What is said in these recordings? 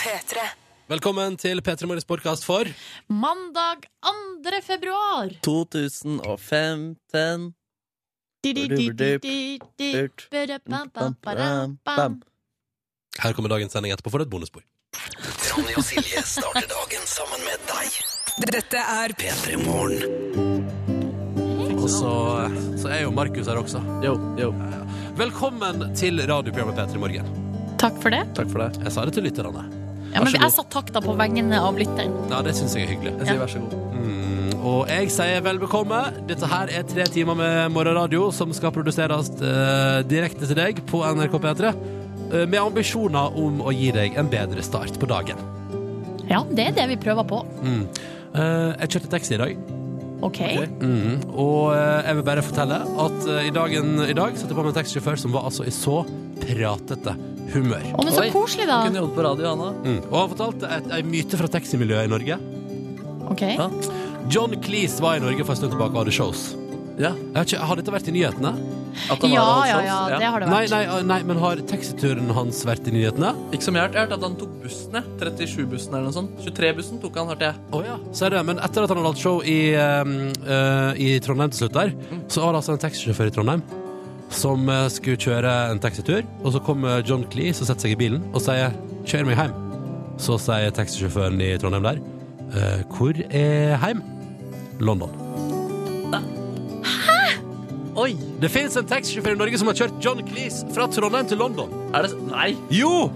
P3. Velkommen til P3 Morgens podkast for Mandag 2. februar. 2015 Durt. Bam. Her kommer dagens sending etterpå for et bonusbord. Ronny og Silje starter dagen sammen med deg. Dette er P3 Morgen. Og så, så er jo Markus her også. Jo, jo, Velkommen til radioprogrammet P3 Morgen. Takk for det. takk for det Jeg sa det til lytterne. Ja, men så jeg sa takk da på vegne av lytteren. Ja, det syns jeg er hyggelig. Jeg sier vær så god Mm, og jeg sier vel bekomme. Dette her er tre timer med morgenradio som skal produseres eh, direkte til deg på NRK P3. eh, Med ambisjoner om å gi deg en bedre start på dagen. Ja, det er det vi prøver på. Mm. Eh, jeg kjørte taxi i dag, OK? Mhm. og eh, jeg vil bare fortelle at eh, i, dagen, i dag satte jeg på meg en taxisjåfør som var altså i så pratete humør. Å, men så Oi. koselig, da. Kunne jobbet på radio, Anna Mm. Og han fortalte et, en myte fra taximiljøet i Norge. OK. Ja, John Cleese var i Norge for en stund tilbake og hadde shows. ja. Jeg vet ikke, har dette vært i nyhetene? At han Ja, var ja, ansatt. ja. Det har det Nei, vært. nei, ah, nei, men har taxituren hans vært i nyhetene? Ikke som jeg har hørt, jeg har hørt at han tok bussen, jeg. 37-bussen eller noe sånt. 23-bussen tok han, hørte jeg. Å ja, ser du. Men etter at han hadde hatt show i, ehm, eh, i Trondheim til slutt der, så var det altså en taxisjåfør i Trondheim som eh, skulle kjøre en taxitur, og så kommer John Cleese og setter seg i bilen og sier 'kjør meg hjem'. Så sier taxisjåføren i Trondheim der «Eh, 'hvor er heim?' London. Oi! Det fins en taxisjåfør i Norge som har kjørt John Cleese fra Trondheim til London. Er det s- Nei! Jo!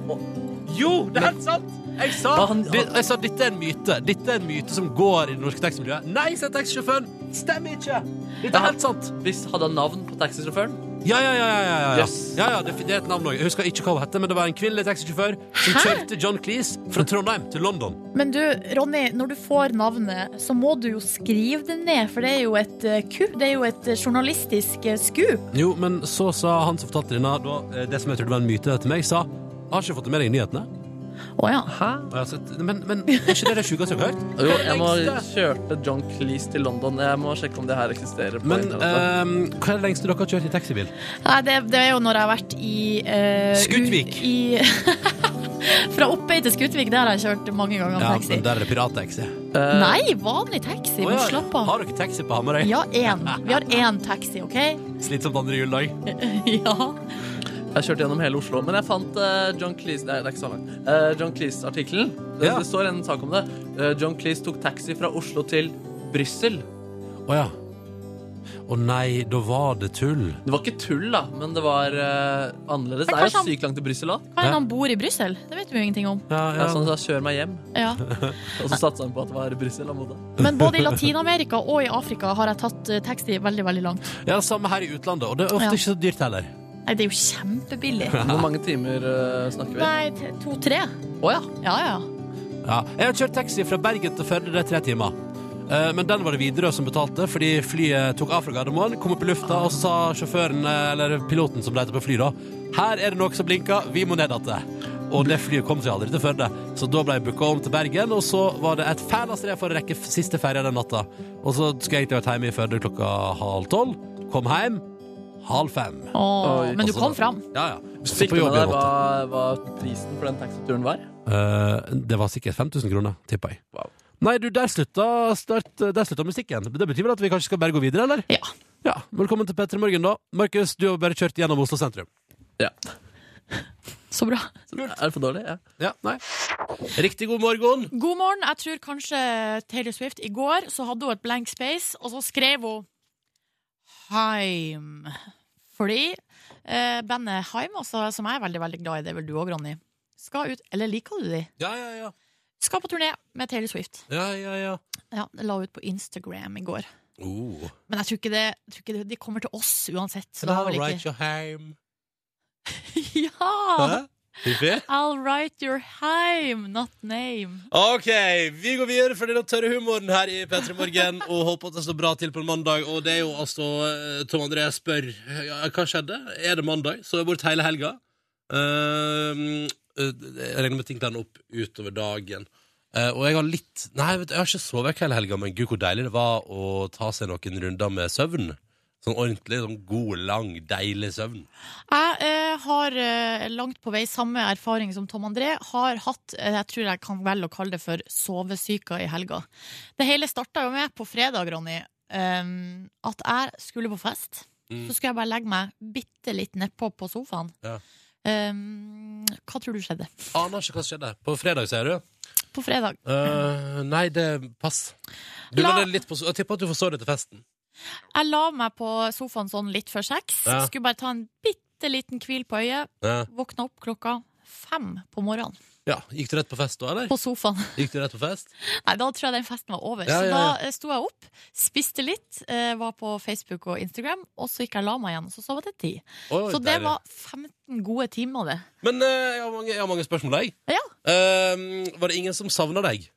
Jo, det er helt sant! Jeg sa, Hva han- det- jeg sa dette er en myte. Dette er en myte som går i det norske taximiljøet. Nei, sa taxisjåføren. Stemmer ikke! Dette er Ja. helt sant. Hvis hadde han navn på taxisjåføren? Ja, ja, ja. ja, ja, ja. Yes. ja, ja det, det er et navn også. Jeg husker ikke hva hun heter, men det var en kvinnelig taxisjåfør som Hæ? kjørte John Cleese fra Trondheim til London. Men du, Ronny, når du får navnet, så må du jo skrive det ned, for det er jo et eh, ku. Det er jo et eh, journalistisk eh, scoop. Jo, men så sa han som fortalte denne, da, eh, det som jeg trodde var en myte til meg, sa har ikke fått det med deg i nyhetene. Å ja. Hæ? Og jeg sa, Men, men er ikke det det sjukeste jeg har hørt? Jo, jeg må kjørte John Cleese til London. Jeg må sjekke om det her eksisterer. på Men internettet. ehm, hva er det lengste dere har kjørt i taxibil? Nei, det, det er jo når jeg har vært i eh, Skutvik. u- I Fra Oppøy til Skutvik, der har jeg kjørt mange ganger med Ja, taxi. men der er det pirattaxi. Eh, Nei, vanlig taxi. Å Men ja, slapp av. Har dere taxi på Hamarøy? Ja, én. Vi har én taxi, OK? Slitsomt andre juledag. Ja. Jeg kjørte gjennom hele Oslo, men jeg fant eh, John Cleese Nei, det er ikke så langt. Eh, John Cleese-artikkelen. Det, Ja. det står en sak om det. Eh, John Cleese tok taxi fra Oslo til Brussel. Å ja. Å nei, da var det tull. Det var ikke tull, da, men det var eh, annerledes. Men Det er kanskje jo han- sykt langt til Brussel òg. Hva enn han bor i Brussel? Det vet vi jo ingenting om. Ja, ja. Ja, sånn, så kjør meg hjem. Ja. Og så satsa han på at det var Brussel han bodde. Men både i Latin-Amerika og i Afrika har jeg tatt eh, taxi veldig, veldig langt. ja, samme her i utlandet, og det er ofte Ja. ikke så dyrt heller. Nei, det er jo kjempebillig. Hvor mange timer eh, snakker vi? Nei, t- to-tre. Å ja. Ja, ja. Ja. Jeg har kjørt taxi fra Bergen til Førde, det er tre timer. Eh, Men den var det Widerøe som betalte, fordi flyet tok av fra Gardermoen, kom opp i lufta, og så sa sjåføren, eh, eller piloten som leter på fly, da Her er det noe som blinker, vi må ned igjen. Og det flyet kom seg aldri til Førde, så da ble jeg booka om til Bergen, og så var det et fæla strev for å rekke f- siste ferja den natta. Og så skulle jeg egentlig vært hjemme i Førde klokka halv tolv. Kom hjem halv fem. Åh, Oi, men du altså- kom fram. Ja, ja. Så Fikk på du jobb med i deg åtte. hva, hva prisen for den taxituren var? Eh, det var sikkert 5000 kroner, tipper jeg. Wow. Nei, du, der slutta, start, der slutta musikken. Det betyr vel at vi kanskje skal bare gå videre, eller? Ja. Ja, Velkommen til P3 Morgen, da. Markus, du har bare kjørt gjennom Oslo sentrum. Ja. Så bra. Er det for dårlig? Ja. Ja, nei. Riktig god morgen. God morgen. Jeg tror kanskje Taylor Swift I går så hadde hun et blank space, og så skrev hun Heim. Fordi eh, bandet Heim, altså, som jeg er veldig veldig glad i, det er vel du òg, Ronny, skal ut Eller liker du de? Ja, ja, ja. Skal på turné med Taylor Swift. Ja, ja, ja. Ja, det la hun ut på Instagram i går. Oh. Men jeg tror ikke, det, jeg tror ikke det, de kommer til oss uansett. Så da vel ikke your home. Ja! Fifi? I'll write your heim, not name. OK, vi går videre for den tørre humoren her i P3 Morgen og håper at det står bra til på en mandag. Og det er jo altså eh, Tom André spør ja, hva skjedde. Er det mandag? Så er jeg borte hele helga. Ehm, eh, jeg regner med ting den opp utover dagen. Eh, og jeg har litt Nei, vet du, jeg har ikke sovet vekk hele helga, men gud, hvor deilig det var å ta seg noen runder med søvn. Sånn ordentlig, sånn god, lang, deilig søvn. Jeg eh, har eh, langt på vei samme erfaring som Tom André. Har hatt, eh, jeg tror jeg kan velge å kalle det for sovesyka i helga. Det hele starta jo med på fredag, Ronny, ehm, at jeg skulle på fest. Mm. Så skulle jeg bare legge meg bitte litt nedpå på sofaen. Ja. Ehm, hva tror du skjedde Aner ikke hva som skjedde. På fredag, sier du? på fredag? Eh, nei, det pass. Du La- la det litt på, jeg tipper at du forså det til festen. Jeg la meg på sofaen sånn litt før seks. Ja. Skulle bare ta en bitte liten hvil på øyet. Ja. Våkna opp klokka fem på morgenen ja. Gikk du rett på fest da, eller? på sofaen. Gikk du rett på fest? Nei, da tror jeg den festen var over. Ja, så ja, da ja. eh, sto jeg opp, spiste litt, eh, var på Facebook og Instagram, og så gikk jeg og la meg igjen. og Så sov jeg til ti. Oi, Så det deilig. var 15 gode timer, det. Men eh, jeg, har mange, jeg har mange spørsmål, jeg. Ja. Eh, var det ingen som savna deg?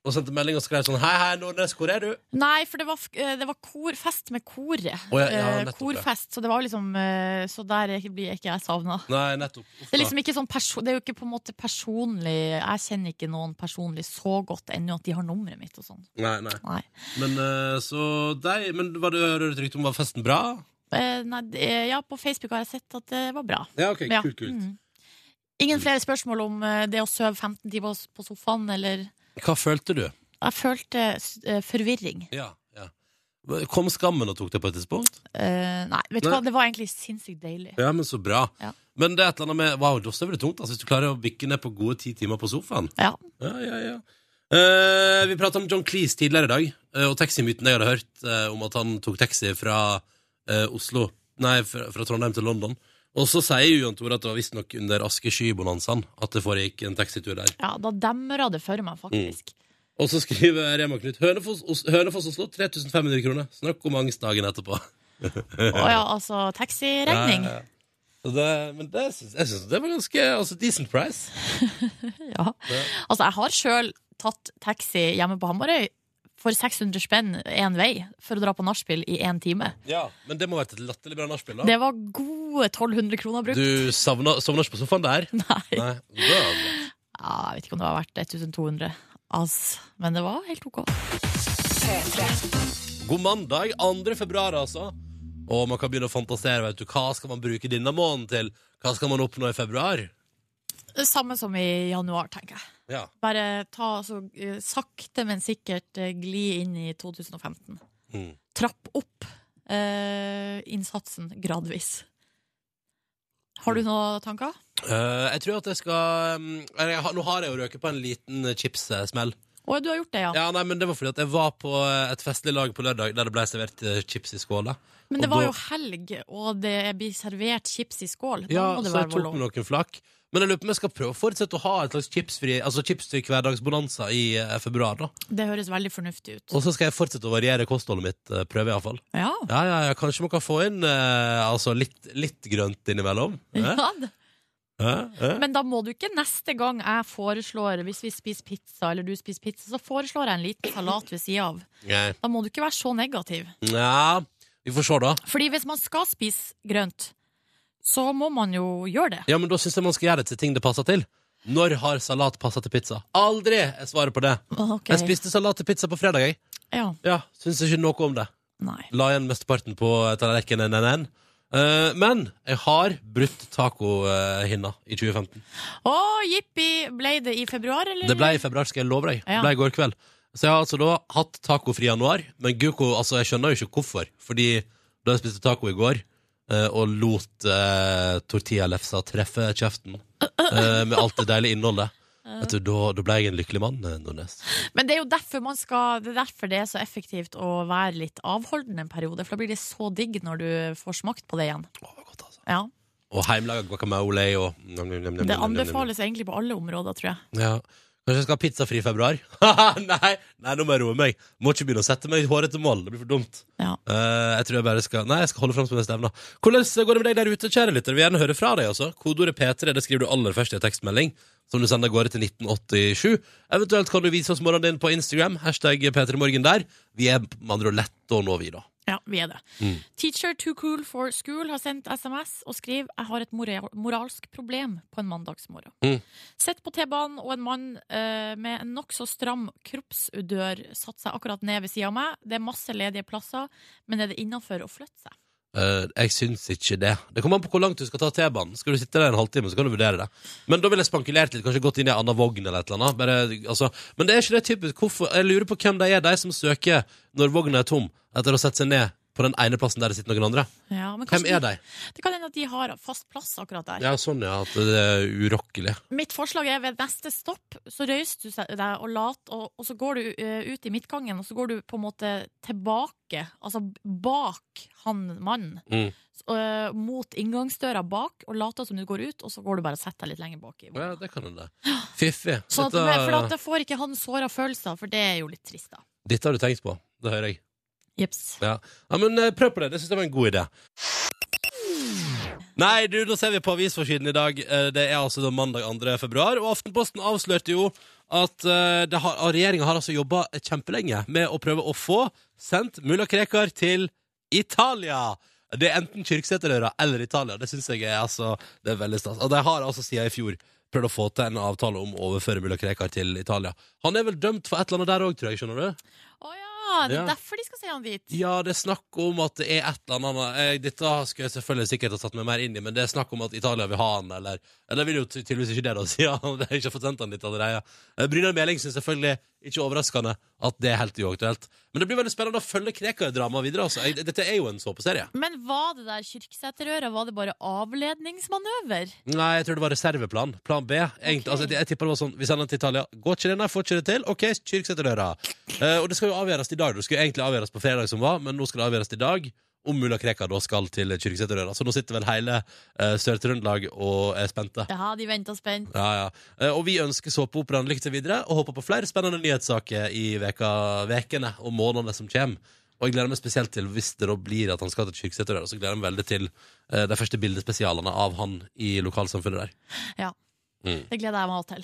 Og sendte melding og skrev sånn Hei, hei, Nordnes, hvor er du? Nei, for det var, f- eh, det var kor, fest med koret. Å, ja, ja, Eh, nettopp, ja. Korfest, så det var liksom eh, Så der blir ikke jeg savna. Nei, nettopp. Uff, Det er da. liksom ikke sånn perso Det er jo ikke på en måte personlig Jeg kjenner ikke noen personlig så godt ennå at de har nummeret mitt og sånn. Nei, nei. Nei. Men eh, så deg Men var det hører du et rykte om var festen bra? Eh, nei det- ja, på Facebook har jeg sett at det var bra. Ja, OK. Ja. Kult, kult. Mm. Ingen flere spørsmål om eh, det å sove 15 timer på sofaen, eller Hva følte du? Jeg følte eh, forvirring. Ja, ja. Kom skammen og tok det på et tidspunkt? Eh, nei, vet du Nei. hva, det var egentlig sinnssykt deilig. Ja, men så bra. Ja. Men det er et eller annet med Wow, da sover du tungt, altså, hvis du klarer å bikke ned på gode ti timer på sofaen. Ja. Ja, ja, ja. Eh, vi prata om John Cleese tidligere i dag, eh, og taximyten jeg hadde hørt eh, om at han tok taxi fra eh, Oslo Nei, fra, fra Trondheim til London. Og så sier jo Jan Tore at det var visstnok under askeskybonanzaen at det foregikk en taxitur der. ja, da demra det for meg, faktisk. Og så skriver Rema Knut Hønefoss, Os Hønefoss Oslo 3500 kroner. Snakk om angst dagen etterpå. Mm. Å ja, altså taxiregning. Ja, ja, ja. Så det, men det, syns- jeg syns det var ganske altså, decent price. Ja. Altså, jeg har sjøl tatt taxi hjemme på Hamarøy for 600 spenn én vei for å dra på nachspiel i én time. Ja, Men det må ha vært et latterlig bra nachspiel, da. Det var gode 1200 kroner brukt. Du savna, sovna ikke på sofaen der? Nei. Nei. Det var bra. Ja, jeg vet ikke om det var verdt 1200. Altså, men det var helt OK. God mandag, 2. februar altså Og man kan begynne å fantasere, vet du Hva skal man bruke denne måneden til? Hva skal man oppnå i februar? Det samme som i januar, tenker jeg. Ja, Bare ta altså, eh, sakte, men sikkert eh, gli inn i 2015. Mm. Trapp opp eh, innsatsen gradvis. Har Mm. du noen tanker? Eh, jeg tror at jeg skal mm, eller jeg har, Nå har jeg jo røket på en liten eh, chipssmell Å, du har gjort det, ja. Ja, nei, men det var fordi at jeg var på eh, et festlig lag på lørdag Der det ble servert eh, chips i skåla Men det Og var da- jo helg, og det blir servert chips i skål. Da Ja, må det så jeg være vår tok lov. med noen flak Men jeg lurer på om jeg skal prøve å fortsette å ha et slags chipsfri Altså chipsfri hverdagsbonanza i eh, februar da Det høres veldig fornuftig ut. Og så skal jeg fortsette å variere kostholdet mitt eh, Prøve i hvert fall Ja. Ja, ja, ja, kanskje man kan få inn eh, altså litt, litt grønt innimellom. Eh? Ja, det- Eh? Eh? Men da må du ikke neste gang jeg foreslår, hvis vi spiser pizza eller du spiser pizza, så foreslår jeg en liten salat ved sida av. Nei. Da må du ikke være så negativ. Ja, vi får se da. Fordi hvis man skal spise grønt, så må man jo gjøre det. Ja, men da synes jeg man skal gjøre det til ting det passer til. Når har salat passet til pizza? Aldri! Jeg svarer på det. Ok. Jeg spiste salat til pizza på fredag, jeg. Ja, Ja, synes ikke noe om det. nei. La igjen mesteparten på eh, tallerkenen NNN. Eh, men jeg har brutt tacohinna i 2015. Å, jippi! Ble det i februar, eller? Det ble i februar, skal jeg love deg. Det Ja. ble i går kveld. Så jeg har altså da hatt tacofri januar, men Guko, altså jeg skjønner jo ikke hvorfor. Fordi da jeg spiste taco i går, eh, og lot eh, tortillalefsa treffe kjeften eh, med alt det deilige innholdet, Vet du, da, da ble jeg en lykkelig mann, eh, Nordnes. Men det er jo derfor, man skal, det er derfor det er så effektivt å være litt avholden en periode. For da blir det så digg når du får smakt på det igjen. Å, det var godt, altså. Ja, Og heimelaga guacamole og Nom, nom, nom, nom, nom, nom, Det nom. anbefales egentlig på alle områder, tror jeg. Ja. Kanskje jeg skal ha pizzafri i februar? nei, nei, nå må jeg roe meg. Må ikke begynne å sette meg i hårete mål. Det blir for dumt. Ja. Eh, jeg tror jeg bare skal Nei, jeg skal holde fram som jeg stevner. Hvordan går det med deg der ute, kjære lytter? Vi vil gjerne høre fra deg, altså. Kodeordet P3 det skriver du aller først i en tekstmelding, som du sender av gårde til 1987. Eventuelt kan du vise oss morgenen din på Instagram, hashtag P3morgen der. Vi er med andre ord lette å nå, vi, da. Ja, vi er det. Teacher too cool for school har sendt SMS og skriver Jeg har et moral moralsk problem på en mandagsmorgen. Mm. Sett på T-banen, og en mann eh, med en nokså stram kroppsudør satte seg akkurat ned ved sida av meg. Det er masse ledige plasser, men er det innafor å flytte seg? Eh, jeg syns ikke det. Det kommer an på hvor langt du skal ta T-banen. Skal du sitte der en halvtime, så kan du vurdere det. Men da ville jeg spankulert litt, kanskje gått inn i en annen vogn eller et eller annet. Bare, altså. Men det er ikke det typisk. Hvorfor? Jeg lurer på hvem de er, de som søker når vogna er tom, etter å ha sett seg ned på den ene plassen der det sitter noen andre. Ja, men Hvem kanskje er de? Det kan hende at de har fast plass akkurat der. Ja, sånn, ja. At det er urokkelig. Mitt forslag er ved neste stopp, så røyser du seg- deg og later, og, og så går du eh, ut i midtgangen, og så går du på en måte tilbake, altså bak han mannen, Mm. Så, eh, mot inngangsdøra bak, og later som du går ut, og så går du bare og setter deg litt lenger bak. i Ja, vogna. det kan hende. Fiffig. Så at, Dette- for at det får ikke han såra følelser, for det er jo litt trist, da. Dette har du tenkt på. Det hører jeg. Jeps. Ja, ja men eh, prøv på det. Det syns jeg var en god idé. Nei, du, da ser vi på avisforsiden i dag. Eh, Det er altså da mandag 2. februar, og Aftenposten avslørte jo at eh, det har- at regjeringa har altså jobba kjempelenge med å prøve å få sendt mulla Krekar til Italia. Det er enten Kyrksæterøra eller Italia. Det syns jeg er altså Det er veldig stas. Og de har altså siden i fjor prøvd å få til en avtale om å overføre mulla Krekar til Italia. Han er vel dømt for et eller annet der òg, tror jeg. skjønner du? Å ja, det er Ja. derfor de skal se han dit. Ja, det er snakk om at det er et eller annet eh, Dette skal jeg selvfølgelig sikkert ha tatt meg mer inn i, men det er snakk om at Italia vil ha han, eller Eller vil jo ty- tydeligvis ikke det, da, siden han ikke har fått sendt han dit allerede. Eh, Brynar Meling syns selvfølgelig, ikke overraskende, at det er helt uaktuelt. Men det blir veldig spennende å følge Krekar-dramaet videre, altså. Jeg, dette er jo en såpeserie. Men var det der Kyrksæterøra, var det bare avledningsmanøver? Nei, jeg tror det var reserveplan. Plan B. Egentlig, altså, jeg, jeg tipper det var sånn Vi sender den til Italia. Går ikke det? Nei, får ikke det til? OK, Kyrksæterøra. Eh, og det skal jo avgjøres i dag. Det skulle egentlig avgjøres på fredag, som var, men nå skal det avgjøres i dag. Om mulla Krekar da skal til Kyrksæterøra. Så nå sitter vel hele eh, Sør-Trøndelag og er spente. Ja, de venta spent. Ja, ja. Eh, og vi ønsker såpeoperaen lykke til videre, og håper på flere spennende nyhetssaker i veka, vekene og månedene som kommer. Og jeg gleder meg spesielt til, hvis det da blir at han skal til Kyrksæterøra, så gleder jeg meg veldig til eh, de første bildespesialene av han i lokalsamfunnet der. Det gleder jeg meg også til.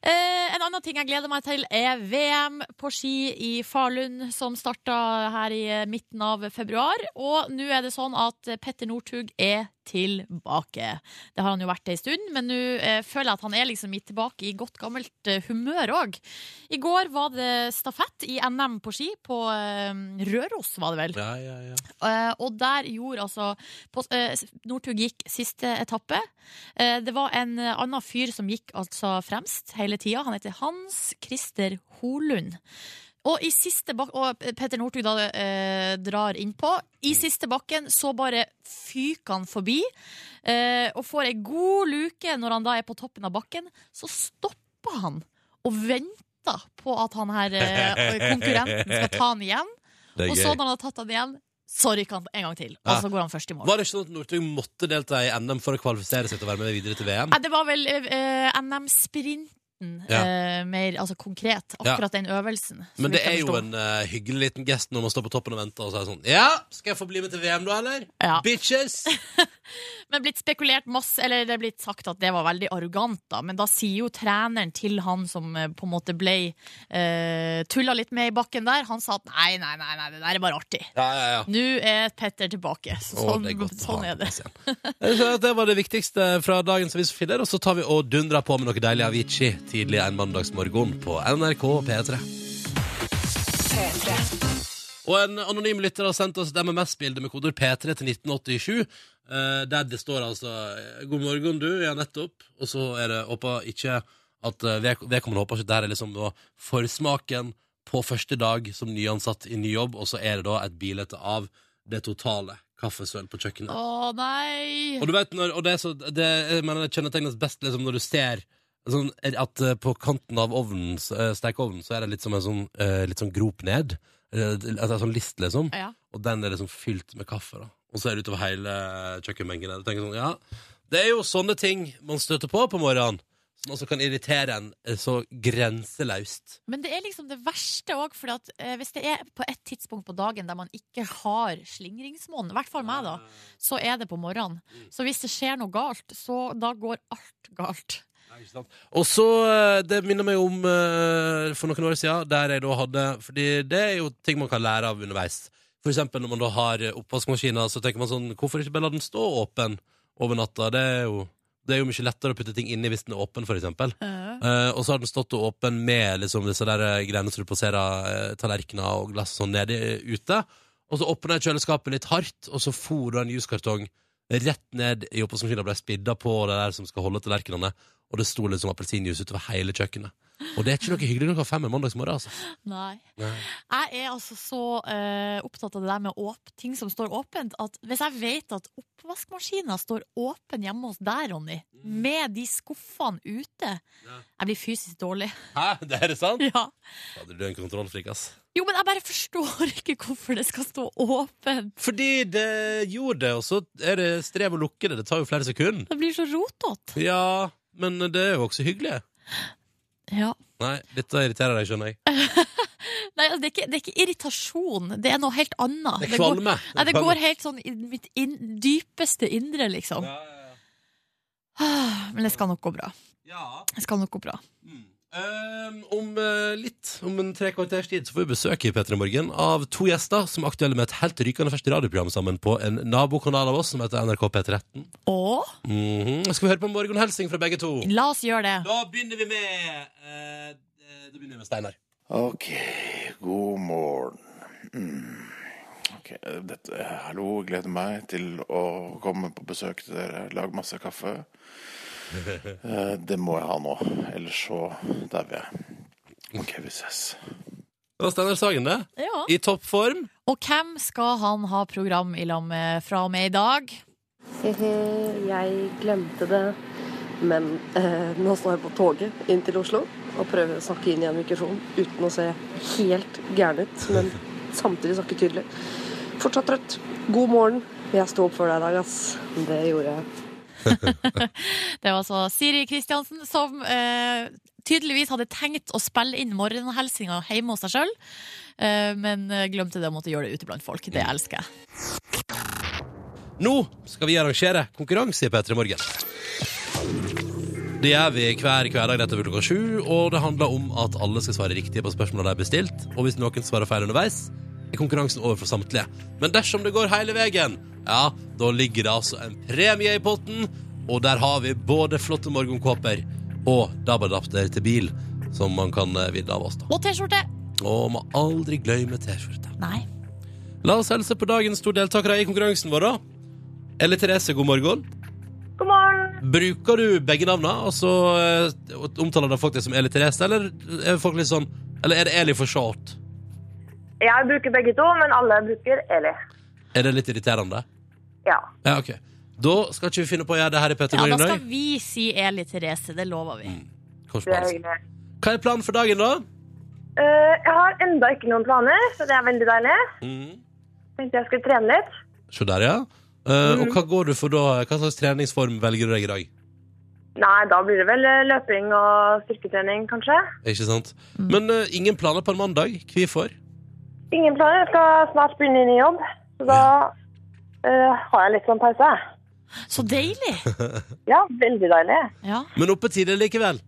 Eh, en annen ting jeg gleder meg til, er VM på ski i Falun, som starta her i eh, midten av februar. Og nå er det sånn at eh, Petter Northug er tilbake. Det har han jo vært ei stund, men nå eh, føler jeg at han er liksom i tilbake i godt gammelt eh, humør òg. I går var det stafett i NM på ski på eh, Røros, var det vel. Ja, ja, ja. Eh, og der gjorde altså på, eh, Northug gikk siste etappe. Eh, det var en eh, annen fyr som gikk altså fremst hele tida. Han heter Hans Christer Holund. Og, i siste bak og Petter Northug da, eh, drar innpå. I siste bakken så bare fyker han forbi eh, og får ei god luke når han da er på toppen av bakken. Så stopper han og venter på at han her eh, konkurrenten skal ta han igjen. Det er Og gøy. så når han har tatt den igjen, så rykker han en gang til. Og Ja. så går han først i mål. Var det ikke sånn at Northug måtte delta i NM for å kvalifisere seg til å være med videre til VM? Nei, det var vel eh, NM-sprinten Ja. eh, mer altså, konkret. Akkurat den øvelsen. så Men vidt det jeg er jo forstår. en eh, hyggelig liten gest når man står på toppen og venter og sier sånn Ja, skal jeg få bli med til VM da, eller? Ja. Bitches! Men blitt spekulert masse, eller det er blitt sagt at det var veldig arrogant, da. Men da sier jo treneren til han som eh, på en måte ble eh, tulla litt med i bakken der, han sa at nei, nei, nei, nei det der er bare artig. Ja, ja, ja. Nå er Petter tilbake. Så, Å, det er godt å sånn ha er det. med seg. Jeg synes at Det var det viktigste fra dagens avisforfiler, og så tar vi og dundrer på med noe deilig Avicii tidlig en mandagsmorgen på NRK P3. Og en anonym lytter har sendt oss et MMS-bilde med kodord P3 til 1987. eh, Der det står altså 'God morgen, du', ja, nettopp. Og så er det håper ikke at eh, vedk- vedkommende håper ikke at det her er liksom da forsmaken på første dag som nyansatt i ny jobb, og så er det da et bilde av det totale kaffesøl på kjøkkenet. Å nei! Og du vet når, og det, er så, det, jeg mener, det kjennetegnes best liksom, når du ser sånn, at eh, på kanten av ovnen, uh, stekeovnen, så er det litt som en sånn, eh, litt sånn grop ned. Eh, altså en sånn list, liksom. Ja. Og den er liksom fylt med kaffe. da Og så er det utover hele kjøkkenbenken. der. Du tenker sånn, ja Det er jo sånne ting man støter på på morgenen, som også kan irritere en eh, så grenseløst. Men det er liksom det verste òg, for at, eh, hvis det er på et tidspunkt på dagen der man ikke har slingringsmonn, i hvert fall meg, da, så er det på morgenen. Så hvis det skjer noe galt, så da går alt galt. Og så, eh, det minner meg om eh, for noen år siden, der jeg da hadde Fordi det er jo ting man kan lære av underveis. For eksempel når man da har eh, oppvaskmaskiner, så tenker man sånn Hvorfor ikke bare la den stå åpen over natta? Det er jo, det er jo mye lettere å putte ting inni hvis den er åpen, for eksempel. Eh, og så har den stått åpen med liksom, disse der eh, greiene som du plasserer eh, tallerkener og glass og sånn nedi ute. Og så åpna jeg kjøleskapet litt hardt, og så for da en juskartong rett ned i oppvaskmaskinen og ble spidda på det der som skal holde tallerkenene. Og det sto liksom appelsinjuice utover hele kjøkkenet. Og det er ikke noe hyggelig klokka fem en mandagsmorgen, altså. Nei. Nei. Jeg er altså så eh, opptatt av det der med åp ting som står åpent, at hvis jeg vet at oppvaskmaskina står åpen hjemme hos deg, Ronny, med de skuffene ute Jeg blir fysisk dårlig. Hæ, det er det sant? Ja. Fader, du er en kontrollfrik, ass. Jo, men jeg bare forstår ikke hvorfor det skal stå åpent. Fordi det gjorde det, og så er det strev å lukke det. Det tar jo flere sekunder. Det blir så rotete. Ja, men det er jo også hyggelig. Ja. Nei, dette irriterer deg, skjønner jeg. Nei, altså, det, er ikke, det er ikke irritasjon, det er noe helt annet. Det er går, kvalme. nei, det går helt sånn i mitt inn, dypeste indre, liksom. Ja, ja, ja. Ah, Men det skal nok gå bra. Ja. mm. Det skal nok gå bra. Ehm, om eh, litt, om en tre kvarters tid, så får vi besøk i P3 Morgen av to gjester som er aktuelle med et helt rykende ferskt radioprogram sammen på en nabokanal av oss som heter NRK P13. Og Mhm. Skal vi høre på en morgenhelsing fra begge to? la oss gjøre det. Da begynner vi med eh, eh, Da begynner vi med Steinar. Ok, god morgen. Mm. Ok, dette, hallo, gleder meg til å komme på besøk til dere. Lag masse kaffe. Eh, Det må jeg ha nå, ellers så dauer jeg. Ok, vi ses. Det var Steinar Sagen, det. Ja. I toppform. Og hvem skal han ha program i lag med fra og med i dag? Hehe, jeg glemte det. Men eh, nå står jeg på toget inn til Oslo og prøver å snakke inn i en mikrofon uten å se helt gæren ut, men samtidig snakke tydelig. Fortsatt trøtt. God morgen. Jeg sto opp for deg i dag, ass. Det gjorde jeg. Det var altså Siri Kristiansen som eh, tydeligvis hadde tenkt å spille inn morgenhelsinga hjemme hos seg sjøl, eh, men eh, glemte det og måtte gjøre det ute blant folk. Det elsker jeg. Nå skal vi arrangere konkurranse i P3 Morgen. Det gjør vi hver hverdag rett over klokka sju, og det handler om at alle skal svare riktig på spørsmålene de er bestilt, og hvis noen svarer feil underveis, er konkurransen over for samtlige. Men dersom det går hele veien, ja, da ligger det altså en premie i potten, og der har vi både flotte morgenkåper og DAB-adapter til bil, som man kan eh, vinne av oss, da. Og T-skjorte! Og må aldri glemme T-skjorte. Nei. La oss helse på dagens to deltakere i konkurransen vår, da. Elle Therese, god morgen. God morgen. Bruker du begge navna, og så eh, omtaler da folk deg som Eli Therese, eller er folk litt sånn Eller er det Eli for short? Jeg bruker begge to, men alle bruker Eli. Er det litt irriterende? Ja. Ja, OK. Da skal ikke vi finne på å gjøre det her i Petter Ja, da Morgen i skal dag. vi si Eli Therese. Det lover vi. Kors på Det er halsen. hyggelig. Hva er planen for dagen, da? Eh, jeg har enda ikke noen planer, så det er veldig deilig. Tenkte jeg skulle trene litt. Mm. Se der, ja. Eh, Mm. Og hva går du for da? Hva slags treningsform velger du deg i dag? Nei, da blir det vel eh, løping og styrketrening, kanskje. Ikke sant? Mm. Men eh, ingen planer på en mandag. Hvorfor? Ingen planer. Jeg skal snart begynne inn i jobb, så da eh, har jeg litt sånn pause. Så deilig! Ja, veldig deilig. Ja. Men oppe tidlig likevel.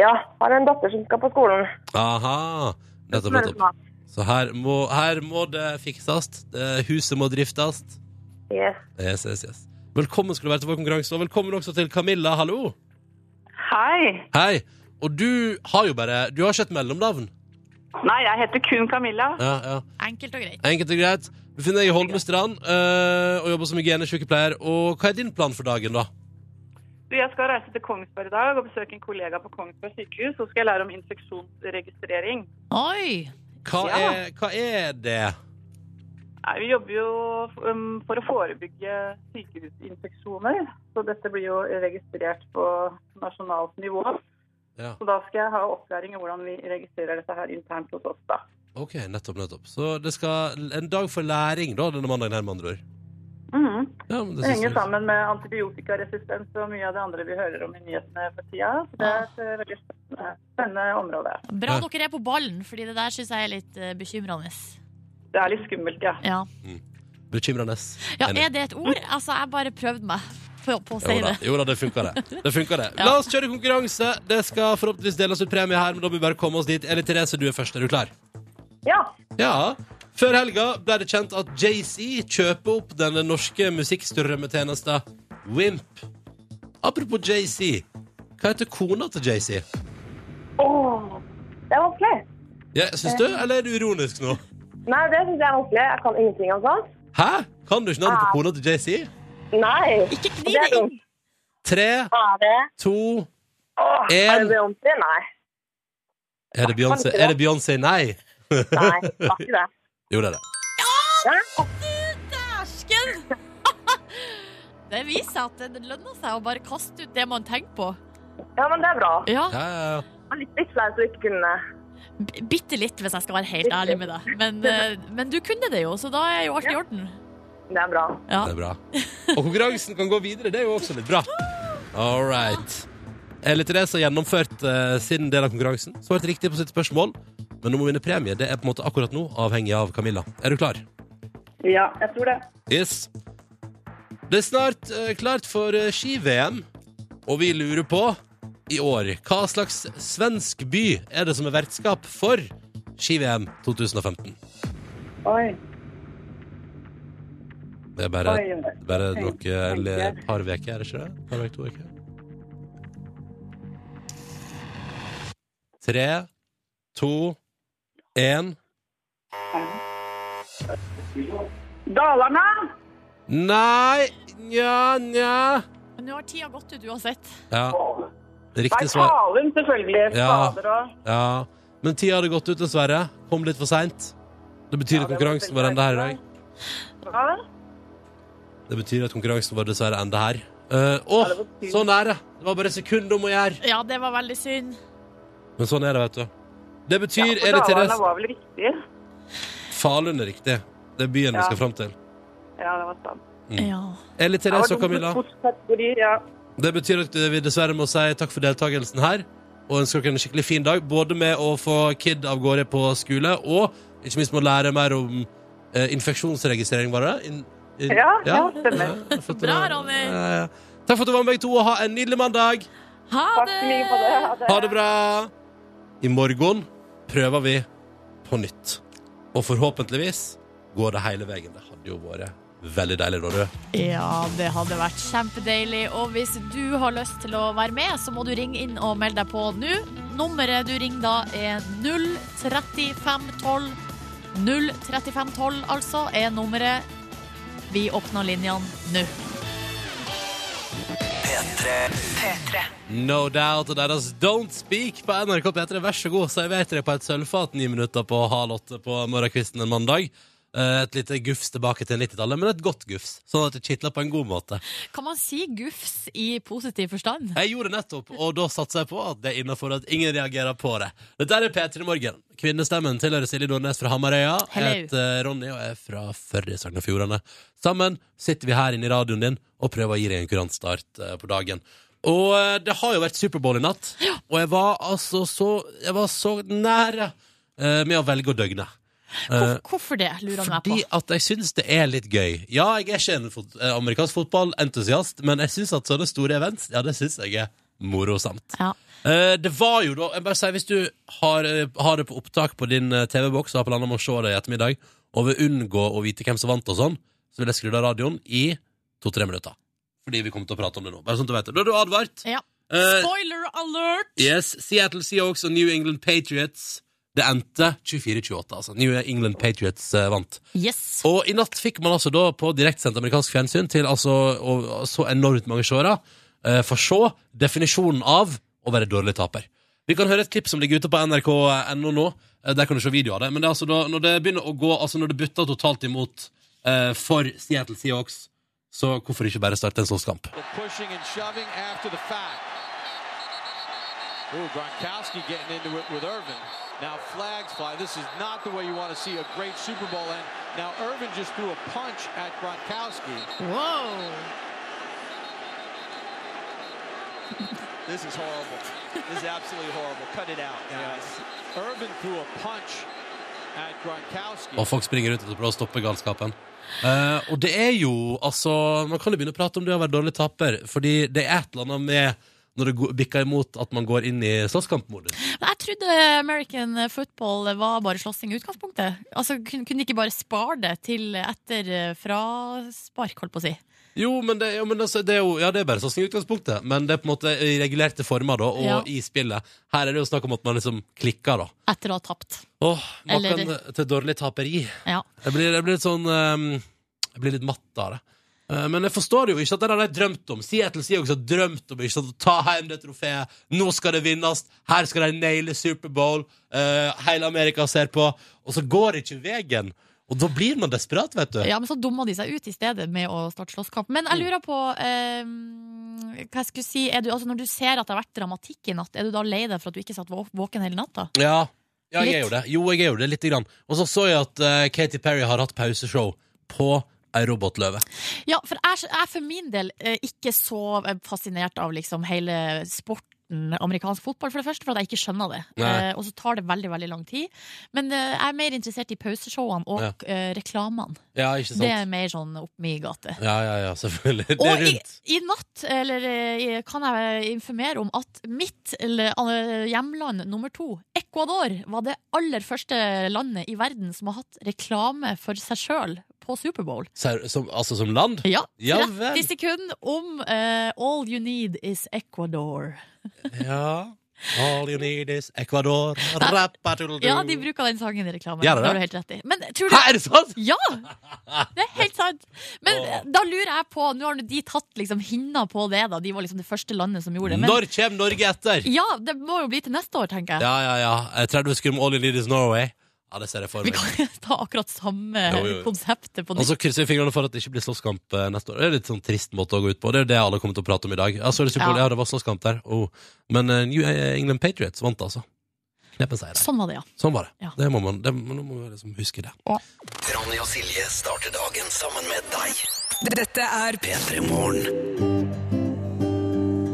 Ja, har en datter som skal på skolen. Aha. Nettopp, Smører nettopp. snart. Så her må, her må det fikses. Eh, Huset må driftes. Yes. Yes, yes, yes. Velkommen skal du være til vår konkurranse, og velkommen også til Camilla. Hallo! Hei. Hei! Og du har jo bare Du har ikke et mellomnavn. Nei, jeg heter kun Camilla. Ja, ja. Enkelt og greit. Enkelt og greit. Du finner deg i Holmestrand eh, og jobber som hygienesykepleier. Og hva er din plan for dagen, da? Du, Jeg skal reise til Kongsberg i dag og besøke en kollega på Kongsberg sykehus. Så skal jeg lære om infeksjonsregistrering. Oi! Hva, Ja. er, hva er det? Nei, vi jobber jo um, for å forebygge sykehusinfeksjoner. Så dette blir jo registrert på nasjonalt nivå. Ja. Så da skal jeg ha opplæring i hvordan vi registrerer dette her internt hos oss, da. OK, nettopp, nettopp. Så det skal en dag for læring, da, denne mandagen her, med andre ord. Mhm. Ja, men synes Det henger jeg- sammen med antibiotikaresistens og mye av det andre vi hører om i nyhetene for tida. Så det er et eh, veldig spennende, spennende område. Bra Ja. dere er på ballen, fordi det der syns jeg er litt eh, bekymrende. Det er litt skummelt, ja. Ja. Bekymrende. ja, Enig. er det et ord? Altså, jeg bare prøvde meg på, på å si Jo da, det. jo da, det funker det. det, funker det. La oss kjøre konkurranse. Det skal forhåpentligvis deles ut premie her, men da må vi bare komme oss dit. Eli Therese, du er først. Er du klar? Ja. Ja. Før helga ble det kjent at Jay-Z kjøper opp den norske musikkstrømmetjenesten Wimp. Apropos Jay-Z, hva heter kona til Jay-Z? Åh, det er vanskelig. Ja, syns du, eller er du ironisk nå? Nei, det syns jeg er vanskelig. Jeg kan ingenting altså. om sånt. Hæ? Kan du ikke navnet på kona til JC? Nei. Ikke kniv det inn. Tre, to Åh, er det Beyoncé? Nei. Er det Beyoncé? Er det Beyoncé? Nei. Nei, det var ikke det. Jo, det er det. Ja, Dæsken! Det viser seg at det lønner seg å bare kaste ut det man tenker på. Ja, men det er bra. Ja. Jeg var litt litt flaut å ikke kunne B- Bitte litt, hvis jeg skal være helt ærlig med deg. Men, eh, men du kunne det jo, så da er jo alt i orden. Det er bra. Det er bra. Og konkurransen kan gå videre, det er jo også litt bra. All right. Elle Therese har gjennomført eh, sin del av konkurransen, svart riktig på sitt spørsmål. Men nå må hun vinne premie. Det er på en måte akkurat nå avhengig av Camilla. Er du klar? Ja, jeg tror det. Yes. Det er snart eh, klart for eh, ski-VM, og vi lurer på i år hva slags svensk by er det som er vertskap for ski-VM 2015? Oi. Det er bare, Oi, oi. bare Tenk- noe eller tenker. et par uker, er det ikke det? Par uker, to uker. Tre, to, én Dalarna! Nei, nja, nja Men nå har tida gått ut uansett. Ja. Nei, Riktig svar. Falun, selvfølgelig. Ja. Fader og Ja. Men tida hadde gått ut, dessverre. Kom litt for seint. Det betyr at konkurransen var enda her i dag. Hva? Det betyr at konkurransen var dessverre enda her. Eh, Åh, så nære! Det var bare sekund om å gjøre. Ja, det var veldig synd. Men sånn er det, vet du. Det betyr For er det Dalarna Therese var vel riktig? Falun er riktig. Det er byen Ja. vi skal fram til. Ja, det var sant. Mm. Ja. Eller Jeg var Therese og dum Camilla. på sportskategori, ja. Det betyr at vi dessverre må si takk for deltakelsen her. Og ønsker dere en skikkelig fin dag, både med å få kid av gårde på skole, og ikke minst med å lære mer om eh, infeksjonsregistrering, var det det? In, in, Ja, ja, stemmer. ja, for at Bra, det- Ronny. Ja, ja. Takk for at du var med, begge to, og ha en nydelig mandag! Ha Takk det! i like måte. Ha det. Ha det bra! I morgen prøver vi på nytt. Og forhåpentligvis går det hele veien. Det hadde jo vært veldig deilig, Ronny. Ja, det hadde vært kjempedeilig. Og hvis du har lyst til å være med, så må du ringe inn og melde deg på nå. Nummeret du ringer da, er 03512. 03512, altså, er nummeret. Vi åpner linjene nå. No doubt og deres Don't Speak på NRK P3. Vær så god, serverte dere på et sølvfat ni minutter på halv åtte på morgenkvisten en mandag. Eh, Et lite gufs tilbake til 90-tallet, men et godt gufs. Sånn at det kitler på en god måte. Kan man si gufs i positiv forstand? Jeg gjorde det nettopp, og da satser jeg på at det er innafor at ingen reagerer på det. Dette er P3 Morgen. Kvinnestemmen tilhører Silje Nordnes fra Hamarøya. Hello. Jeg heter Ronny og er fra Førde i Sogn og Fjordane. Sammen sitter vi her inne i radioen din og prøver å gi deg en kurantstart eh, på dagen. Og eh, det har jo vært Superbowl i natt, og jeg var altså så Jeg var så nære eh, med å velge å døgne. Hvor, hvorfor det, lurer han meg på. Eh, Fordi at jeg syns det er litt gøy. Ja, jeg er ikke en fot eh, amerikansk fotballentusiast, men jeg syns at sånne store events, ja, det syns jeg er morosamt. Ja. Eh, det var jo da jeg bare sier, Hvis du har, eh, har det på opptak på din eh, TV-boks og har planer om å se det i ettermiddag, og vil unngå å vite hvem som vant og sånn, så vil jeg skru av radioen i to-tre minutter. Fordi vi kommer til å prate om det nå. Bare sånn at du vet det. Da er du advart. Ja. Eh, Spoiler alert! Yes, Seattle Seahawks og New England Patriots. Det endte 24-28, altså. New England Patriots eh, vant. Yes. Og i natt fikk man altså da på direktsendt amerikansk fjernsyn til altså og, og så enormt mange seere eh, for så definisjonen av å være dårlig taper. Vi kan høre et klipp som ligger ute på nrk.no nå. Eh, Der kan du se video av det. Men det er altså da, når det begynner å gå, altså når det butter totalt imot eh, for Seattle Seahawks, så hvorfor ikke bare starte en sånn kamp? pushing and shoving after the fact. Ooh, Gronkowski getting into it with Irvin. Now flags fly. This is not the way you want to see a great Super Bowl end. Now Irvin just threw a punch at Gronkowski. Wow. This is horrible. This is absolutely horrible. Cut it out, guys. Irvin threw a punch at Gronkowski. Og folk springer ut og prøver å stoppe galskapen. Eh, og det er jo, altså Man kan jo begynne å prate om det å være dårlig taper, fordi det er et eller annet med når det går- bikker imot at man går inn i slåsskampmodus. Men Jeg trodde American football var bare slåssing i utgangspunktet. Altså, kun- Kunne de ikke bare spare det til etter eh, fraspark, holdt på å si? Jo, men det, jo, men altså, det er jo ja, det er bare sånn i utgangspunktet, men det er på en måte i regulerte former da, og Ja. i spillet. Her er det jo snakk om at man liksom klikker, da. Etter å ha tapt. Åh, maken Eller- til dårlig taperi. Ja. Jeg blir, jeg blir litt sånn ehm, Jeg blir litt matt av det. Eh, men jeg forstår jo ikke at det har de drømt om. Seattle Seahawks har drømt om ikke sant, å ta hjem det trofeet. Nå skal det vinnes. Her skal de naile Superbowl. Uh, hele Amerika ser på. Og så går det ikke veien. Og da blir man desperat, vet du. Ja, men så dumma de seg ut i stedet med å starte slåsskamp. Men jeg lurer på eh, hva jeg skulle si, er du, altså Når du ser at det har vært dramatikk i natt, er du da lei deg for at du ikke satt vå- våken hele natta? Ja, ja jeg Litt. er jo det. Jo, jeg er jo det, lite grann. Og så så jeg at eh, Katy Perry har hatt pauseshow på ei robotløve. Ja, for jeg jeg er for min del eh, ikke så eh, fascinert av liksom hele sporten amerikansk fotball, for det første, for at jeg ikke skjønner det. Nei. Eh, og så tar det veldig veldig lang tid. Men eh, jeg er mer interessert i pauseshowene og Ja. eh, reklamene. Ja, ikke sant? Det er mer sånn opp min gate. Ja, ja, ja, selvfølgelig. Det Og er i, rundt. i natt eller, eh, kan jeg informere om at mitt eller, eh, hjemland nummer to, Ecuador, var det aller første landet i verden som har hatt reklame for seg sjøl på Superbowl. Ser- Som, altså som land? Ja, ja 30 vel. sekunder om eh, All you need is Ecuador. Ja. All you need is Ecuador. Rapatuldu. Ja, de bruker den sangen i reklamen. Gjør de det? det har du helt rett i. Men, tror du, Hæ, er det sant?! Ja! Det er helt sant. Men eh, Åh. da lurer jeg på Nå har de tatt liksom hinna på det, da. De var liksom det første landet som gjorde det. Men- Når kommer Norge etter? Ja, det må jo bli til neste år, tenker jeg. Ja, ja, ja. Eh, 30 sekunder med All you need is Norway. Ja, det ser jeg for meg. Ta akkurat samme Jo, Altså- jo, jo. konseptet på Og nytt. så krysser vi fingrene for at det ikke blir slåsskamp eh, neste år. Det er litt sånn trist måte å gå ut på. Det er jo det alle kommer til å prate om i dag. Jeg så det, Super Bowl. Ja. ja, det var slåsskamp der. Oh. Men eh, New England Patriots vant, altså. Kneppen seier. Sånn var det, ja. Sånn var det. Ja. det, må man, det nå må vi liksom huske det. Ronny og Silje starter dagen sammen med deg. Dette er P3 Morgen.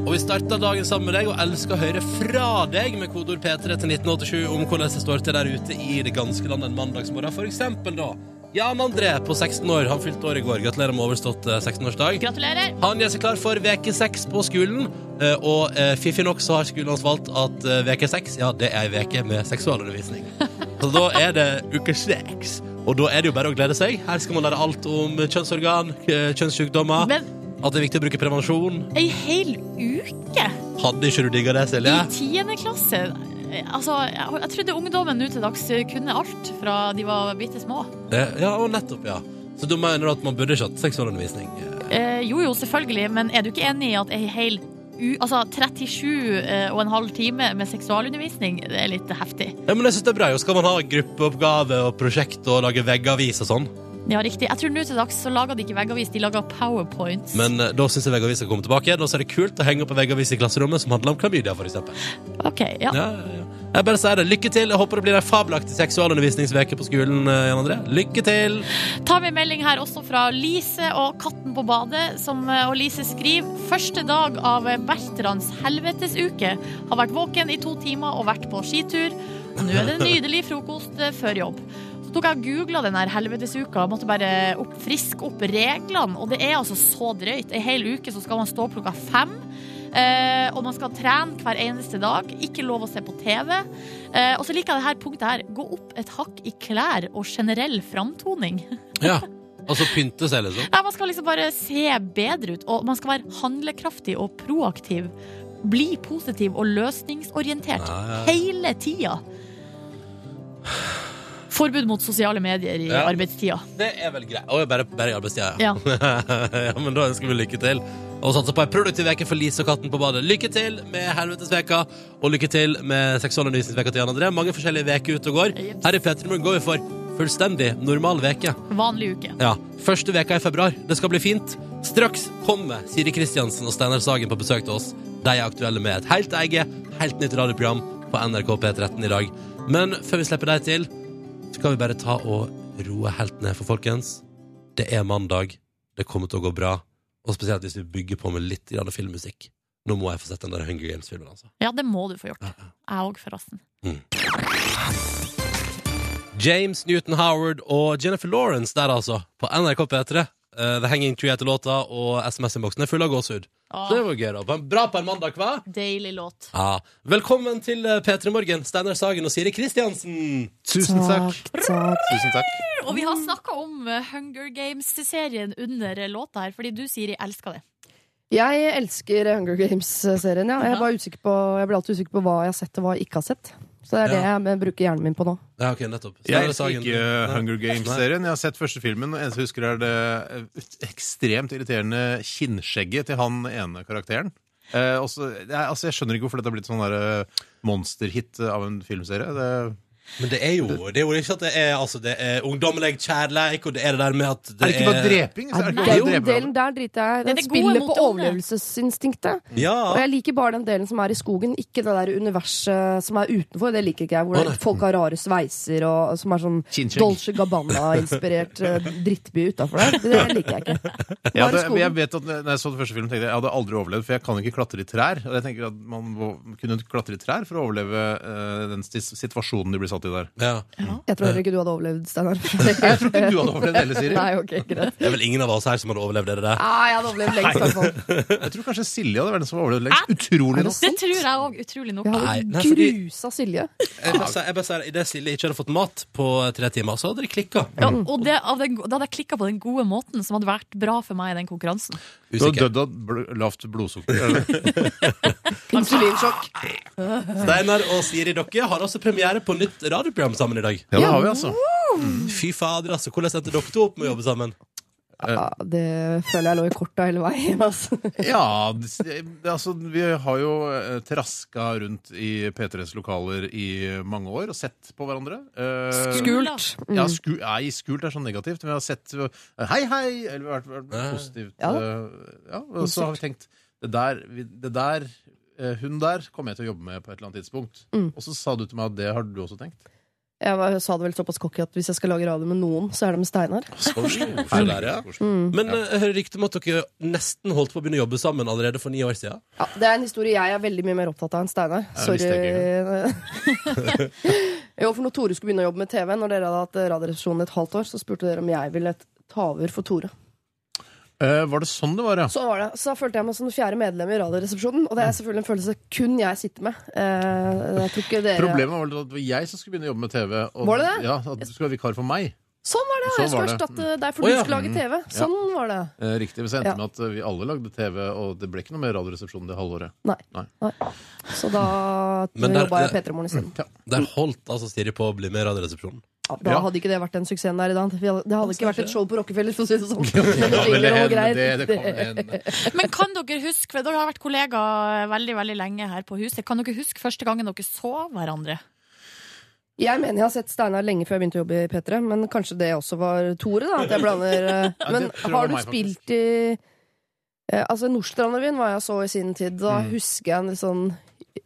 Og vi starter dagen sammen med deg og elsker å høre fra deg med kodeord P3 til 1987 om hvordan det står til der ute i det ganske land en mandagsmorgen. For eksempel da Jan André på 16 år. Han fylte år i går. Gratulerer med overstått eh, 16-årsdag. Gratulerer. Han gjør seg klar for veke 6 på skolen, eh, og eh, fiffig nok så har skolen hans valgt at eh, veke 6, ja, det er ei veke med seksualundervisning. Så da er det uke 6, og da er det jo bare å glede seg. Her skal man lære alt om kjønnsorgan, eh, kjønnssykdommer, Men- at det er viktig å bruke prevensjon. Ei hel uke Hadde ikke du digga det, Silje? i tiende klasse. Altså, jeg, jeg trodde ungdommen nå til dags kunne alt fra de var bitte små. Eh, Ja, og nettopp, ja. Så du mener at man burde ikke hatt seksualundervisning? Eh, jo, jo, selvfølgelig, men er du ikke enig i at ei hel u... Altså 37 eh, og en halv time med seksualundervisning, det er litt heftig. Ja, men jeg synes det er bra jo. Skal man ha gruppeoppgave og prosjekt og lage veggavis og sånn? Ja, riktig. Jeg tror nå til dags så lager de ikke veggavis, de lager powerpoints. Men eh, da syns jeg veggavis skal komme tilbake. Da er det kult å henge opp en veggavis i klasserommet som handler om klamydia, for eksempel. OK, ja. Ja, ja, ja. Jeg bare sier det. Lykke til. Jeg håper det blir ei fabelaktig seksualundervisningsveke på skolen, eh, Jan André. Lykke til! Ta med melding her også fra Lise og Katten på badet, som, eh, og Lise skriver Første dag av Bertrands helvetesuke. Har vært våken i to timer og vært på skitur. Og nå er det nydelig frokost eh, før jobb. Så tok jeg og googla den her helvetesuka, måtte bare opp, friske opp reglene. Og det er altså så drøyt. Ei hel uke så skal man stå opp klokka fem. Eh, og man skal trene hver eneste dag. Ikke lov å se på TV. Eh, og så liker jeg det her punktet her. Gå opp et hakk i klær og generell framtoning. Ja. Og så pynte seg, liksom. Nei, Man skal liksom bare se bedre ut, og man skal være handlekraftig og proaktiv. Bli positiv og løsningsorientert Ja, ja, ja. hele tida. Forbud mot sosiale medier i Ja. arbeidstida. Det er vel greit. Å, jeg bare, bare i arbeidstida, ja. Ja. ja. Men da ønsker vi lykke til. Og satser på ei produktiv uke for Lise og katten på badet. Lykke til med helvetesveka, og lykke til med seksualundervisningsveka til Jan André. Mange forskjellige uker ute og går. Her i P3 Morgen går vi for fullstendig normal veke. Vanlig uke. Ja, Første veka i februar. Det skal bli fint. Straks kommer Siri Kristiansen og Steinar Sagen på besøk til oss. De er aktuelle med et helt eget, helt nytt radioprogram på NRK P13 i dag. Men før vi slipper deg til, så kan vi bare ta og roe helt ned for folkens. Det er mandag. Det kommer til å gå bra. Og spesielt hvis vi bygger på med litt grann filmmusikk. Nå må jeg få sett den der Hunger Games-filmen, altså. Ja, det må du få gjort. Jeg òg, forresten. James Newton Howard og Jennifer Lawrence der, altså, på NRK P3. Eh, The Hanging Tree heter låta, og SMS-innboksen er full av gåsehud. Så det var gøy, da. Bra på en mandag, hva? Deilig låt. Ja. Velkommen til eh, P3 Morgen, Steinar Sagen og Siri Kristiansen. Tusen takk. Tusen takk. Og vi har Mm. snakka om eh, Hunger Games-serien under eh, låta her, fordi du, Siri, elsker det. Jeg elsker Hunger Games-serien, ja. Jeg, var usikker på, jeg blir alltid usikker på hva jeg har sett og hva jeg ikke har sett. Så det er Ja. det jeg bruker hjernen min på nå. Ja, ok, nettopp. Så der Jeg eh, er elsker sagen. ikke Hunger Games-serien. Jeg har sett første filmen, og eneste jeg husker, er det eh, ekstremt irriterende kinnskjegget til han ene karakteren. Eh, også, jeg, altså, jeg skjønner ikke hvorfor dette har blitt sånn der, eh, monsterhit av en filmserie. Det, Men det er jo Det er jo ikke at det er, altså, det er ungdommelig kjærleik, og det er det der med at det Er det ikke bare dreping? Så Eh, er det ikke Nei, bare jo, å drepe den delen der driter jeg i. Det Den er det gode spiller mot på det onde. overlevelsesinstinktet. Ja. Og jeg liker bare den delen som er i skogen, ikke det der universet som er utenfor. Det liker ikke jeg. Hvor folk har rare sveiser og som er sånn Chin-chin. Dolce Gabbana-inspirert eh, drittby utafor der. Det liker jeg ikke. Jeg, Bare hadde, skogen. jeg vet at når jeg så den første filmen, tenkte jeg jeg hadde aldri overlevd, for jeg kan ikke klatre i trær. Og jeg tenker at Man må- kunne klatre i trær for å overleve eh, den stis- situasjonen de blir satt i der. Jeg tror heller ikke du hadde overlevd, Steinar. Jeg tror ikke du hadde overlevd heller, Siri. Nei, ok, greit. Det er vel ingen av oss her som hadde overlevd det der. Ah, jeg hadde overlevd lengst, i hvert fall. Jeg tror kanskje Silje hadde vært den som overlevde lengst. Utrolig nok. Det tror jeg òg, utrolig nok. Jeg hadde Nei, nei, fordi- grusa Silje. Jeg bare sier- jeg bare sier, Idet Silje ikke hadde fått mat på eh, tre timer, så hadde det klikka. Ja, og det, av den, go- da hadde jeg klikka på den gode måten som hadde vært bra for meg i den konkurransen. Du hadde dødd av bl- lavt blodsukker. eller? Insulinsjokk. Steinar og Siri, dere har også premiere på nytt radioprogram sammen i dag. Ja, det har vi, altså. Fy fader, altså. Hvordan endte dere to opp med å jobbe sammen? Ja, det føler jeg lå i korta hele veien. Altså. Ja, det- det- altså Vi har jo eh, traska rundt i P3s lokaler i mange år og sett på hverandre. Eh, Skult. Ja, Mm. sku, nei, skult er sånn negativt. Men vi har sett eh, Hei, hei! Eller vært, vært positivt. Ja da. eh, ja, og så har vi tenkt Det der, vi- det der eh, hun der kommer jeg til å jobbe med på et eller annet tidspunkt. Mm. Og så sa du til meg at det har du også tenkt. Jeg var, sa det vel såpass cocky at hvis jeg skal lage radio med noen, så er det med Steinar. Hvorfor det der, ja? Mm. Men eh, jeg hører rykte om at dere nesten holdt på å begynne å jobbe sammen allerede for ni år siden. Ja, det er en historie jeg er veldig mye mer opptatt av enn Steinar. Jeg visste jo, for når Tore skulle begynne å jobbe med TV, når dere hadde hatt eh, Radioresepsjonen et halvt år, så spurte dere om jeg ville ta over for Tore. Eh, var det sånn det var, ja? Så var det. Så da følte jeg meg som den fjerde medlem i Radioresepsjonen, og det er selvfølgelig en følelse kun jeg sitter med. Eh, jeg tror ikke dere... Problemet var vel at det var jeg som skulle begynne å jobbe med TV. Og, Var det det? Ja, At du skulle være vikar for meg. Sånn var det! Sånn jeg var skulle det. erstatte deg, Å, for du ja. skulle lage Mm. TV. Ja. Sånn var det. Eh, riktig. Så endte det Ja. med at vi alle lagde TV, og det ble ikke noe mer Radioresepsjon det halvåret. Nei. Nei. Så da Men der- jobba jeg i der- P3 Morgen isteden. Der holdt altså Siri på å bli med i Radioresepsjonen. Ja, Da hadde ikke det vært den suksessen der i dag. Det hadde ikke vært et show på Rockefeller, for å si det sånn. Det kan vel Jingle og hende, greier. det- det kan hende. Men kan dere huske for Dere har vært kollegaer veldig veldig lenge her på huset. Kan dere huske første gangen dere så hverandre? Jeg mener jeg har sett Steinar lenge før jeg begynte å jobbe i P3, men kanskje det også var Tore, da. At jeg blander eh, Ja, Men det tror jeg var har du meg, faktisk. spilt i eh, Altså, Nordstrandrevyen var jeg så i sin tid. Da Mm. husker jeg en litt sånn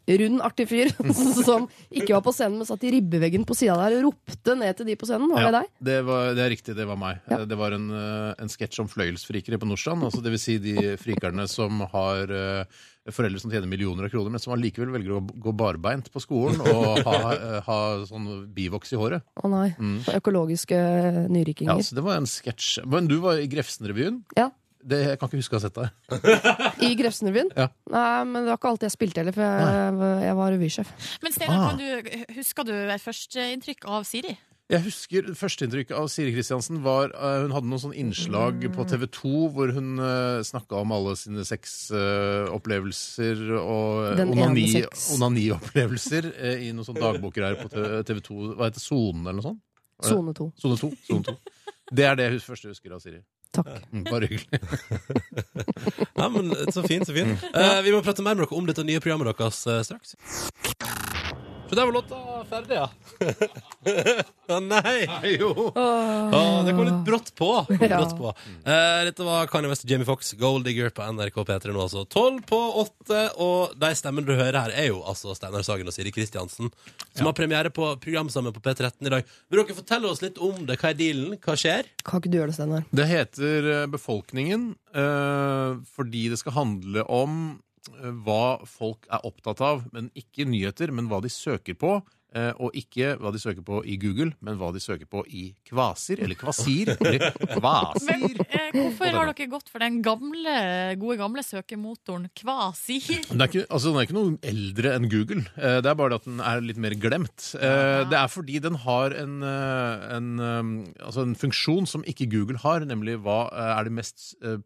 rund, artig fyr som ikke var på scenen, men satt i ribbeveggen på sida der og ropte ned til de på scenen. Var det Ja, deg? det, var, det er riktig, det var meg. Eh, Det var en, eh, en sketsj om fløyelsfrikere på Nordstrand. Altså det vil si de frikerne som har eh, foreldre som tjener millioner av kroner, men som allikevel velger å gå barbeint på skolen og ha, eh, ha sånn bivoks i håret. Mm. Å nei. Økologiske eh, Ja, nyrikinger. så det var en sketsj. Men du var i Grefsen-revyen. Ja. Det, jeg kan ikke huske å ha sett deg. I Grefsenrevyen? Ja. Nei, men det var ikke alltid jeg spilte heller, for jeg, jeg var revysjef. Men Steinar, Ah. kan du- husker du et førsteinntrykk av Siri? Jeg husker Førsteinntrykket av Siri Kristiansen var eh, Hun hadde noen sånne innslag på Mm. TV 2 hvor hun uh, snakka om alle sine sexopplevelser eh, og Den ene onani- sex. onaniopplevelser eh, i noen sånne dagboker her på TV 2. Hva heter det? Sonen eller noe sånt? Var det- Sone to. Sone 2. Sone 2. Det er det jeg hus- første jeg husker av Siri. Takk. Mm, Bare hyggelig. Ja, men Så fint, så fint. Eh, vi må prate mer med dere om dette nye programmet deres eh, straks. Så der var låta ferdig, ja. Å nei! Å, det kom litt brått på. Kom Ja. brått på. Eh, dette var Kanye West og Jamie Fox, Gold Digger på NRK P3 nå, altså. Tolv på åtte, og de stemmene du hører her, er jo altså Steinar Sagen og Siri Kristiansen, som har premiere på program sammen på P13 i dag. Vil dere fortelle oss litt om det? Hva er dealen? Hva skjer? Kan ikke du gjøre det, Steinar? Det heter eh, Befolkningen eh, fordi det skal handle om eh, hva folk er opptatt av, men ikke nyheter, men hva de søker på. eh, eh, og ikke hva de søker på i Google, men hva de søker på i Kvasir, eller Kvasir, eller Kvasir. Men eh, hvorfor har dere gått for den gamle, gode gamle søkemotoren Kvasir? Den er, ikke, altså, den er ikke noe eldre enn Google. Eh, Det er bare det at den er litt mer glemt. Eh, Det er fordi den har en, eh, en, eh, altså en funksjon som ikke Google har, nemlig hva eh, er de mest eh,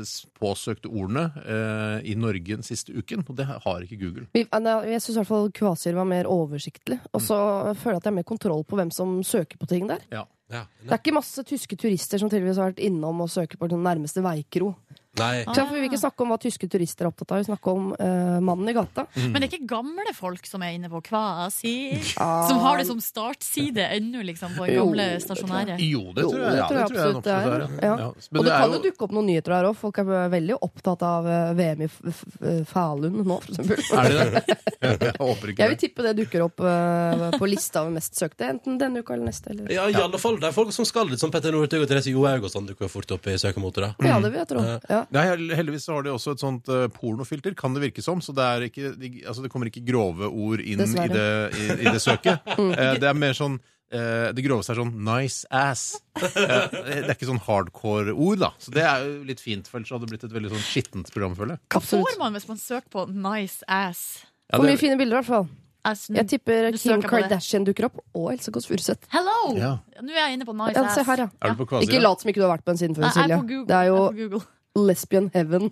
s- påsøkte ordene eh, i Norge den siste uken. Og det har ikke Google. Vi, eh, nei, jeg syns i hvert fall Kvasir var mer oversiktlig. Og så føler jeg at jeg har mer kontroll på hvem som søker på ting der. Ja. Det er ikke masse tyske turister som tydeligvis har vært innom og søker på den nærmeste veikro. Nei. Så Vi vil ikke snakke om hva tyske turister er opptatt av, vi snakker om eh, mannen i gata. Men det er ikke gamle folk som er inne på Kvasir? Ah. Som har det som startside ennå, liksom, på det Jo, gamle det tror jeg. stasjonære? Jo, det tror jeg, ja, det tror jeg absolutt det er. absolutt det er, Ja. ja. Ja, men Og det det er kan jo jo- dukke opp noen nyheter der òg. Folk er veldig opptatt av eh, VM i f f f- Falun nå, for eksempel. Er det det? Jeg håper ikke Jeg vil tippe det dukker opp eh, på lista over mest søkte, enten denne uka eller neste. Eller. Ja, i alle fall, Det er folk som skal litt som Petter Northug og Therese Johaug og sånn. Dukker jo fort opp i søkemotorer. Ja, det vil jeg tro. Ja. Nei, hel- heldigvis så har de også et sånt eh, pornofilter, kan det virke som. Så det, er ikke, de, altså det kommer ikke grove ord inn i Dessverre. det, i, i det søket. Mm. Eh, det er mer sånn eh, Det groveste er sånn 'nice ass'. Eh, det er ikke sånn hardcore ord, da. Så det er jo litt fint, for ellers hadde det blitt et veldig sånn skittent program, føler jeg. Hva får man hvis man søker på 'nice ass'? Ja, Og det- mye fine bilder, i hvert fall. Jeg tipper Mm. du Kim søker på det. Kardashian dukker opp, og Else Kåss Furuseth. Hello! Ja. Nå er jeg inne på 'nice Ja, se ass'. her, ja. Er du på kvasi, Ikke da? lat som ikke du har vært på den siden før, Nei, jeg er Silje. på Google. Det er Jeg er på Google. jo lesbian heaven.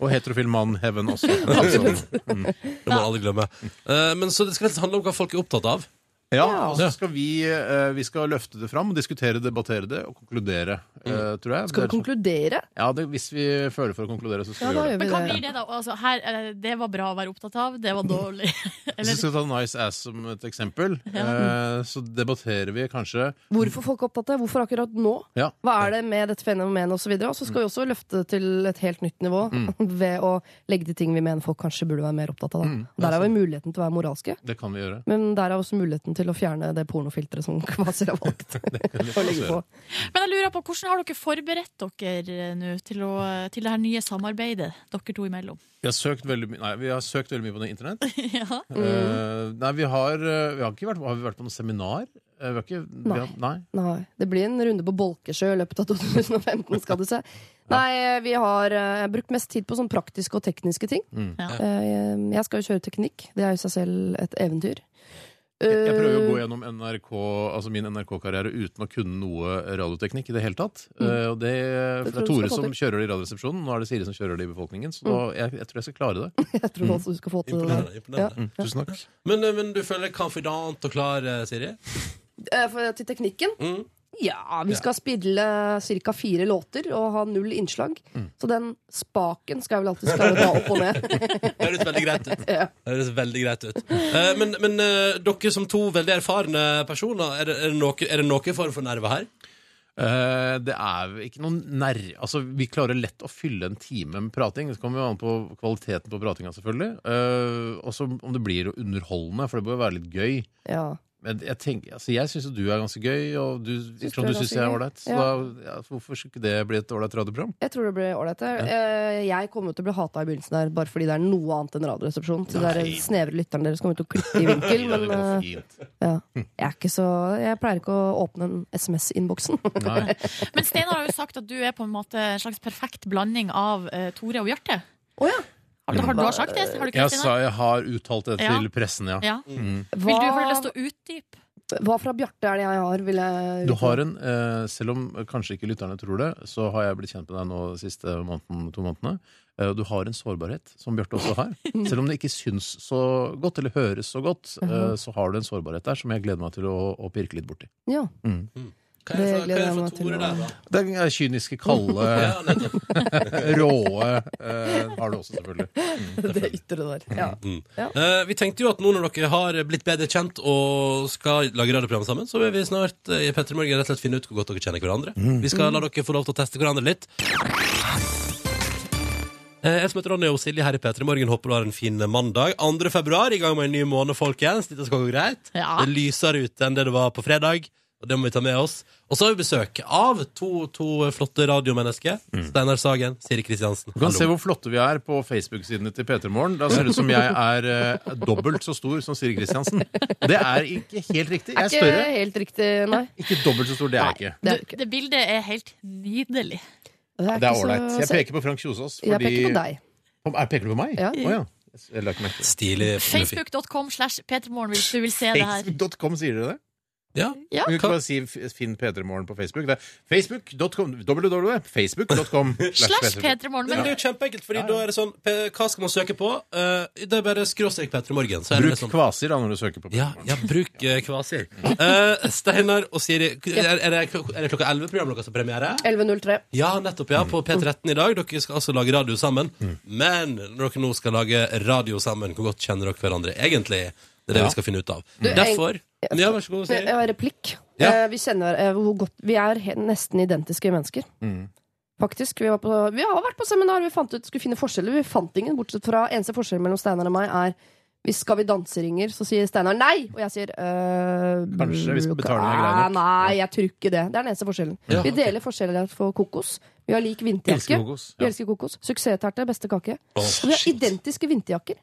Og heterofil mann, heaven også. Absolutt. Mm. Det må man aldri glemme. Eh, men så det skal handle om hva folk er opptatt av. Ja, og så skal vi, eh, vi skal løfte det fram, diskutere, debattere det og konkludere, eh, tror jeg. Mm. Skal Det vi er- konkludere? Ja, det, hvis vi føler for å konkludere, så skal vi gjøre det. Men hva blir det, da? Altså, her, eh, det var bra å være opptatt av, det var dårlig. Hvis vi skal ta Nice Ass som et eksempel, eh, så debatterer vi kanskje Hvorfor folk er opptatt av det? Hvorfor akkurat nå? Ja. Hva er det med dette fenomenet osv.? Og så skal vi også løfte det til et helt nytt nivå ved å legge til ting vi mener folk kanskje burde være mer opptatt av. Da. Mm, Der har vi muligheten til å være moralske. Det kan vi gjøre. Men der er også muligheten til å fjerne det pornofilteret som Kvasir har valgt. å legge på. Men jeg lurer på, hvordan har dere forberedt dere eh, nå til, å, til det her nye samarbeidet dere to imellom? Vi har søkt veldig, my nei, vi har søkt veldig mye på det internett. ja. Mm. Eh, nei, vi har, eh, vi har ikke vært, har vi vært på noe seminar. Eh, vi har ikke, Vi har, nei. Nei, Det blir en runde på Bolkesjø i løpet av 2015, skal du se. Nei, vi har eh, brukt mest tid på sånn praktiske og tekniske ting. Mm. Ja. Eh, Jeg skal jo kjøre teknikk. Det er jo i seg selv et eventyr. Jeg prøver å gå Eh. gjennom NRK, altså min NRK-karriere uten å kunne noe radioteknikk i det hele tatt. Mm. Eh, og det, Det for det er tror Tore jeg skal få som til. kjører det i Radioresepsjonen, nå er det Siri som kjører det i befolkningen. Så da, Mm. jeg, jeg tror jeg skal klare det. Eh, Jeg tror også du skal få til det. Imponerende. imponerende. Mm. Tusen takk. Men, eh, men du føler deg confident og klar, eh, Siri? Eh, for, til teknikken? Mm. Ja, vi Ja. skal spille ca. fire låter og ha null innslag. Mm. Så den spaken skal jeg vel alltid klare å ta opp og ned. Det høres veldig greit ut. Ja. Det høres veldig greit ut. Eh, men men eh, dere som to veldig erfarne personer, er det, er det, noe, er det noe form for nerver her? Eh, det er jo ikke noen nær... Altså, vi klarer lett å fylle en time med prating. Så kommer vi an på kvaliteten på pratinga, selvfølgelig. Eh, og så om det blir underholdende, for det bør jo være litt gøy. Ja. Men jeg, tenker, altså, jeg syns jo du er ganske gøy, og du, du Trond, er du syns ganske jeg er gøy? ålreit. Så Ja. da, ja, hvorfor skulle ikke det bli et ålreit radioprogram? Jeg tror det blir ålreit. det. Eh, Jeg kommer jo til å bli hata i begynnelsen her bare fordi det er noe annet enn Radioresepsjonen. Så det er Nei. snevre lytteren deres kommer til å klikke i vinkel. Nei, det Men går eh, ja. jeg, er ikke så, jeg pleier ikke å åpne en SMS-innboksen. Men Steinar har jo sagt at du er på en måte en slags perfekt blanding av eh, Tore og Bjarte. Har, har du har sagt det? Har du ikke Jeg, det, sa, Steinar? jeg har uttalt det Ja. til pressen, ja. Ja. Mm. Vil du ha lyst til å utdype? Hva fra Bjarte er sånn? det jeg har? Vil jeg Du har en, eh, Selv om kanskje ikke lytterne tror det, så har jeg blitt kjent med deg nå de siste måneden, to månedene. Eh, Du har en sårbarhet, som Bjarte også har. Selv om det ikke syns så godt, eller høres så godt, Mhm. eh, så har du en sårbarhet der som jeg gleder meg til å, å pirke litt borti. Ja. Mm. Hva er det fra- Det gleder hva er det jeg fra meg til Tore å- der, da? Den eh, kyniske, kalde, Ja, råe eh, har du også, selvfølgelig. det ytre der. Ja. Mm. Eh, vi tenkte jo at nå når dere har blitt bedre kjent og skal lage radioprogram sammen, så vil vi snart eh, i Petter i Morgen rett og slett finne ut hvor godt dere kjenner hverandre. Mm. Vi skal la dere få lov til å teste hverandre litt. Eh, Jeg som heter Ronny og Silje her i P3 Morgen håper du har en fin mandag. 2. februar, i gang med en ny måned, folkens. Dette skal gå greit. Ja. Det lyser ute enn det det var på fredag. og det må vi ta med oss. Og så har vi besøk av to, to flotte radiomennesker. Steinar Sagen, Siri Kristiansen. Mm. Du kan se hvor flotte vi er på Facebook-sidene til P3 Morgen. Da ser det ut som jeg er eh, dobbelt så stor som Siri Kristiansen. Det er ikke helt riktig. Jeg er er ikke større. helt riktig, nei. Ikke dobbelt så stor, det er jeg ikke. Det, det bildet er helt nydelig. Det er ålreit. Jeg peker på Frank Kjosås fordi Jeg peker på deg. Om- er- Peker du på meg? Ja. Å, ja. Jeg la ikke merke til det. Facebook.com slash Petermorgen hvis du vil se det her. Facebook.com, sier dere det? Ja. Ja. Du kan ikke bare si f- Finn P3morgen på Facebook. Det er facebook.com www.facebook.com Slash P3morgen, Men det er jo kjempeenkelt, fordi da er det sånn P- Hva skal man søke på? Eh, det er bare skråstrek Petter Morgen. Så er Bruk det liksom kvasir da når du søker på Ja, ja bruk eh, kvasir. Eh, Steinar og Siri, er, er, det, er det klokka 11 programmet deres har premiere? 11.03. Ja, nettopp, ja. På P13 i dag. Dere skal altså lage radio sammen. Men når dere nå skal lage radio sammen, hvor godt kjenner dere hverandre egentlig? Det er det Ja. vi skal finne ut av. Du, jeg- Derfor Ja, vær så god, Jeg Siri. har replikk. Ja. Eh, Vi kjenner eh, hvor godt Vi er he- nesten identiske mennesker. Mm. Faktisk. Vi, var på, vi har vært på seminar, vi fant ut skulle finne forskjeller. Vi fant ingen, bortsett fra Eneste forskjell mellom Steinar og meg er hvis skal vi danseringer, så sier Steinar nei! Og jeg sier øh, Kanskje, hvis betalingen er grei nei, nok. nei, jeg tror ikke det. Det er den eneste forskjellen. Ja, vi ok. deler forskjeller for kokos. Vi har lik vinterjakke. Elsker kokos, Vi ja. elsker kokos. Suksessterte, beste kake. Å, og vi har identiske vinterjakker.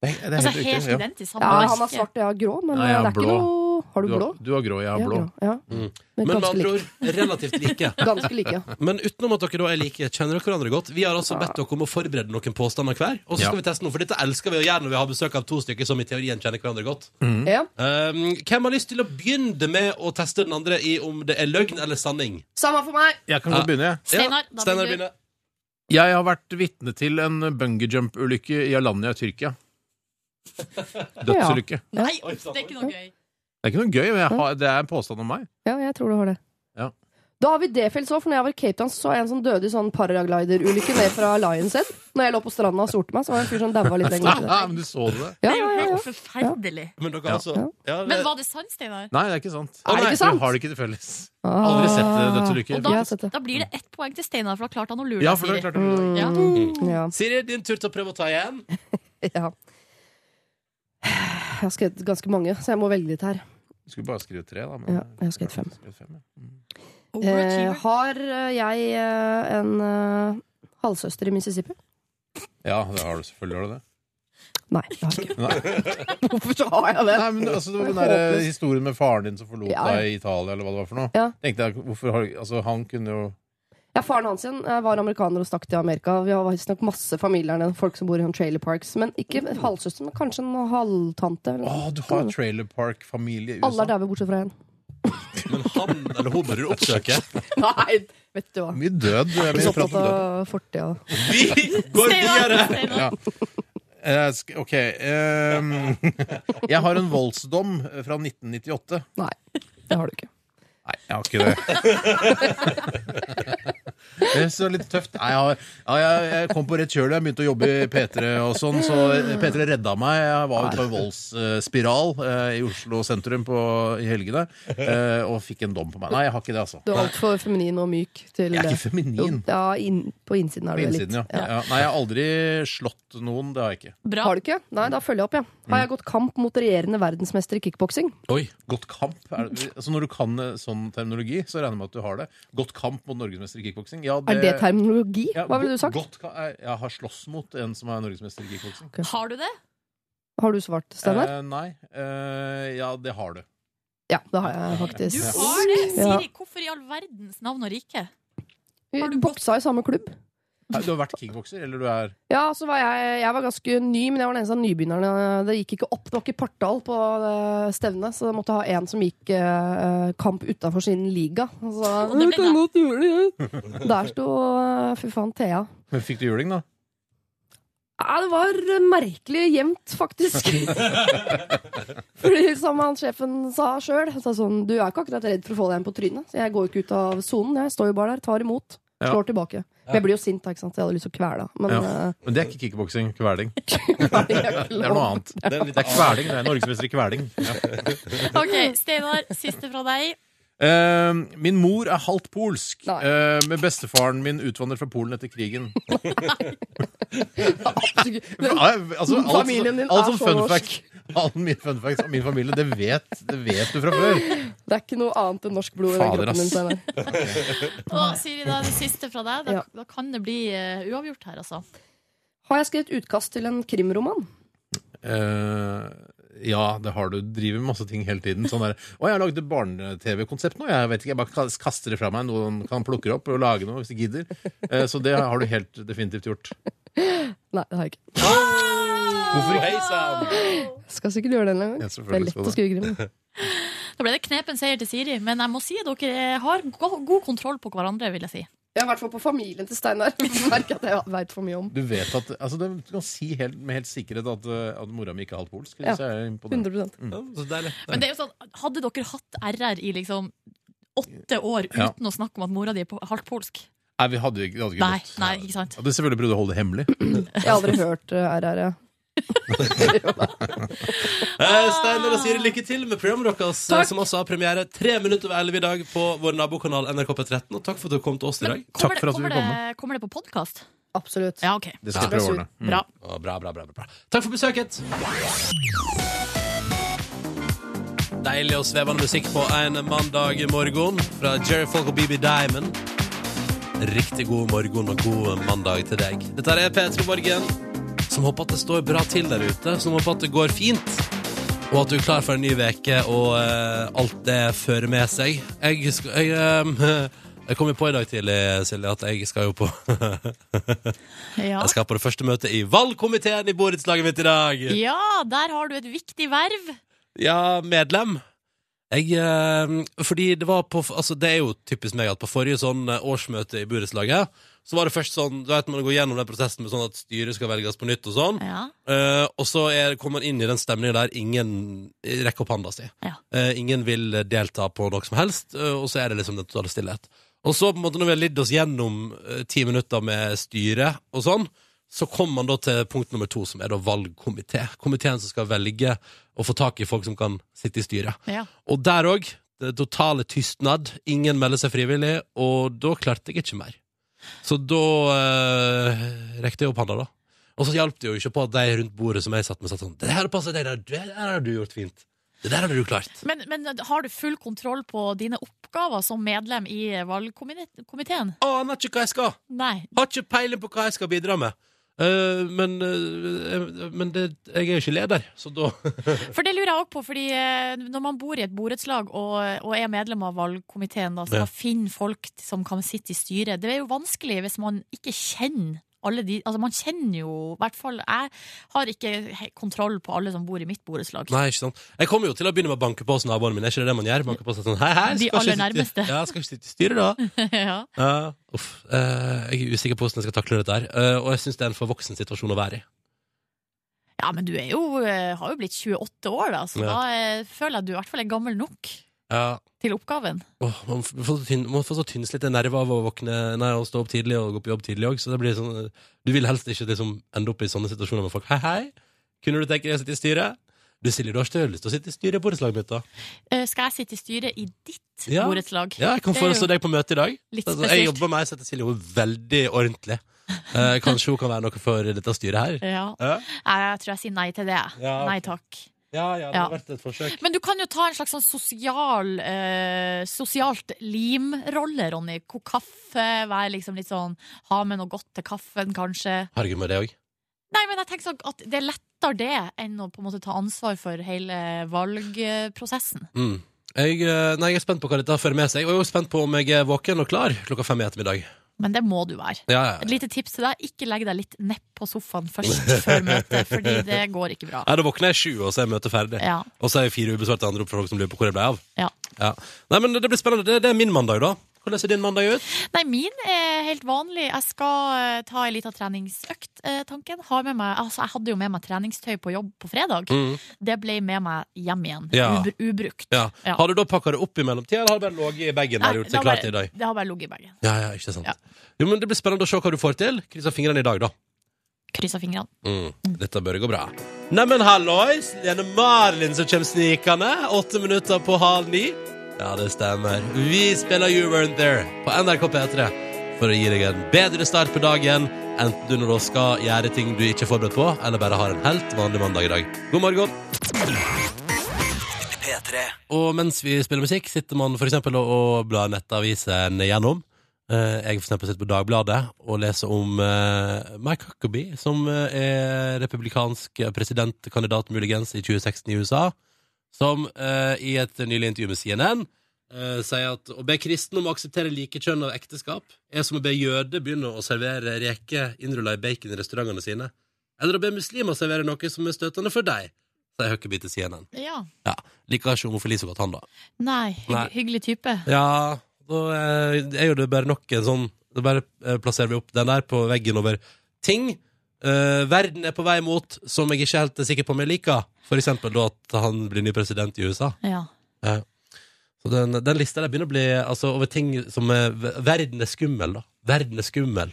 Det er- det er altså, Altså, helt riktig, ja. Ja, han har svart og jeg har grå, men Nei, jeg har eh, det er blå. ikke noe Har du Du har- blå? du har grå, jeg har blå. Ja. Mm. Men Men med ganske andre ord likt. relativt like. Ganske like, ja. Men utenom at dere da er like, kjenner dere hverandre godt. Vi har altså bedt dere om å forberede noen påstander hver. Og så skal Ja. vi teste noe, for dette elsker vi å gjøre når vi har besøk av to stykker som i teorien kjenner hverandre godt. Mm. Ja. Um, hvem har lyst til å begynne med å teste den andre i om det er løgn eller sanning? Samme for meg! Jeg kan godt begynne, jeg. Steinar, da Steinar begynner du. begynner. Jeg har vært vitne til en bungee jump-ulykke i Alanya i Tyrkia. Dødsulykke. Nei, det er ikke noe gøy. Det er ikke noe gøy, men jeg har, det er en påstand om meg. Ja, jeg tror du har det. Ja. Da har vi det felles òg, for når jeg var i Cape Town, så jeg en som døde i sånn paragliderulykke ned fra Lions Head. Når jeg lå på stranda og solte meg, så var det en fyr som daua litt lenger. Ja, men du så det. Ja, Det er jo ja, ja. helt forferdelig. Men dere Ja. altså ja, Men var det sant, Steinar? Nei, det er ikke sant. Er det ikke sant? Du har det ikke til felles. Ah. Aldri sett eh, Og dødsulykker. da, faktisk. da blir det ett poeng til Steinar, for da klarte han å lure Ja, deg, for da Siri. klarte han å Mm. lure Ja. Siri, din tur til å prøve å ta igjen. Ja. Jeg har skrevet ganske mange, så jeg må velge litt her. Du skulle bare skrive tre, da. Men Mm. Ja, jeg har skrevet fem. fem, ja. Eh, har eh, jeg eh, en eh, halvsøster i Mississippi? ja, det har du selvfølgelig. Har du det? Nei, det har jeg ikke. Nei. Hvorfor så har jeg det? Nei, men altså, det var den der Det er eh, håpløst. historien med faren din som forlot Ja. deg i Italia, eller hva det var for noe. Ja. Tenkte jeg, hvorfor har Altså, han kunne jo Ja, Faren hans igjen eh, var amerikaner og stakk til Amerika. Vi har visstnok masse familier der, nede, folk som bor i sånn trailer parks. Men ikke halvsøster, men kanskje en halvtante. eller Å, noe. du har Trailer Park-familie i Alle USA. er daue bortsett fra én. Men han eller hun burde du oppsøke. Nei, vet du hva. Mye død. Jeg mye er ikke så prat om opptatt av fortida. Går Ja. Eh, sk- OK. ehm, jeg har en voldsdom eh, fra 1998. Nei, det har du ikke. Nei, jeg har ikke det. Det er så litt tøft. Nei, jeg, har, ja, jeg, jeg kom på rett kjøl da jeg begynte å jobbe i P3, og sånn, så P3 redda meg. Jeg var ute på en voldsspiral eh, i Oslo sentrum på, i helgene eh, og fikk en dom på meg. Nei, jeg har ikke det, altså. Du er altfor feminin og myk til Jeg er det. ikke feminin. Jo, Ja, inn, på innsiden På er du det innsiden, ja. litt. ja. Nei, jeg har aldri slått noen. Det har jeg ikke. Har du ikke? Nei, da følger jeg opp, ja. Har Mm. jeg gått kamp mot regjerende verdensmester i kickboksing? Oi. Godt kamp. Er det, altså når du kan eh, sånn terminologi, så regner jeg med at du har det. Godt kamp mot norgesmester i kickboksing. Ja, Er det terminologi? Hva ville du sagt? Godt, ka- eh, jeg har slåss mot en som er norgesmester i kickboksing. Har du det? Har du svart, Steinar? Eh, nei. Eh, ja, det har du. Ja, det har jeg faktisk. Du Har det? Ja. Siri, hvorfor i all verdens navn og rike? Vi boksa i samme klubb. Nei, Du har vært kickbokser, eller du er Ja, så var jeg, jeg var ganske ny, men jeg var den eneste av nybegynnerne. Det gikk ikke opp. Det var ikke partall på eh, stevnet, så jeg måtte ha en som gikk eh, kamp utafor sin liga. Og Så, Og det ble «Jeg kan godt gjøre det, jeg». Der sto eh, fy faen Thea. Men fikk du juling, da? Ja, det var merkelig jevnt, faktisk. Fordi som han sjefen sa sjøl, sa sånn Du er ikke akkurat redd for å få deg en på trynet. Så jeg går jo ikke ut av sonen. Jeg står jo bare der, tar imot, Ja. slår tilbake. Men jeg blir jo sint, da, ikke sant. Så jeg hadde lyst til å kvele henne. Men ja. eh, men det er ikke kickboksing. Kveling. det er noe annet. Det er, kveling. Det er norgesmester i kveling. Ja. Ok, Steinar, siste fra deg. Eh, min mor er halvt polsk, eh, men bestefaren min utvandret fra Polen etter krigen. Men Nei, altså, alt, Familien din altså, alt er som så fun norsk. fact All min fun facts om min familie, det vet, det vet du fra før. Det er ikke noe annet enn norsk blod i den kroppen din. Steinar. Og Siri, da er det siste fra deg. Da, da kan det bli eh, uavgjort her, altså. Har jeg skrevet utkast til en krimroman? Eh, ja, det har du. Driver med masse ting hele tiden. Sånn der, å, jeg har lagd et barne-TV-konsept nå. Jeg vet ikke, jeg bare kas- kaster det fra meg. Noen kan plukke det opp og lage noe hvis de gidder. Eh, så det har du helt definitivt gjort. Nei, det har jeg ikke. Hvorfor ikke? Skal sikkert gjøre det en gang. Ja, det er selvfølgelig lett skal å skrive krim. Da ble det knepen seier til Siri, men jeg må si at dere har go god kontroll på hverandre, vil jeg si. Ja, I hvert fall på familien til Steinar. Merker at jeg veit for mye om. Du vet at, altså, det- du kan si helt, med helt sikkerhet at, eh, at mora mi ikke er halvt polsk. Ja, Så jeg er imponert. 100 Mm. Men det er jo sånn, hadde dere hatt RR i liksom åtte år uten Ja. å snakke om at mora di er på- halvt polsk? Nei, vi hadde, ikke- det hadde ikke Nei, gått. nei, ikke sant? Jeg hadde selvfølgelig prøvd å holde det hemmelig. Jeg har aldri hørt eh, RR. jeg. Eh, Steinar og Siri, lykke til med programmet deres, eh, som også har premiere tre minutter over elleve i dag på vår nabokanal NRK P13. Og takk for at du kom til oss i dag. Kommer det, kommer det, kommer det på podkast? Absolutt. Ja, ok. Det skal jeg prøve å ordne. Mm. Bra. Ja, bra, bra, bra, bra. Takk for besøket. Deilig og svevende musikk på en mandag morgen fra Jerry Folk og BB Diamond. Riktig god morgen og god mandag til deg. Dette er P3 Morgen, som håper at det står bra til der ute, som håper at det går fint, og at du er klar for en ny veke og eh, alt det fører med seg. Jeg, skal, jeg, eh, jeg kom jo på i dag tidlig, Silje, at jeg skal jo på Ja. Jeg skal på det første møtet i valgkomiteen i borettslaget mitt i dag. ja, der har du et viktig verv. Ja, medlem. Jeg, eh, fordi det var på Altså, det er jo typisk meg at på forrige sånn eh, årsmøte i borettslaget, så var det først sånn Du vet man går gjennom den prosessen med sånn at styret skal velges på nytt og sånn. Eh, og så er, kommer man inn i den stemningen der ingen rekker opp handa si. Eh, ingen vil eh, delta på noe som helst, eh, og så er det liksom den totale stillhet. Og så, på en måte, når vi har lidd oss gjennom eh, ti minutter med styret og sånn, så kommer man da til punkt nummer to, som er da valgkomité. Komiteen som skal velge og få tak i folk som kan sitte i styret. Ja. Og der òg, det totale tystnad. Ingen melder seg frivillig, og da klarte jeg ikke mer. Så da eh, rekte jeg opp handa, da. Og så hjalp det jo ikke på at de rundt bordet som jeg satt med, satt sånn Det her passer deg, det der har du gjort fint. Det der har du klart. Men, men har du full kontroll på dine oppgaver som medlem i valgkomiteen? Aner ikke hva jeg skal. Nei. Har ikke peiling på hva jeg skal bidra med. Eh, men eh, men det, jeg er jo ikke leder, så da For det lurer jeg også på, fordi eh, når man bor i et borettslag og, og er medlem av valgkomiteen, da, skal Ja. finne folk som kan sitte i styret. Det er jo vanskelig hvis man ikke kjenner alle de Altså, man kjenner jo i hvert fall Jeg har ikke he- kontroll på alle som bor i mitt borettslag. Nei, ikke sant. Jeg kommer jo til å begynne med å banke på hos naboene mine. Er ikke det det man gjør? Banke på seg sånn, hei, hei, De skal ikke aller sitte- nærmeste. Ja, skal ikke sitte i styret, da. ja. Ja, uff. Eh, jeg er usikker på hvordan jeg skal takle dette her. Eh, og jeg syns det er en for voksen situasjon å være i. ja, men du er jo, eh, har jo blitt 28 år, da, så Ja. da eh, føler jeg at du i hvert fall er gammel nok Ja. til oppgaven. Åh, man f- får så tynn- man får så tynnslitte nerver av å våkne Nei, å stå opp tidlig og gå på jobb tidlig òg, så det blir sånn eh, Du vil helst ikke liksom ende opp i sånne situasjoner med folk. Hei, hei, kunne du tenke deg å sitte i styret? Du Silje, du har ikke lyst til å sitte i styret i borettslaget mitt, da? Eh, Skal jeg sitte i styret i ditt Ja. borettslag? Ja, jeg kan Det er foreslå jo- deg på møte i dag. Litt Altså, spesielt. jeg jobber med meg, setter Silje hun er veldig ordentlig. Eh, kanskje hun kan være noe for dette styret her? Ja. Ja, Nei, Jeg tror jeg sier nei til det. jeg. Ja, ok. Nei takk. ja, ja det har Ja. vært et forsøk. Men du kan jo ta en slags sånn sosial eh, Sosialt limrolle, Ronny. Hvor kaffe være liksom litt sånn Ha med noe godt til kaffen, kanskje. Herregud, med det òg. Nei, men jeg tenker sånn at det er lettere det enn å på en måte ta ansvar for hele valgprosessen. Mm. Jeg, eh, nei, jeg er spent på hva dette fører med seg. Og jeg er også spent på om jeg er våken og klar klokka fem i ettermiddag. Men det må du være. Ja, ja, ja. Et lite tips til deg, ikke legg deg litt nepp på sofaen først før møtet, fordi det går ikke bra. Nei, Da våkner jeg sju, og så er møtet ferdig. Ja. Og så er det fire ubesvarte anrop fra folk som lurer på hvor jeg ble av. Ja. Ja. Nei, men Det blir spennende. Det, det er min mandag, da. Hvordan ser din mandag ut? Nei, min er helt vanlig. Jeg skal eh, ta ei lita treningsøkt, eh, tanken. Har med meg, altså, jeg hadde jo med meg treningstøy på jobb på fredag. Mm. Det ble med meg hjem igjen. Ja. Ubr ubrukt. Ja. Ja. Har du da pakka det opp i mellomtida, eller har det bare ligget i bagen Nei, der og gjort det seg har klar bare- til i dag? Det har bare ligget i bagen. Ja, ja, ikke sant. Jo, men Det blir spennende å se hva du får til. Krysser fingrene i dag, da. Kryssa fingrene. Mm. Dette bør gå bra. Neimen, hallois! Lene Marlin som kommer snikende. Åtte minutter på halv ni. Ja, det stemmer. Vi spiller You Weren't There på NRK P3 for å gi deg en bedre start på dagen, enten du nå skal gjøre ting du ikke er forberedt på, eller bare har en helt vanlig mandag i dag. God morgen. P3. Og mens vi spiller musikk, sitter man for eksempel og, og blar nettavisen gjennom. Eh, jeg for eksempel sitter på Dagbladet og leser om eh, Mike Huckabee, som eh, er republikansk presidentkandidat muligens i 2016 i USA, som eh, i et nylig intervju med CNN eh, sier at å be kristne om å akseptere like kjønn av ekteskap er som å be jøder begynne å servere reker innrulla i bacon i restaurantene sine, eller å be muslimer servere noe som er støtende for deg, sier Huckabee til CNN. Ja. Ja, Liker ikke homofili så godt, han, da. Nei, hygg, Nei. hyggelig type. Ja, da eh, er jo det bare nok en sånn Da bare eh, plasserer vi opp den der på veggen over ting eh, verden er på vei mot, som jeg ikke helt er sikker på om jeg liker. For eksempel da at han blir ny president i USA. Ja. Ja. Så den, den lista der begynner å bli altså, over ting som er ver- Verden er skummel, da. Verden er skummel.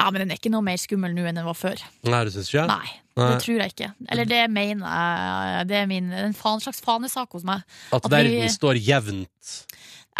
ja, men den er ikke noe mer skummel nå enn den var før. Nei, du syns ikke? Nei, Nei. det tror jeg ikke. Eller det mener jeg. Det er min, en fan, slags fanesak hos meg. At verden står jevnt.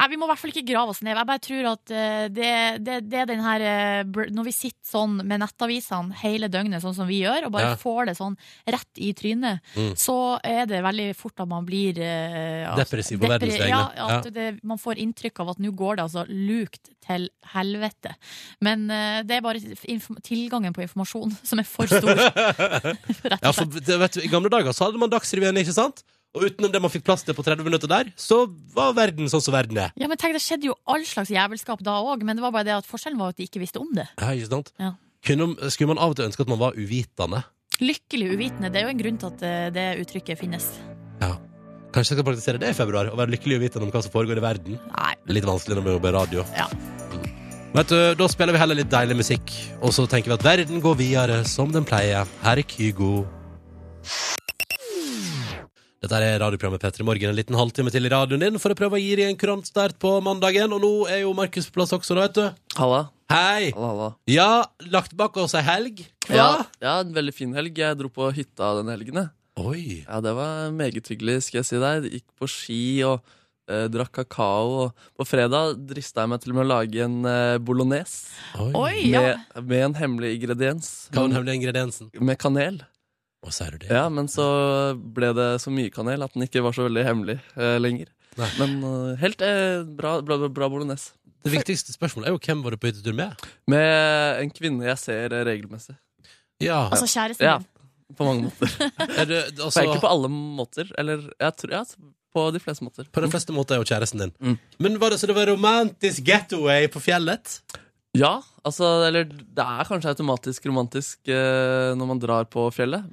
Nei, vi må i hvert fall ikke grave oss ned. Jeg bare tror at eh, det, det, det er den her eh, br- Når vi sitter sånn med nettavisene hele døgnet, sånn som vi gjør, og bare Ja. får det sånn rett i trynet, Mm. så er det veldig fort at man blir eh, at- Depressiv på verdens vegne. Ja, at Ja. Det, man får inntrykk av at nå går det altså lukt til helvete. Men eh, det er bare inform- tilgangen på informasjon som er for stor. ja, for, det, vet du, I gamle dager så hadde man Dagsrevyen, ikke sant? Og utenom det man fikk plass til på 30 minutter der, så var verden sånn som verden er. Ja, men tenk, Det skjedde jo all slags jævelskap da òg, men det var bare det at forskjellen var at de ikke visste om det. Ja, ikke sant? Ja. Kunne, skulle man av og til ønske at man var uvitende? Lykkelig uvitende. Det er jo en grunn til at eh, det uttrykket finnes. Kanskje jeg skal praktisere det i februar? Og være lykkelig uvitende om hva som foregår i verden? Nei. Litt vanskelig når man jobber i radio. Ja. Mm. Vet du, Da spiller vi heller litt deilig musikk, og så tenker vi at verden går videre som den pleier. Her er Kygo. Dette er radioprogrammet P3 Morgen en liten halvtime til i radioen din for å prøve å gi deg en kurant start på mandagen. Og nå er jo Markus på plass også, da, vet du. Halla. Hei! Halla, halla. Ja, lagt bak oss ei helg. Hva? Ja, ja, en veldig fin helg. Jeg dro på hytta den helgen. jeg. Oi. Ja, Det var meget hyggelig, skal jeg si deg. Gikk på ski og eh, drakk kakao. Og på fredag drista jeg meg til og med å lage en eh, bolognese. Oi, ja. med, med en hemmelig ingrediens. Hva var den hemmelige ingrediensen? Med kanel. Å, sier du det? Ja, Men så ble det så mye kanel at den ikke var så veldig hemmelig eh, lenger. Men eh, helt eh, bra, bra, bra bolognese. Det viktigste spørsmålet er jo hvem var du på hyttetur med? Med en kvinne jeg ser eh, regelmessig. Ja. Altså kjæresten Ja, din. på mange måter. Er det, altså- For Ikke på alle måter, eller jeg tror, ja, på de fleste måter. På de fleste måter er jo kjæresten din. Men var det så det var romantisk getaway på fjellet? Ja, altså, eller det er kanskje automatisk romantisk eh, når man drar på fjellet.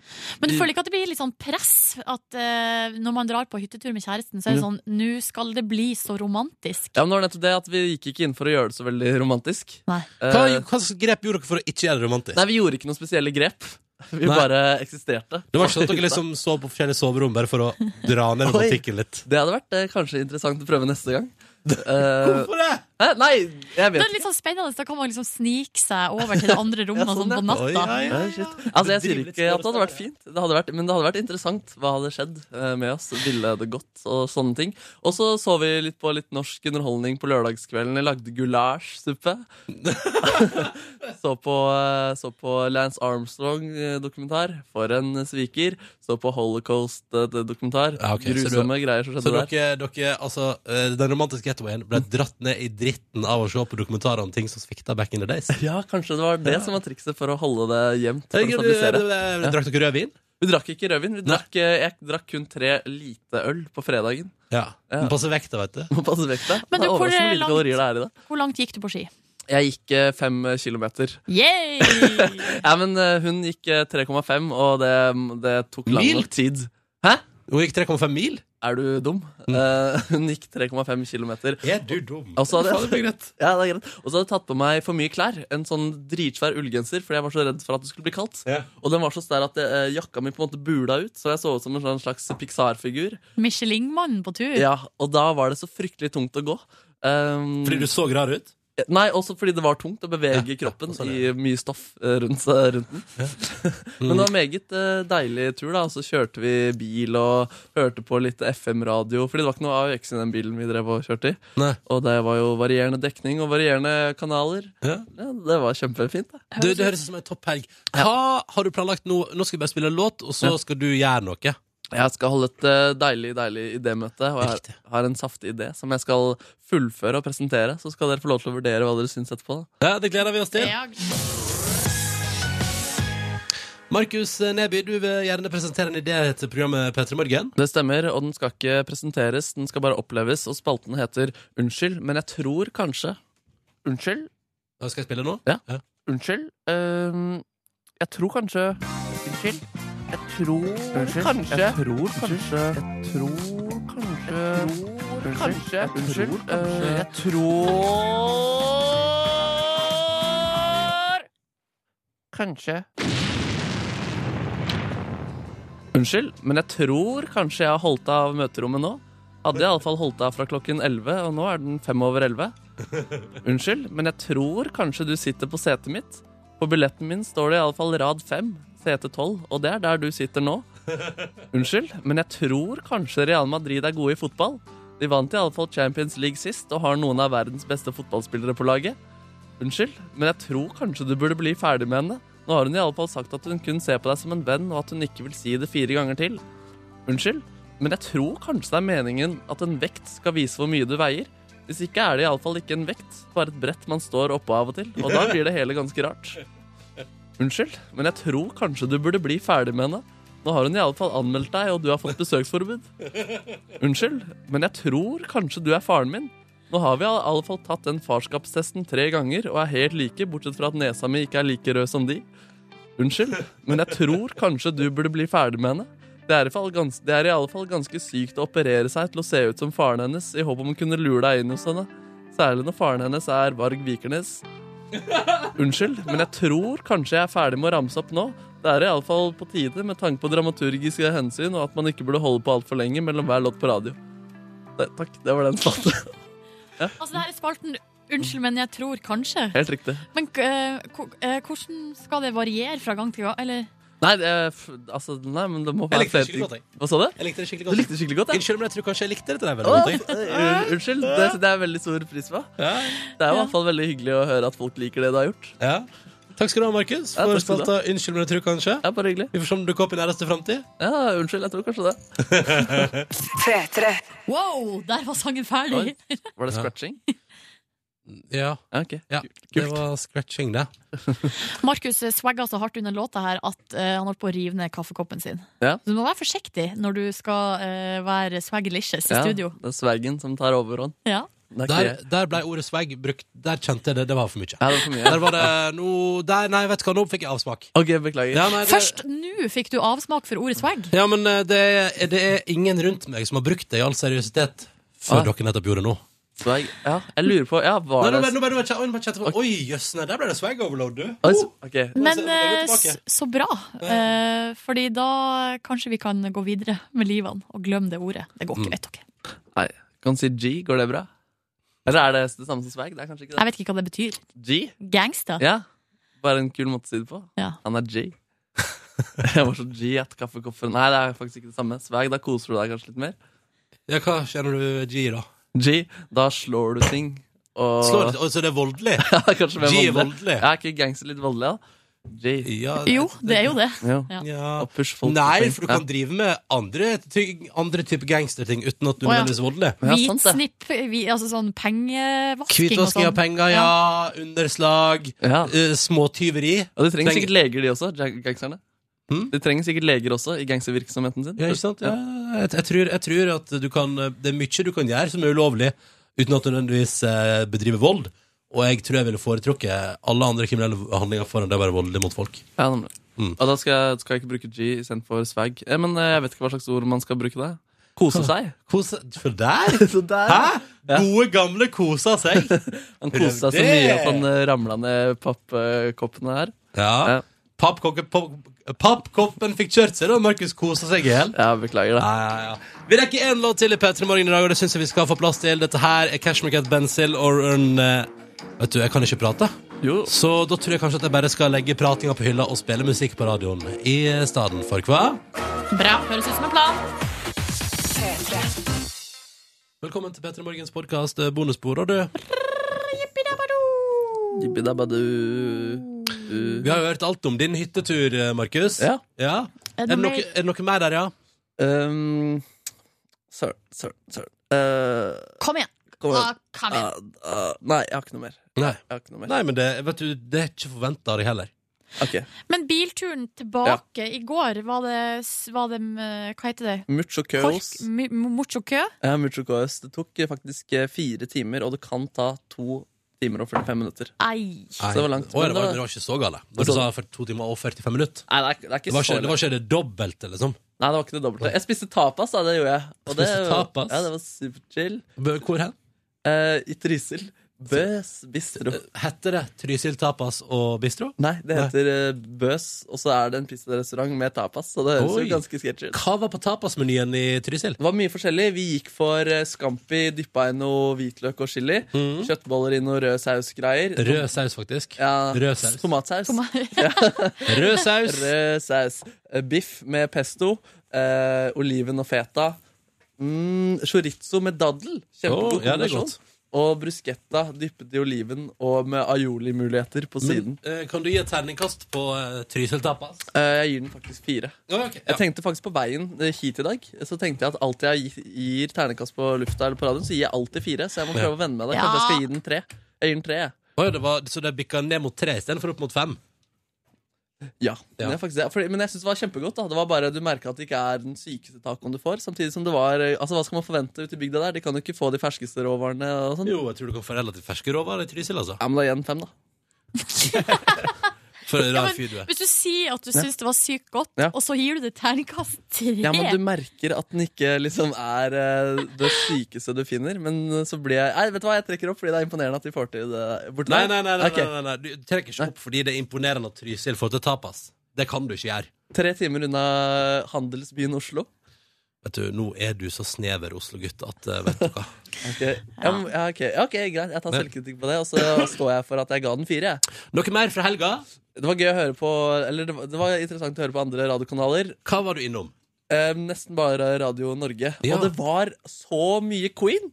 Men du I- føler ikke at det blir litt sånn press at eh, når man drar på hyttetur med kjæresten, så er det Mm. sånn Nå skal det bli så romantisk. Ja, men det var nettopp det at vi gikk ikke inn for å gjøre det så veldig romantisk. Eh, Nei. Hva, hva slags grep gjorde dere for å ikke gjøre det romantisk? Nei, vi gjorde ikke noen spesielle grep. Vi Nei. bare eksisterte. Det var ikke sånn at dere liksom sov på forskjellige soverom bare for å dra ned Oi. romantikken litt? Det hadde vært eh, kanskje interessant å prøve neste gang. Eh, Hvorfor det? Nei, jeg Det vet er litt sånn spennende, da kan man liksom snike seg over til det andre rommet og sånn på natta. Altså, jeg sier ikke at det hadde vært fint, det hadde vært, men det hadde vært interessant. Hva hadde skjedd eh, med oss? Ville det gått? Og sånne ting. Og så så vi litt på litt norsk underholdning på lørdagskvelden. Jeg lagde gulasjsuppe. så, på, eh, så på Lance Armstrong-dokumentar. For en sviker. Så på Holocaust-dokumentar. Ja, ok, så du- Grusomme greier som Så skjedde der. dere, dere, altså, eh, den romantiske getawayen ble dratt ned i dritten av å se på dokumentarer om ting som svikta back in the days? Ja, kanskje det var det Ja. som var trikset for å holde det jevnt. Hey, For å du- stabilisere. du- du- Ja. eh, Drakk dere rødvin? Vi drakk ikke rødvin. Vi drakk, eh, jeg drakk kun tre lite øl på fredagen. Ja. Må passe vekta, vet du. Må passe vekta. Men du, Det er hvor langt- overraskende lite kalorier det er i det. Hvor langt gikk du på ski? Jeg gikk eh, fem eh, kilometer. Yay! Ja, men eh, hun gikk eh, 3,5, og det, det tok lang Mil? nok tid. Hæ? Hun gikk 3,5 mil? Er du dum? Eh, hun gikk 3,5 kilometer. Er du dum? Og så hadde Faen, det blir jeg, ja, det er greit. Og så hadde jeg tatt på meg for mye klær. En sånn dritsvær ullgenser, fordi jeg var så redd for at det skulle bli kaldt. Og den var så stær at eh, jakka mi på en måte bula ut, så jeg så ut som en sånn slags Pixar-figur. Michelin-mannen på tur. Ja, og da var det så fryktelig tungt å gå. Um, Fordi du så rar ut? Nei, også fordi det var tungt å bevege kroppen i mye stoff eh, rundt, seg- rundt den. Men det var meget eh, deilig tur, da. Og så kjørte vi bil og hørte på litt FM-radio. Fordi det var ikke noe AUX i den bilen vi drev og kjørte i. Og det var jo varierende dekning og varierende kanaler. Ja. det var kjempefint, det. Du, det høres ut som en topp helg. Hva har du planlagt nå? Nå skal vi bare spille en låt, og så Ja. skal du gjøre noe. Jeg skal holde et eh, deilig deilig idémøte, og jeg har- har en saftig idé som jeg skal fullføre og presentere. Så skal dere få lov til å vurdere hva dere syns etterpå. Ja, det gleder vi oss til. Markus Neby, du vil gjerne presentere en idé til programmet P3 Morgen. Det stemmer, og den skal ikke presenteres, den skal bare oppleves. Og spalten heter Unnskyld, men jeg tror kanskje Unnskyld? Skal jeg spille nå? Ja. Unnskyld. ehm, jeg tror kanskje Unnskyld. Jeg tror kanskje Jeg tror kanskje Jeg tror kanskje Kanskje. Unnskyld. Eh, Jeg tror Kanskje. Unnskyld, men jeg tror kanskje jeg har holdt av møterommet nå. Hadde jeg iallfall holdt av fra klokken 11, og nå er den fem over 11. Unnskyld, men jeg tror kanskje du sitter på setet mitt. På billetten min står det iallfall rad 5, sete 12, og det er der du sitter nå. Unnskyld, men jeg tror kanskje Real Madrid er gode i fotball. De vant iallfall Champions League sist og har noen av verdens beste fotballspillere på laget. Unnskyld, men jeg tror kanskje du burde bli ferdig med henne. Nå har hun iallfall sagt at hun kun ser på deg som en venn, og at hun ikke vil si det fire ganger til. Unnskyld, men jeg tror kanskje det er meningen at en vekt skal vise hvor mye du veier. Hvis ikke er det iallfall ikke en vekt, bare et brett man står oppå av og til. Og da blir det hele ganske rart. Unnskyld, men jeg tror kanskje du burde bli ferdig med henne. Nå har hun iallfall anmeldt deg, og du har fått besøksforbud. Unnskyld, men jeg tror kanskje du er faren min. Nå har vi i alle fall tatt den farskapstesten tre ganger og er helt like, bortsett fra at nesa mi ikke er like rød som de. Unnskyld, men jeg tror kanskje du burde bli ferdig med henne. Det er, i fall gans det er i alle fall ganske sykt å operere seg til å se ut som faren hennes i håp om å kunne lure deg inn hos henne. Særlig når faren hennes er Varg Vikernes. Unnskyld, men jeg tror kanskje jeg er ferdig med å ramse opp nå. Det er iallfall på tide med tanke på dramaturgiske hensyn, og at man ikke burde holde på altfor lenge mellom hver låt på radio. Det, takk, det var den spalten. Altså, det her er spalten Unnskyld, men jeg tror kanskje. Helt riktig. Men eh, ko- eh, hvordan skal det variere fra gang til gang? Eller Nei, det, er f- altså, nei, men det må Jeg være likte det skikkelig godt, jeg. Hva sa du? Jeg likte det skikkelig Du likte det skikkelig godt, ja. Unnskyld, men jeg tror kanskje jeg likte dette der veldig Åh, godt. jeg. eh, Unnskyld, det, det er veldig stor pris på. Det er jo i hvert fall veldig hyggelig å høre at folk liker det du har gjort. Takk skal du ha, Markus. For Ja, takk skal du spalta Unnskyld, men jeg tror kanskje. Ja, bare hyggelig. Vi får se om det dukker opp i nærmeste framtid. Ja, unnskyld, jeg tror kanskje det. Wow, der var sangen ferdig! Var det scratching? Ja. Ok, ja. Det var scratching, det. Markus eh, swagga så hardt under låta her at eh, han holdt på å rive ned kaffekoppen sin. Ja. Så du må være forsiktig når du skal eh, være swaggalicious i Ja, studio. det er svaggen som tar overhånd. Ja. Det er ikke Der, det. der ble ordet swag brukt. Der kjente jeg det. Det var for mye. Ja, det var for mye. Der var det no, der, Nei, vet du hva, nå fikk jeg avsmak. Ok, beklager. Ja, nei, det, Først nå fikk du avsmak for ordet swag. ja men eh, det er, det er ingen rundt meg som har brukt det i all seriøsitet før Ah. dere nettopp gjorde det nå. Swag, ja, jeg lurer på ja, Nei, var nå Ah, ble- det... nå ble- nå ble- nå ble- nå ble- Oi, jøss, nei, der ble det swag overload, du. Oi, så- ok. Men Nå er vi eh, tilbake. s- så bra, eh, fordi da kanskje vi kan gå videre med livene og glemme det ordet. Det Mm. går ikke lett. ok? Nei, kan du si G, går det bra? Eller er det det samme som swag? Det er kanskje ikke Jeg det. vet ikke hva det betyr. G? Gangster? Ja, bare en kul måte å si det på. Ja. Han er G. jeg var så G at kaffekoppen Nei, det er faktisk ikke det samme. Swag, da koser du deg kanskje litt mer. Ja, hva kjenner du G, da? G, da slår du ting. Og... Slår litt, og Ah. så det er voldelig? Ja, kanskje mer G er voldelig. voldelig. Ja, er ikke gangster litt voldelig, da? G. Jo, det er jo det. Ja. Ja. Og push folk Nei, ting. for du kan Ja. drive med andre, ting- andre type gangsterting uten at du Å, ja. nødvendigvis er voldelig. Hvitsnipp, vi, altså sånn pengevasking Hvitvasking av og sånn. penger, ja. Underslag. Ja. eh, Småtyveri. Og de trenger Treng- sikkert leger, de også. gang- Gangsterne. De trenger sikkert leger også i gangstervirksomheten sin. Hm? Ja, ikke sant? Ja, jeg, jeg, tror, jeg tror at du kan, det er mye du kan gjøre som er ulovlig, uten at du nødvendigvis eh, bedriver vold. Og jeg tror jeg ville foretrukket alle andre kriminelle handlinger foran det å være voldelig mot folk. Ja, nemlig. Hm. Og da skal jeg, skal jeg ikke bruke G istedenfor swag. Eh, men eh, jeg vet ikke hva slags ord man skal bruke der. Kose seg. Kose, for der? Hæ? Gode, gamle kosa seg. Han koste seg så Det- mye at han eh, ramla ned pappkoppene her. Ja. Pappkokke- pop- Pappkoppen fikk kjørt seg, da. Markus kosa seg i hjel. Ja, beklager det. Ja, ja, ja. Vi rekker én låt til i P3 Morgen i dag, og det syns jeg vi skal få plass til. Dette her er Cash Market Benzil or en eh, Vet du, jeg kan ikke prate. Så da tror jeg kanskje at jeg bare skal legge pratinga på hylla og spille musikk på radioen i stedet for, hva? Bra. Høres ut som en plan. Velkommen til P3 Morgens podkast Bonusbord, og du. eh, Vi har jo hørt alt om din hyttetur, eh, Markus. Ja. Er, det noe, er det noe mer der, ja? Um, Søren, søren, søren. Eh, Kom igjen. kom igjen. Ah, kom igjen. Ah, ah, nei, jeg har ikke noe mer. Nei. Jeg har ikke noe mer. Nei, men det, vet du, det er ikke forventa av deg heller. Ok. Men bilturen tilbake i går, var det, s- var det eh, Hva heter det? Mucho køos. Kork- Mm. mu- mu- Mucho kø? Ja, mucho køos. Det tok eh, faktisk eh, fire timer, og det kan ta to timer og 45 minutter. Ei. Så det var langt. Å, ja, men eh, det, var, det var ikke så gale. Når du sa for to timer og 45 minutter. Nei, det er, ikke- det er ikke Det var så ikke det, var langt. ikke det dobbelte, liksom. Nei, det var ikke det dobbelte. Jeg spiste tapas, da. Det gjorde jeg. Og det, Spiste tapas? Ja, det var superchill. Bø- Hvor hen? Eh, I Trysil. Bøs bistro. Eh, Heter det Trysil tapas og bistro? Nei, det heter eh, Bøs, og så er det en pizzarestaurant med tapas. Så det høres Oi. jo ganske sketsjy ut. Hva var på tapasmenyen i Trysil? Det var mye forskjellig. Vi gikk for eh, scampi, dyppa i noe hvitløk og chili. Kjøttboller i noe rød saus-greier. Mm. Rød saus, faktisk. Ja, Rød saus. Tomatsaus. Rød saus. Rød saus. Eh, Biff med pesto. Eh, oliven og feta. Mm, chorizo med daddel. Åh, Kjempegod ja, det er kombinasjon. godt. og bruschetta dyppet i oliven og med aioli-muligheter på siden. Eh, Kan du gi et terningkast på eh, Trysil tapas? Eh, Jeg gir den faktisk fire. Jeg tenkte faktisk på veien eh, hit i dag. Så tenkte jeg at alltid jeg gi- gir ternekast på lufta eller på radioen, så gir jeg alltid fire. Så jeg må Ja. prøve å vende meg det. Ja. Kanskje jeg skal gi den tre. Jeg gir den tre, jeg. Oi, det var, så det bikka ned mot tre istedenfor opp mot fem? Ja. Det er faktisk det. Fordi- Men jeg syns det var kjempegodt. da Det var bare Du merka at det ikke er den sykeste tacoen du får. Samtidig som det var eh, Altså, hva skal man forvente ute i bygda der? De kan jo ikke få de ferskeste råvarene og sånn. Jo, jeg tror du kan få relativt ferske råvarer i Trysil, altså. Ja, men da gir jeg den fem, da. For en Ja, rar men fyr du er. Hvis du sier at du Ja. syns det var sykt godt, Ja. og så gir du det terningkast tre Ja, men du merker at den ikke liksom er eh, det sykeste du finner. Men eh, så blir jeg Nei, vet du hva, jeg trekker opp fordi det er imponerende at de får til det borte Nei, nei, nei, nei, Ok. nei, nei, nei. Du trekker ikke opp fordi det er imponerende at Trysil får til tapas. Det kan du ikke gjøre. Tre timer unna handelsbyen Oslo. Vet du, Nå er du så snever Oslo-gutt at eh, Vet du hva. Ok, ja. men- Ja, ok, Ja, ok, greit. Jeg tar Ja. selvkritikk på det, og så står jeg for at jeg ga den fire. jeg. Noe mer fra helga? Det var gøy å høre på Eller det var, det var interessant å høre på andre radiokanaler. Hva var du innom? Eh, nesten bare Radio Norge. Ja. Og det var så mye Queen!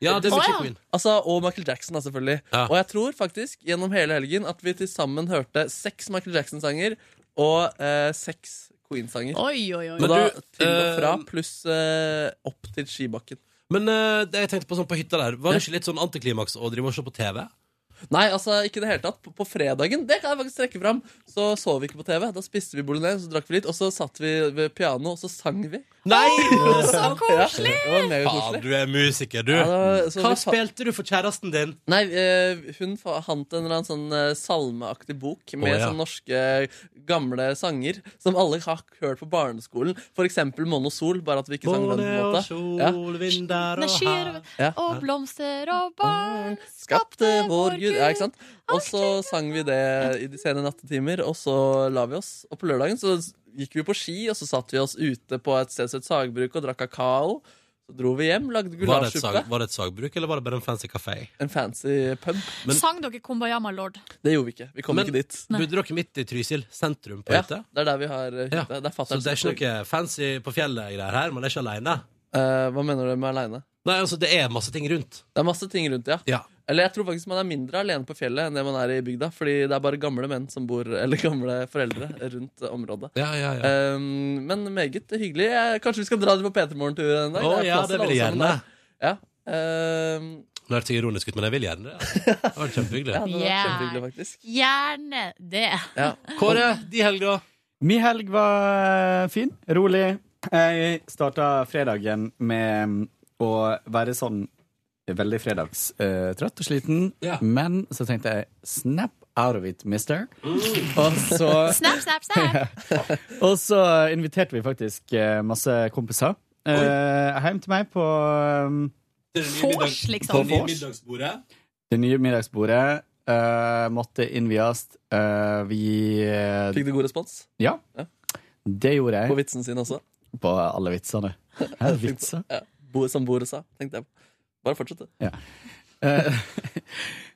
Ja, det er Å, mye ja. Queen. Altså, og Michael Jackson, da, selvfølgelig. Og jeg tror faktisk gjennom hele helgen at vi til sammen hørte seks Michael Jackson-sanger og eh, seks Queen-sanger. Oi, oi, oi. Og Men da du, til og eh, fra, pluss eh, opp til skibakken. Men eh, det jeg tenkte på sånn på hytta der, var det ikke litt sånn antiklimaks å drive og se på TV? Nei, altså, ikke i det hele tatt. På, på fredagen det kan jeg faktisk trekke fram, så så vi ikke på TV. Da spiste vi bolognese, så drakk vi litt, og så satt vi ved pianoet, og så sang vi. Nei! Så koselig! Ja, det var Faen, megakoselig. du er musiker, du. Ja, det var- så Hva vi fa- spilte du for kjæresten din? Nei, eh, hun fa- fant en eller annen sånn eh, salmeaktig bok Å, med ja. sånn norske gamle sanger som alle har hørt på barneskolen. For eksempel Måne og sol, bare at vi ikke sang på den Måne og måten. sol, vinder Nei, og skyer hav Ja. og blomster og barn Skapte vår Gud Ja, ikke sant? Og så sang vi det i de sene nattetimer, og så la vi oss. Og på lørdagen så gikk vi på ski, og så satt vi oss ute på et sted som het Sagbruk og drakk kakao. Så dro vi hjem, Var lagde det, et gulasjsuppe. sag, var det et sagbruk, eller var det bare en fancy kafé? En fancy pub. Sang dere Kumbayama Lord? Det gjorde vi ikke. Vi kom Men- ikke dit. Bodde dere midt i Trysil sentrum på Ja, hytta? det er der vi har eh, hytte. Det er Så fatter'n det er som- ikke noe fancy på fjellet-greier her? Man er ikke aleine? Eh, hva mener du med aleine? Nei, altså, det er masse ting rundt. Det er masse ting rundt, ja. Ja. Eller jeg tror faktisk man er mindre alene på fjellet enn det man er i bygda. Fordi det er bare gamle menn som bor, eller gamle foreldre rundt området. Ja, ja, ja. Um, men meget hyggelig. Eh, Kanskje vi skal dra dit på P3morgen-tur en dag? Å, er ja, plass til det vil alle jeg sammen gjerne. der. Ja. Um, Nå hørtes jeg ironisk ut, men jeg vil gjerne det. altså. Det var kjempehyggelig. ja, det var Yeah. kjempehyggelig, faktisk. Gjerne det. Ja. Kåre, de helga? Min helg var fin, rolig. Jeg starta fredagen med å være sånn veldig fredagstrøtt og sliten. Men så tenkte jeg snap out of it, mister. Mm. Og så Snap, snap, snap! og så inviterte vi faktisk eh, masse kompiser eh, hjem til meg på um, Fors, liksom. På vors. middagsbordet. det nye middagsbordet. eh, måtte innvies. Eh, vi eh, Fikk du god respons? Ja. Det gjorde jeg. På vitsen sin også? På alle vitsene. Hæ, vitser? Ja. Bo, som Boret sa, tenkte jeg. Bare fortsett, du. Ja. Eh,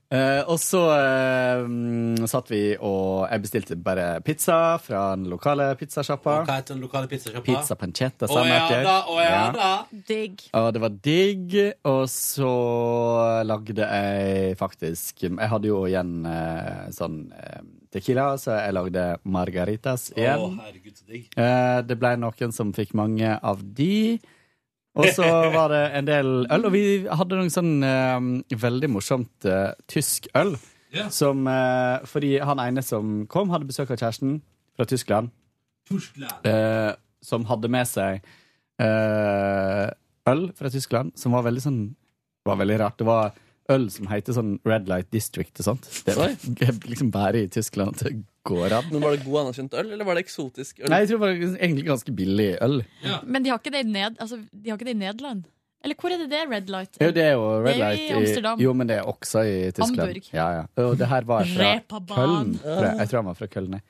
Eh, og så eh, mm, satt vi og Jeg bestilte bare pizza fra den lokale pizzasjappa. Hva heter den lokale pizzasjappa? Pizza pancetta, sa Å ja Merkel. da, å ja Ja. da. Digg. Og det var digg, og så lagde jeg faktisk Jeg hadde jo igjen eh, sånn eh, tequila, så jeg lagde margaritas Å, igjen. herregud, så digg. Eh, Det ble noen som fikk mange av de. Og så var det en del øl, og vi hadde noen sånn eh, veldig morsomt eh, tysk øl. Ja. Som, eh, fordi han ene som kom, hadde besøk av kjæresten fra Tyskland. Eh, som hadde med seg eh, øl fra Tyskland, som var veldig sånn Det var veldig rart. Det var øl som heter sånn Red Light District og sånt. Det var liksom bare i Tyskland at det går an. Men Var det god anerkjent øl, eller var det eksotisk øl? Nei, jeg tror det var egentlig ganske billig øl. Men de har ikke det i, ned, altså, de har ikke det i Nederland? Eller hvor er det det Red Light? Jo, det er jo Det er Red jo i Light Amsterdam. Jo, men det er også i Tyskland. Hamburg. Ja, ja. Og det her var fra Reeperbahn. Køln. Tror jeg. jeg tror han var fra Køln, jeg.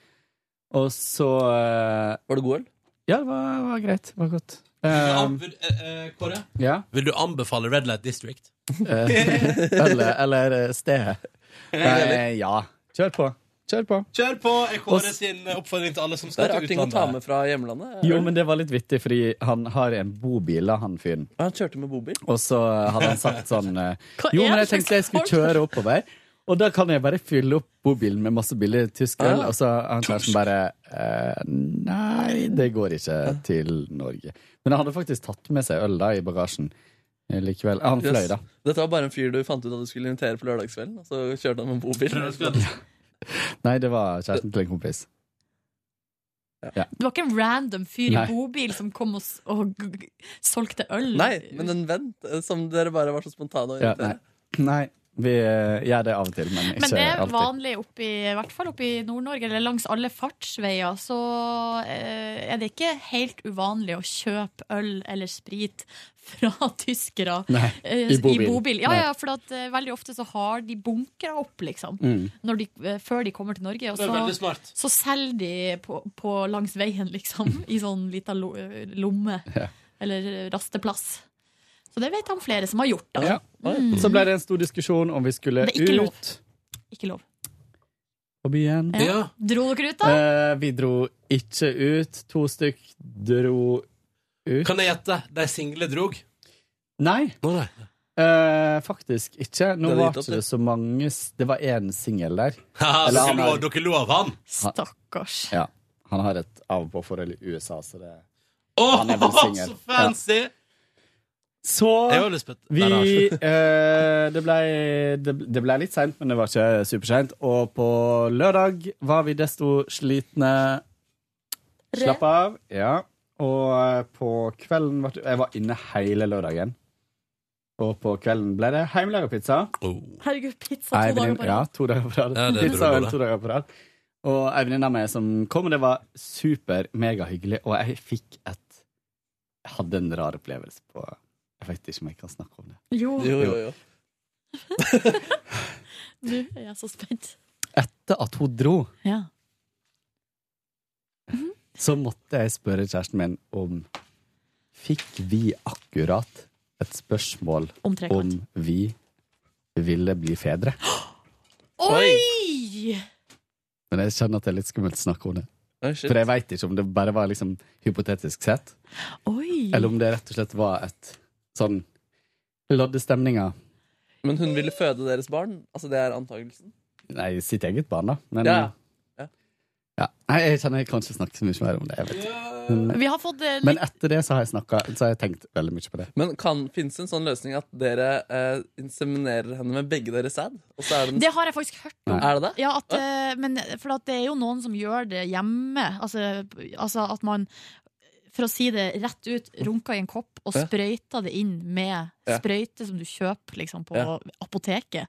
Og så eh, Var det god øl? Ja, det var, var greit. Det var godt. Um, Am- vil- eh, eh, Kåre, Ja. vil du anbefale Red Light District? Eh, eller, eller stedet. Nei, ja. Kjør på. Kjør på. Kjør på! er Kåre sin oppfordring til alle som Det skal er til rart ting å ta med utlandet. fra hjemlandet. Jo, men det var litt vittig, fordi han har en bobil, da, han fyren. Han kjørte med bobil. Og så hadde han sagt sånn eh, Hva Jo, er men jeg det slags tenkte jeg skulle kjøre oppover. Og da kan jeg bare fylle opp bobilen med masse billig tysk øl. Ah. Og så har han kanskje bare eh, Nei, det går ikke til Norge. Men han hadde faktisk tatt med seg øl da i bagasjen eh, likevel. Han fløy, Yes. da. Dette var bare en fyr du fant ut at du skulle invitere på lørdagskvelden, og så kjørte han med bobil. Nei, det var kjæresten til en kompis. Ja. Det var ikke en random fyr i Nei. bobil som kom og, s- og g- g- solgte øl? Nei, men en venn eh, som dere bare var så spontane å Ja, invitere. nei. nei, vi eh, gjør det av og til, men ikke Men det er alltid. vanlig oppi, i hvert fall oppe i Nord-Norge, eller langs alle fartsveier, så eh, er det ikke helt uvanlig å kjøpe øl eller sprit fra tyskere Nei, eh, i bobil. Ja, Nei. ja, for at, eh, veldig ofte så har de bunkra opp, liksom, Mm. når de, eh, før de kommer til Norge. Og Det er veldig så, smart. så selger de på, på langs veien, liksom, i sånn lita lo, lomme eller rasteplass. Så det vet han flere som har gjort, da. Ja. Mm. Så ble det en stor diskusjon om vi skulle Det er ikke lov. ut Ikke lov. på byen. Ja. Dro dere ut, da? Eh, vi dro ikke ut. To stykk dro ut. Kan jeg gjette? De single drog. Nei. Eh, faktisk ikke. Nå Det er var litt opp, ikke det. det så mange s- Det var én singel der. Haha, Eller dere han lo- har, Dere lo av han? Stakkars. ja, han har et av og på-forhold i USA, så det Åh, Han er vel singel. så fancy! Så Jeg har lyst på et- vi, Nei, nei. eh, det, ble, det, det ble litt seint, men det var ikke superseint. Og på lørdag var vi desto slitne. Slapp av. Ja. Og eh, på kvelden ble, Jeg var inne hele lørdagen. Og på kvelden ble det hjemmelaga pizza. Herregud, pizza Ei to dager venninne- på Ja, rad. to dager på rad. Ja, det er Pizza og øl bra, to dager på rad. Og ei venninne av meg som kom, og det var super megahyggelig, og jeg fikk et Jeg hadde en rar opplevelse på Jeg vet ikke om jeg kan snakke om det. Jo. Jo, jo, jo. Nå er jeg så spent. Etter at hun dro, Ja. så måtte jeg spørre kjæresten min om Fikk vi akkurat et spørsmål Om trekant. om vi ville bli fedre? Oi! Men jeg kjenner at det er litt skummelt å snakke om det. shit. For jeg veit ikke om det bare var liksom hypotetisk sett, Mm. Oi. eller om det rett og slett var et sånn Lodde stemninga. Men hun ville føde deres barn? Altså, det er antakelsen? Nei, sitt eget barn, da. Men ja. Ja. Nei, jeg kjenner jeg kan ikke snakke så mye mer om det. Jeg vet. Men, Vi har fått eh, men litt etter det så har jeg snakket, så har jeg tenkt veldig mye på det. Men kan, finnes det en sånn løsning at dere eh, inseminerer henne med begge deres sæd? Og så er den Det har jeg faktisk hørt. Nei. Er det det? Ja, at, eh, men, for at det er jo noen som gjør det hjemme. Altså, altså at man, for å si det rett ut, runker i en kopp og Ja. sprøyter det inn med Ja. sprøyte som du kjøper liksom, på Ja. apoteket.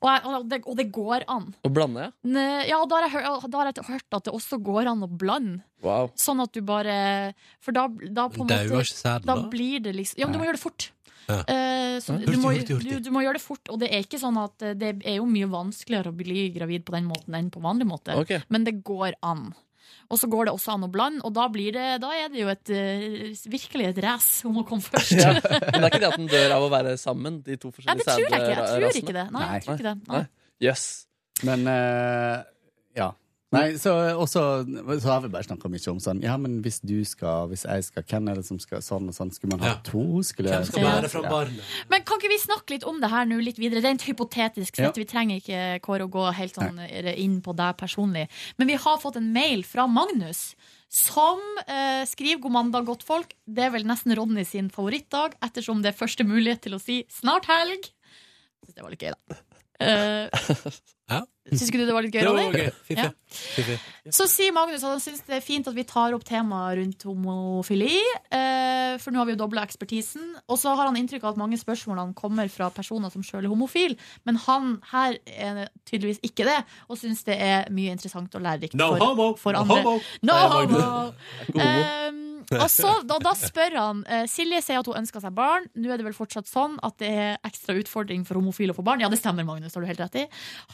Og, jeg, og, det, og det går an. Å blande, ja? Ne- Ja, da har, jeg, hø- da har jeg hørt at det også går an å blande. Wow. Sånn at du bare For da, da på en Det er jo måte ikke sæden, Da da. blir det liksom Ja, men du må gjøre det fort. Ja. Eh, så Ja. du, må, Hurtig, hurtig, du, hurtig. du må gjøre det fort, og det er ikke sånn at eh, det er jo mye vanskeligere å bli gravid på den måten enn på vanlig måte, Ok. men det går an. Og så går det også an å blande, og da, blir det, da er det jo et, eh, virkelig et race om å komme først. Ja. Men det er ikke det at den dør av å være sammen, de to Nei, forskjellige det tror jeg ikke. Jeg tror sædrasene? ikke det. Nei, jeg tror ikke det. Nei. Yes. Men eh, ja. Nei, så, også, så har vi bare snakka mye om sånn Ja, men hvis du skal, hvis jeg skal, hvem er det som skal sånn og sånn? Skulle man ha to? Skulle, Hvem skal bære fram barnet? Men kan ikke vi snakke litt om det her nå litt videre? Rent hypotetisk sett. Ja. Vi trenger ikke Kåre å gå helt sånn inn på deg personlig. Men vi har fått en mail fra Magnus. Som eh, skriver 'God mandag, godt folk'. Det er vel nesten Ronny sin favorittdag, ettersom det er første mulighet til å si 'snart helg'. Syns det var litt gøy, da. Eh, Ja. Syns ikke du det var litt gøy, Det var Ronny? gøy. Fiffig. Ja. Fiffig. Så sier Magnus at han syns det er fint at vi tar opp temaet rundt homofili. eh, For nå har vi jo dobla ekspertisen. Og så har han inntrykk av at mange spørsmålene kommer fra personer som sjøl er homofil. Men han her er tydeligvis ikke det, og syns det er mye interessant og lærerikt No for, homo! for No andre. homo! No Nei, Magnus. homo! Jeg er ikke homo. Ehm, og så, da, da spør han eh, Silje sier at hun ønsker seg barn. Nå er det vel fortsatt sånn at det er ekstra utfordring for homofile å få barn. Ja, det stemmer, Magnus. Har du helt rett i.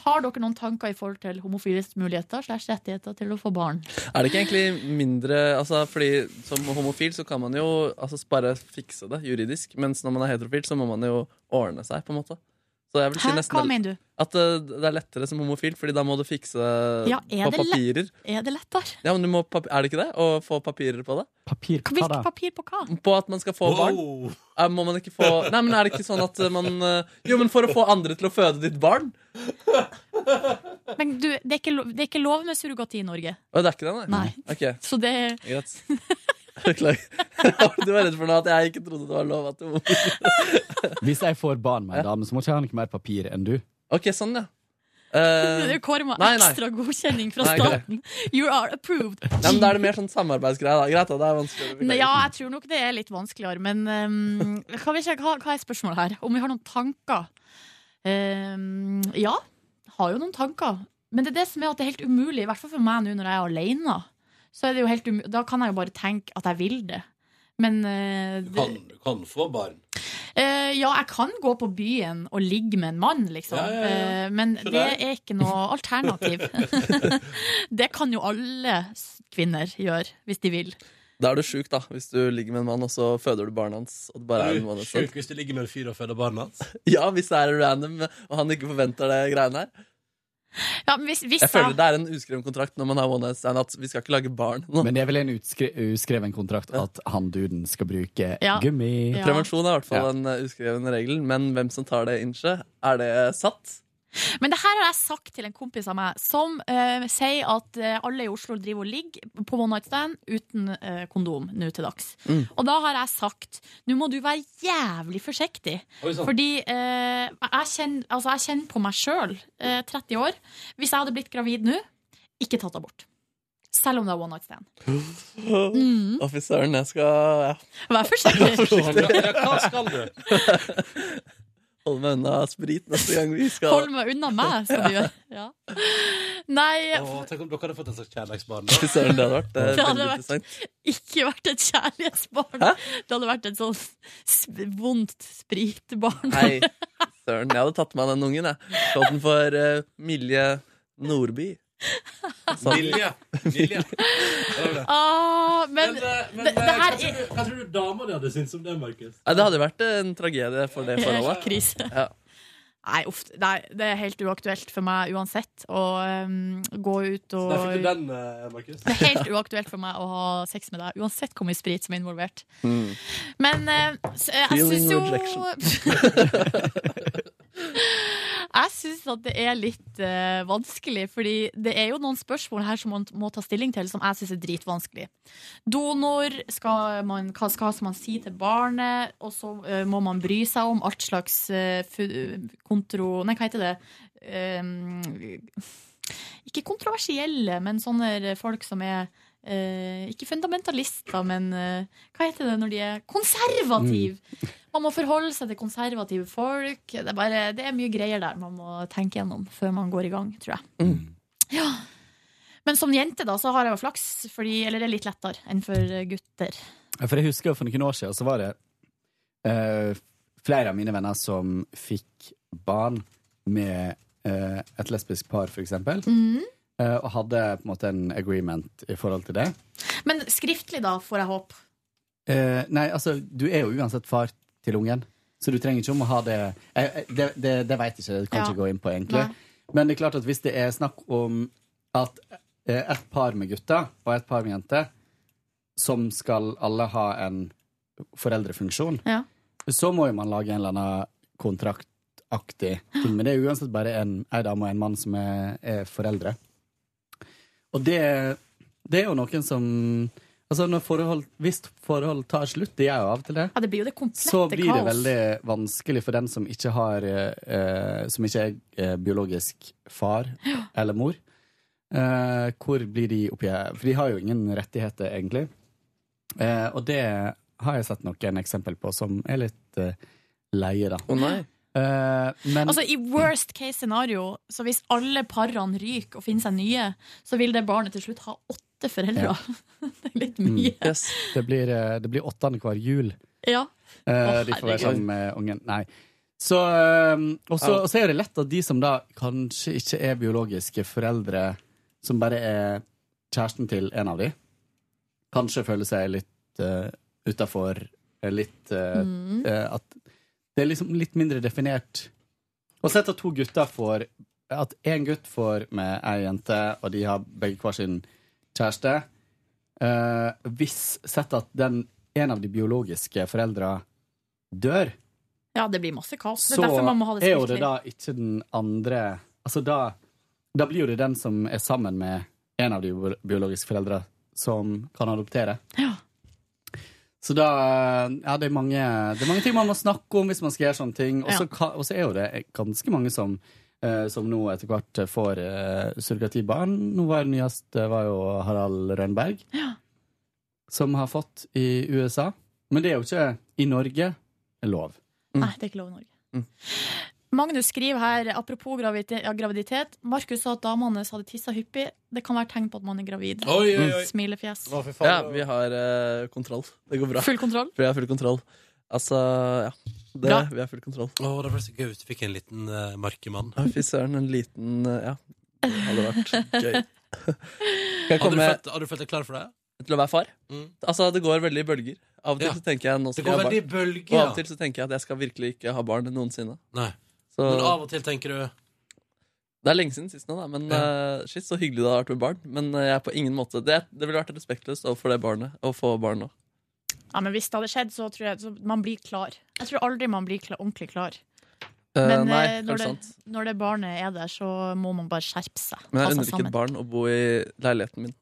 Har dere noen tanker i forhold til homofiles muligheter slash rettigheter til å få barn? Er det ikke egentlig mindre altså, Fordi som homofil så kan man jo altså, bare fikse det juridisk, mens når man er heterofil, så må man jo ordne seg, på en måte. Så jeg vil si Hæ? nesten Hva det- mener du? At eh, det er lettere som homofil, fordi da må du fikse det Ja, er på det lett- papirer. Er det lettere? Ja, men du må, pap- er det ikke det? Å få papirer på det? Papir på Hvilket hva da? papir på hva? På at man skal få barn. Eh, Må man ikke få Nei, men er det ikke sånn at eh, man eh, Jo, men for å få andre til å føde ditt barn. Men du, det er ikke lov, det er ikke lov med surrogati i Norge. Å, det er ikke det, nei? Ok. Så det er Greit. Beklager. Du var redd for noe at jeg ikke trodde det var lov at homofile Hvis jeg får barn med en dame, så må ikke han ikke mer papir enn du. Ok, sånn, ja. Det kommer Eh, nei, nei. ekstra godkjenning fra Nei, greit. staten. You are approved. Nei, men Da er det mer sånn samarbeidsgreie, da. Greit, da. Det er vanskelig. Nei, Ja, jeg tror nok det er litt vanskeligere, men ehm, kan vi ikke, hva, hva er spørsmålet her? Om vi har noen tanker? Ehm, ja, har jo noen tanker. Men det er det som er at det er helt umulig, i hvert fall for meg nå når jeg er alene. Så er det jo helt umu- da kan jeg jo bare tenke at jeg vil det. Men eh, det, Kan, kan få barn. Eh, ja, jeg kan gå på byen og ligge med en mann, liksom. Ja, ja, ja. Eh, men Så det der. er ikke noe alternativ. det kan jo alle s- kvinner gjøre, hvis de vil. Da er du sjuk, da, hvis du ligger med en mann, og så føder du barnet hans. Og det bare er Er en du måned sjuk hvis du ligger med en fyr og føder barnet hans? Ja, hvis det er random, og han ikke forventer det greiene her. Ja, men hvis, hvis Jeg føler det er en uskreven kontrakt når man har one night stand, at vi skal ikke lage barn. nå. Men det er vel en utskre uskreven kontrakt at han duden skal bruke Ja. gummi. Prevensjon er i hvert fall Ja. en eh, uskreven regel, men hvem som tar det innsje, er det satt? Men det her har jeg sagt til en kompis av meg, som eh, sier at eh, alle i Oslo driver og ligger på one night stand uten eh, kondom nå til dags. Mm. Og da har jeg sagt nå må du være jævlig forsiktig. Oi, sann. Fordi eh, jeg, kjenner, altså, jeg kjenner på meg sjøl, eh, 30 år, hvis jeg hadde blitt gravid nå, ikke tatt abort. Selv om det er one night stand. Mm. Å, fy søren, jeg skal ja. Vær forsiktig. Vær forsiktig. Ja, hva skal Hold meg unna sprit neste gang vi skal Hold meg unna meg, skal du gjøre. Ja. Nei, Å, tenk om dere hadde fått en slags kjærlighetsbarn. Fy søren, det hadde vært eh, Det hadde veldig vært- interessant. ikke vært et kjærlighetsbarn. Det hadde vært et sånn sp vondt spritbarn. Hei, søren, jeg hadde tatt meg den ungen, jeg. Kalt den for eh, Milje Nordby. Sånn. Milje. Milje. Ah, men Men det, eh, det hva her tror er du, hva tror du dama di hadde syntes om det, Markus? Nei, det hadde vært en tragedie for det forholdet. Krise. Ja. Nei, uff, nei, det er helt uaktuelt for meg uansett å um, gå ut og Der fikk du den, eh, Markus. Det er helt uaktuelt for meg å ha sex med deg, uansett hvor mye sprit som er involvert. Men eh, s- eh, jeg Mm. Feeling syns jo rejection. Jeg syns at det er litt eh, vanskelig, fordi det er jo noen spørsmål her som man må ta stilling til, som jeg syns er dritvanskelig. Donor, skal man, hva skal man si til barnet? Og så eh, må man bry seg om alt slags eh, fu- kontro... Nei, hva heter det? Eh, ikke kontroversielle, men sånne folk som er eh, ikke fundamentalister, men eh, hva heter det når de er konservative? Mm. Man må forholde seg til konservative folk. Det er, bare, det er mye greier der man må tenke gjennom før man går i gang, tror jeg. Mm. Ja. Men som jente da, så har jeg jo flaks, fordi, eller det er litt lettere enn for gutter. Ja, For jeg husker jo for noen år siden så var det eh, flere av mine venner som fikk barn med eh, et lesbisk par, for eksempel. eh, og hadde på en måte en agreement i forhold til det. Men skriftlig, da, får jeg håpe. Eh, nei, altså, du er jo uansett far til ungen, så du trenger ikke om å ha det jeg, jeg- Det, det, det veit jeg ikke, det kan jeg ikke Ja. gå inn på, egentlig. Men det er klart at hvis det er snakk om at eh, et par med gutter og et par med jenter, som skal alle ha en foreldrefunksjon, Ja. så må jo man lage en eller annen kontraktaktig ting. Men det er uansett bare en, en dame og en mann som er, er foreldre. Og det, det er jo noen som Altså når forhold, Hvis forhold tar slutt, det gjør jo av og til det, Ja, det blir jo det komplette så blir det kaos. veldig vanskelig for den som ikke, har, eh, som ikke er eh, biologisk far eller mor. Eh, hvor blir de oppi her? For de har jo ingen rettigheter, egentlig. Eh, og det har jeg sett noen eksempel på som er litt eh, leie, da. Eh, men Altså I worst case scenario, så hvis alle parene ryker og finner seg nye, så vil det barnet til slutt ha åtte foreldre. Ja. Mm. det, blir, eh, det blir åttende hver jul. Ja. Eh, Å, de får være herregud. sammen med ungen. Nei. Så, ehm, og så Au. og så er det lett at de som da kanskje ikke er biologiske foreldre, som bare er kjæresten til en av de, kanskje føler seg litt uh, utafor, litt eh, Mm. eh, At det er liksom litt mindre definert. Og sett at to gutter får At én gutt får med ei jente, og de har begge hver sin kjæreste. Eh, hvis sett at den, en av de biologiske foreldra dør, Ja, det blir masse kaos. Det så er derfor man må ha det er jo det skriftlig. da ikke den andre Altså da, da blir jo det den som er sammen med en av de bio- biologiske foreldra, som kan adoptere. Så da Ja, det er, mange, det er mange ting man må snakke om hvis man skal gjøre sånne ting. Og så ka- og så er jo det ganske mange som, eh, som nå etter hvert får eh, surrogatibarn. Nå var jo nyest det var jo Harald Rønberg, som har fått i USA. Men det er jo ikke i Norge lov. Nei, det er ikke lov i Norge. Mm. Magnus skriver her, apropos graviditet, ja, graviditet Markus sa at damene hans hadde tissa hyppig. Det kan være tegn på at man er gravid. Oi, oi, oi. Smilefjes. Ja, vi har eh, kontroll. Det går bra. Full kontroll? Vi har full kontroll. Altså, ja. Det, Bra. vi har full kontroll. Å, det var så gøy hvis du fikk en liten uh, markemann. Ja, Fy søren, en liten eh, Ja. Det hadde vært gøy. Skal jeg Hadde du, komme følt, hadde du følt deg klar for det? til å være far? Mm. Altså, det går veldig i bølger. Av og til Ja. så tenker jeg nå skal Det går jeg ha veldig i barn. bølger, Og ja. av og til så tenker jeg at jeg skal virkelig ikke ha barn noensinne. Nei. Så, Men av og til tenker du det er lenge siden sist nå, da. Men eh, shit, så hyggelig det har vært med barn. Men eh, jeg er på ingen måte Det, det ville vært respektløst overfor det barnet å få barn nå. Ja, men hvis det hadde skjedd, så tror jeg så man blir klar. Jeg tror aldri man blir kla- ordentlig klar. Eh, Men nei, eh, når, kanskje det, når det barnet er der, så må man bare skjerpe seg. Men ta jeg seg unner ikke sammen. et barn å bo i leiligheten min.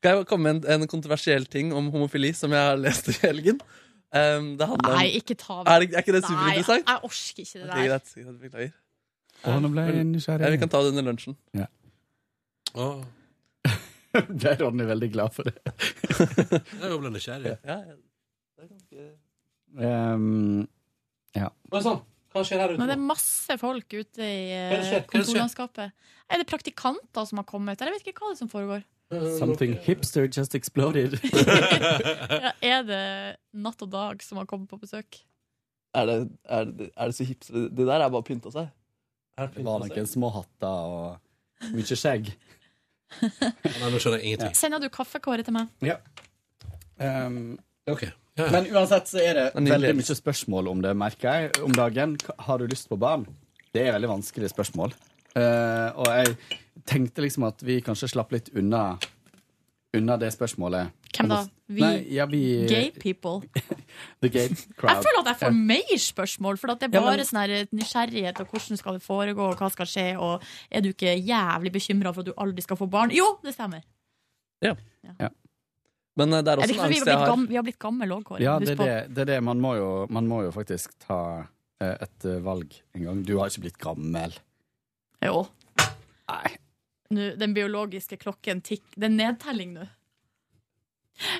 Kan jeg komme med en, en kontroversiell ting om homofili som jeg har lest i helgen? Um, det handler om Nei, ikke ta Er, det, er ikke det Nei, superinteressant? jeg orker ikke det Ok, der. greit, greit, beklager. Å, nå ble jeg Men- nysgjerrig. Ja, vi kan ta det under lunsjen. Ja. Åh. Ble Ronny veldig glad for det. Jeg ble nysgjerrig. Ja, Ehm, ja. Men sånn, hva skjer her ute? Men det er masse folk ute i eh, Hva er det skjer? Hva er det skjer? kontorlandskapet. Er det praktikanter som har kommet? Jeg vet ikke hva det er som foregår. Something hipster just exploded. Ja, er det natt og dag som har kommet på besøk? Er det, er, det, er det så hipt? Det der er bare pynta seg. Det var noen små hatter og mye skjegg. Nei, nå skjønner jeg ingenting. Sender du kaffekåre til meg? Ja. Ehm, Ja, ja. Men uansett så er det Det er nydelig. veldig mye spørsmål om det, merker jeg, om dagen. K- Har du lyst på barn? Det er veldig vanskelige spørsmål. Eh, og jeg tenkte liksom at vi kanskje slapp litt unna, unna det spørsmålet. Hvem da? Vi, Nei, ja, Eh, vi- gay people? The gay crowd. Jeg føler at jeg Ja. får mer spørsmål, for at det er Ja, bare men- sånn her nysgjerrighet og hvordan skal det foregå, og hva skal skje, og er du ikke jævlig bekymra for at du aldri skal få barn? Jo, det stemmer! Men eh, det er Er også det ikke fordi vi en angst har jeg blitt, har. gam, vi har blitt gammel òg, Kåre. Ja, Husk det er på. det. det, er det. Man, må jo, man må jo faktisk ta eh, et eh, valg en gang. Du har ikke blitt gammel. Jo. Nei. Nå, den biologiske klokken tikk Det er nedtelling nå.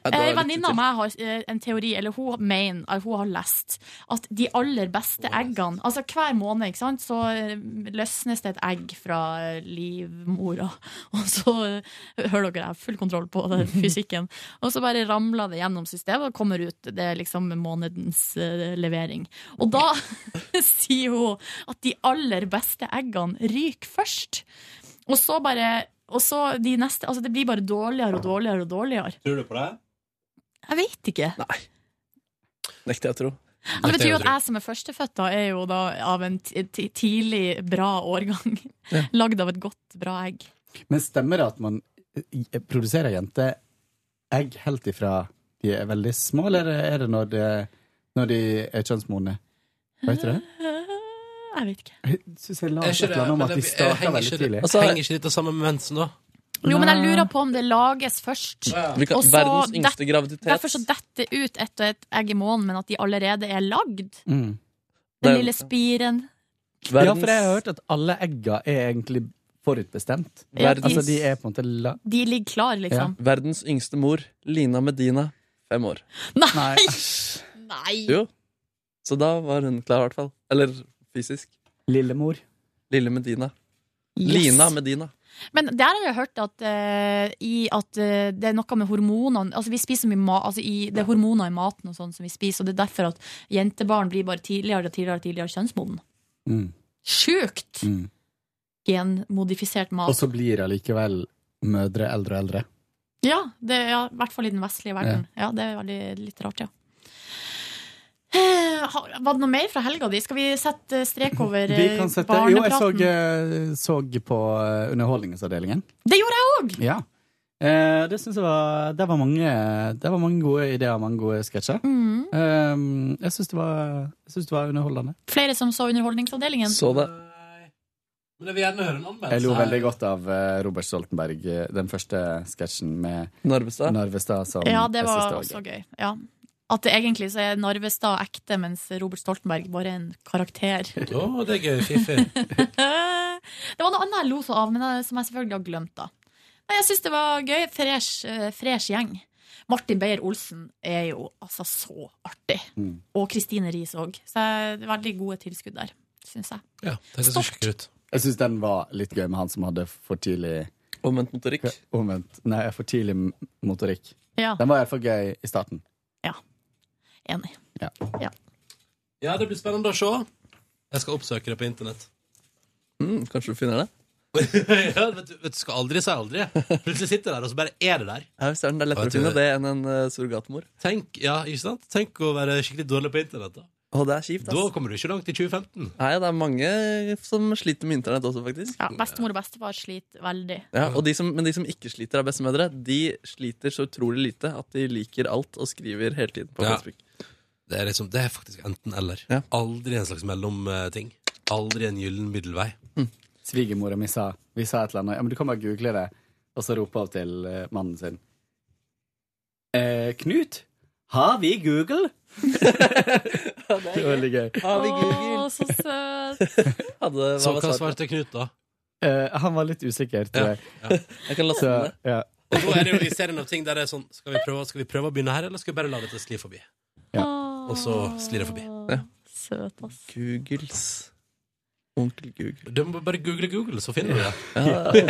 Ja, det var Eh, litt Venninna av til. meg har eh, en teori, eller hun mener, eller hun har lest, at de aller beste eggene Altså hver måned, ikke sant, så eh, løsnes det et egg fra eh, livmora. Og så eh, Hører dere, jeg har full kontroll på det, fysikken. Og så bare ramler det gjennom systemet og kommer ut. Det er liksom månedens eh, levering. Og da sier hun at de aller beste eggene ryker først. Og så bare Og så de neste Altså, det blir bare dårligere og dårligere og dårligere. Tror du på det? Jeg vet ikke. Nekter jeg å tro. Ja, det betyr jo at jeg som er førstefødt, da, er jo da av en ti- ti- tidlig bra årgang. Ja. Lagd av et godt, bra egg. Men stemmer det at man eh, produserer jenter egg helt ifra de er veldig små, eller er det når de, når de er kjønnsmodne? Vet du det? Jeg vet ikke. Jeg synes jeg la Er et ikke det- eller annet om at men de det- starter henger veldig ikke det- altså, tidlig. henger ikke dette sammen med mensen, da? Jo, men jeg lurer på om det lages først. Vi kan- og så verdens yngste det- graviditet. Derfor så detter ut ett og ett egg i måneden, men at de allerede er lagd. Mm. Den lille spiren. Ja, for jeg har hørt at alle egga er egentlig forutbestemt. Ja, de- Altså, de er på en måte la... De ligger klar, liksom. Verdens yngste mor, Lina Medina, fem år. Nei! Nei. Jo. Så da var hun klar, i hvert fall. Eller fysisk. Lillemor. Lille Medina. Yes. Lina Medina. Men der har jeg hørt at, eh, i at eh, det er noe med hormonene Altså, vi spiser mye mat altså i, Det er hormoner i maten og sånn som vi spiser, og det er derfor at jentebarn blir bare tidligere og tidligere, og tidligere kjønnsmoden. Mm. Sjukt! Mm. Genmodifisert mat. Og så blir allikevel mødre eldre og eldre. Ja, det, ja, i hvert fall i den vestlige verden. Ja, Det er veldig, litt rart, ja. Eh, ha- Var det noe mer fra helga di? Skal vi sette strek over Vi eh, kan sette, jo, jeg så, barnepraten? eh, så på eh, Underholdningsavdelingen. Det gjorde jeg òg! Ja. Eh, det syns jeg var Det var mange, det var mange gode ideer og mange gode sketsjer. Mm. Eh, jeg syns det, var- jeg syns det var underholdende. Flere som så Underholdningsavdelingen. Men jeg vil gjerne høre en anmeldelse. Jeg lo veldig godt av eh, Robert Stoltenberg, eh, den første sketsjen med Narvestad. som Ja, det jeg var synes også gøy. Ja. At det egentlig så er Narvestad ekte, mens Robert Stoltenberg bare er en karakter. Å, det er gøy. Fiffig. Det var noe annet jeg lo så av, men eh, som jeg selvfølgelig har glemt. da Nei, Jeg syns det var gøy. Fresh, eh, fresh gjeng. Martin Beyer-Olsen er jo altså så artig. Mm. Og Kristine Riis òg. Så det er veldig gode tilskudd der, syns jeg. Ja, det ser Stopp. sjukt ut. Jeg syns den var litt gøy med han som hadde for tidlig Omvendt motorikk? Omvendt, nei, for tidlig m- motorikk. Ja. Den var iallfall gøy i starten. Enig. Ja. Ja, det blir spennende å se. Jeg skal oppsøke det på internett. Mm, kanskje du finner det? ja, vet du, vet du, skal aldri si aldri. Plutselig sitter det der, og så bare er det der. Ja, hvis det er den, det er Har lettere å du- finne det enn en eh, surrogatmor. Tenk, ja, ikke sant? Tenk å være skikkelig dårlig på internett, da. Å, det er kjipt, ass. Da kommer du ikke langt i 2015. Nei, det er mange som sliter med internett også, faktisk. Ja, bestemor og bestefar sliter veldig. Ja, og de som, men de som ikke sliter av bestemødre, de sliter så utrolig lite at de liker alt og skriver hele tiden på Ja. Facebook. Det er, liksom, det er faktisk enten-eller. Aldri en slags mellomting. Aldri en gyllen middelvei. Svigermora mi sa Vi sa et eller annet. Ja, men du kan bare google det. Og så roper hun til eh, mannen sin. Eh, Knut, har vi Google? det var veldig gøy. Har vi Google? Å, så søt! Hadde, Så hva svarte Knut, da? Eh, han var litt usikker, tror jeg. Jeg kan laste Så, ned det. ja. Og da er det jo i serien av ting der det er sånn Skal vi prøve, skal vi prøve å begynne her, eller skal vi bare la dette skli forbi? Ja. Og så sklir det forbi. Søt, ass. Googles. Onkel Google. Du må bare google Google, så finner du det.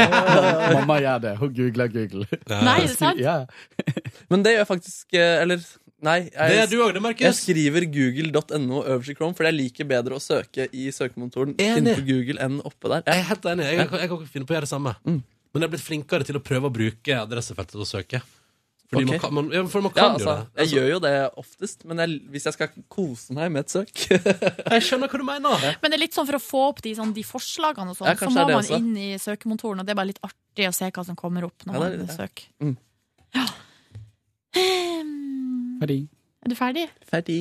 Mamma gjør det. Hun googler Google. Nei, er det sant? Ja. Men det gjør jeg faktisk eh, Eller, nei. Jeg, Det er du også, det, Markus. Jeg skriver google.no øverst i Chrome, fordi jeg liker bedre å søke i søkemotoren inne på Google enn oppe der. Jeg er helt enig. Jeg, jeg, kan ikke finne på å gjøre det samme. Mm. Men jeg er blitt flinkere til å prøve å bruke adressefeltet til å søke. Fordi man Ok. kan, man, ja, for man kan ja, altså, jo det. Jeg gjør jo det oftest, men jeg, hvis jeg skal kose meg med et søk Jeg skjønner hva du mener. Men det er litt sånn for å få opp de, sånn, de forslagene og sånn, Ja, så kanskje må det er man det også. inn i søkemotoren, og det er bare litt artig å se hva som kommer opp når Ja, det er man det. søker. Mm. Ferdig. Ehm, Er du ferdig? Ferdig.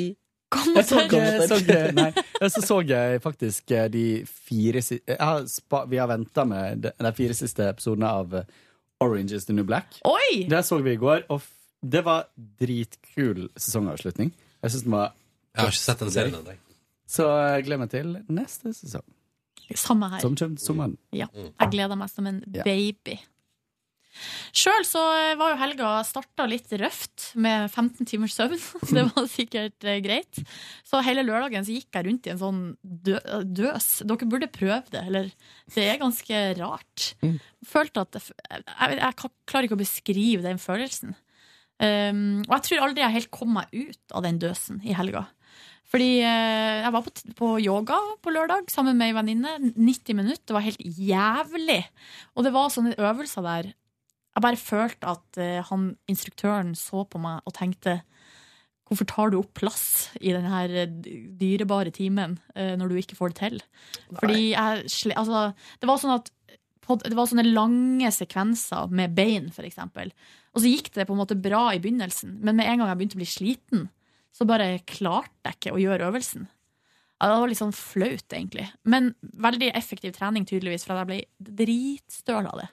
Jeg så, Kommentar. jeg så, nei, jeg så, så jeg faktisk eh, de fire si- jeg har spa, Vi har venta med de, de fire siste episodene av eh, Orange is the New Black. Oi! Det så vi i går, og f det var dritkul sesongavslutning. Jeg synes den var Jeg har ikke sett den serien ennå. Så jeg gleder meg til neste sesong, Samme her. som kommer sommeren. Ja. Jeg gleder meg som en Ja. baby. Sjøl så var jo helga starta litt røft med 15 timers søvn. Det var sikkert eh, greit. Så hele lørdagen så gikk jeg rundt i en sånn dø døs. Dere burde prøve det, eller Det er ganske rart. Følte at Jeg, jeg, jeg kan- klarer ikke å beskrive den følelsen. Um, og jeg tror aldri jeg helt kom meg ut av den døsen i helga. Fordi eh, jeg var på, t- på yoga på lørdag sammen med ei venninne. 90 minutter. Det var helt jævlig. Og det var sånne øvelser der. Jeg bare følte at eh, han instruktøren så på meg og tenkte Hvorfor tar du opp plass? i denne her eh, dyrebare timen eh, når du ikke får det til. Fordi jeg sle- Altså, det var sånn at pod- det var sånne lange sekvenser med bein, for eksempel. Og så gikk det på en måte bra i begynnelsen, men med en gang jeg begynte å bli sliten, så bare klarte jeg ikke å gjøre øvelsen. Ja, det var litt sånn flaut, egentlig. Men veldig effektiv trening, tydeligvis, for jeg ble dritstøl av det.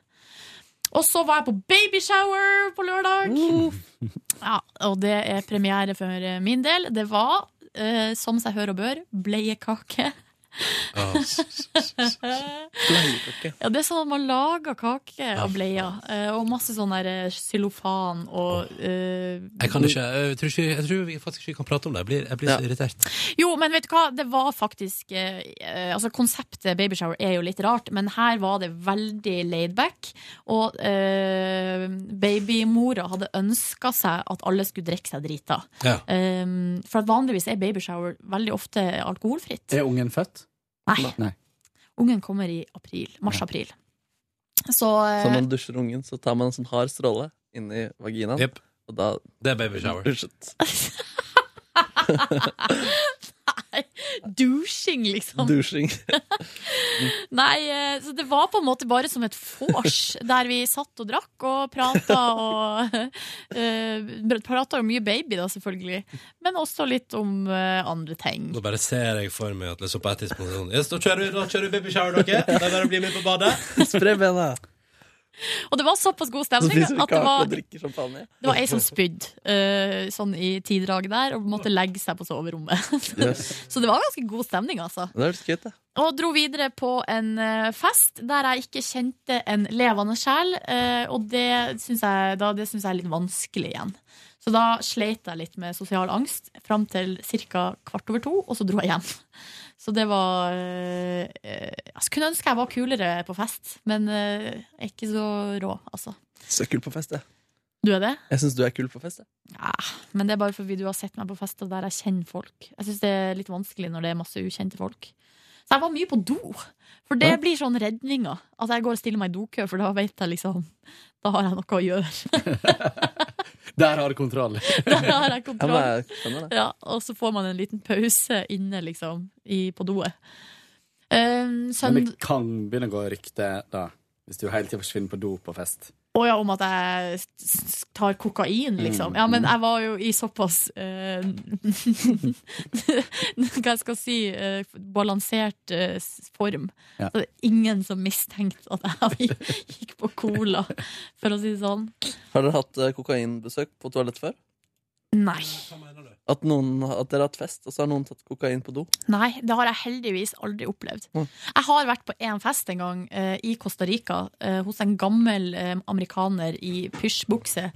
Og så var jeg på babyshower på lørdag. Ja, og det er premiere for min del. Det var, eh, som seg hør og bør, bleiekake. Ja, det er sånn at man lager kake Ja, av bleier. eh, Og masse sånn der eh, xylofan og eh, Jeg Mm. kan ikke, jeg tror, ikke, jeg tror vi faktisk ikke vi kan prate om det. Jeg blir, jeg blir så irritert. Jo, men vet du hva? Det var faktisk eh, eh, Altså, konseptet babyshower er jo litt rart, men her var det veldig laidback. Og eh, babymora hadde ønska seg at alle skulle drikke seg drita. Ja. Eh, for at vanligvis er babyshower veldig ofte alkoholfritt. Er ungen født? Nei. Ungen kommer i april. Mars-april. Så, eh, Så når man dusjer ungen, så tar man en sånn hard stråle inn i vaginaen. Og da Det er babyshower. Douching, liksom. Dusjing. Nei, eh, så det var på en måte bare som et vors, der vi satt og drakk og prata og uh, Prata om mye baby, da, selvfølgelig, men også litt om eh, andre ting. Nå bare ser jeg for meg at liksom på et tidspunkt sånn yes, Da kjører vi, da kjører vi babyshower, dere. Det er bare å bli med på badet. Spre bena. Altså, Og det var såpass god Så stemning spiser vi at det kake og var, drikker champagne. det var ei som spydde eh, sånn i tiddraget der, og måtte legge seg på soverommet. Yes. så det var ganske god stemning, altså. Det hørtes gøy ut, da. Og dro videre på en eh, fest der jeg ikke kjente en levende sjel. eh, Og det syns jeg, da- det synes jeg er litt vanskelig igjen. Så da sleit jeg litt med sosial angst fram til ca. kvart over to, og så dro jeg hjem. Så det var eh, eh, Jeg skulle ønske jeg var kulere på fest, men eh, jeg er ikke så rå, altså. Så kul på fest, jeg. Du er det? Jeg syns du er kul på fest. jeg. Ja, Ah, men det er bare fordi du har sett meg på fester der jeg kjenner folk. Jeg syns det er litt vanskelig når det er masse ukjente folk. Så jeg var mye på do, for det Ja. blir sånn redninga. At jeg går og stiller meg i dokø, for da vet jeg liksom Da har jeg noe å gjøre. Der har du kontroll. Der har jeg Ja, kontroll. men jeg skjønner det. Ja, og så får man en liten pause inne, liksom, i, på doet. Um, Men sønd... det kan begynne å gå rykte da, hvis du hele tiden forsvinner på do på fest. Å ja, om at jeg s- s- tar kokain, liksom. Mm. Ja, men jeg var jo i såpass eh, Hva jeg skal si eh, balansert eh, s- form. Ja. Så det er ingen som mistenkte at jeg gikk- gikk på cola, for å si det sånn. Har dere hatt eh, kokainbesøk på toalett før? Nei. At, noen, at dere har hatt fest, og så har noen tatt kokain på do? Nei, det har jeg heldigvis aldri opplevd. Mm. Jeg har vært på én fest en gang eh, i Costa Rica eh, hos en gammel eh, amerikaner i pysjbukse.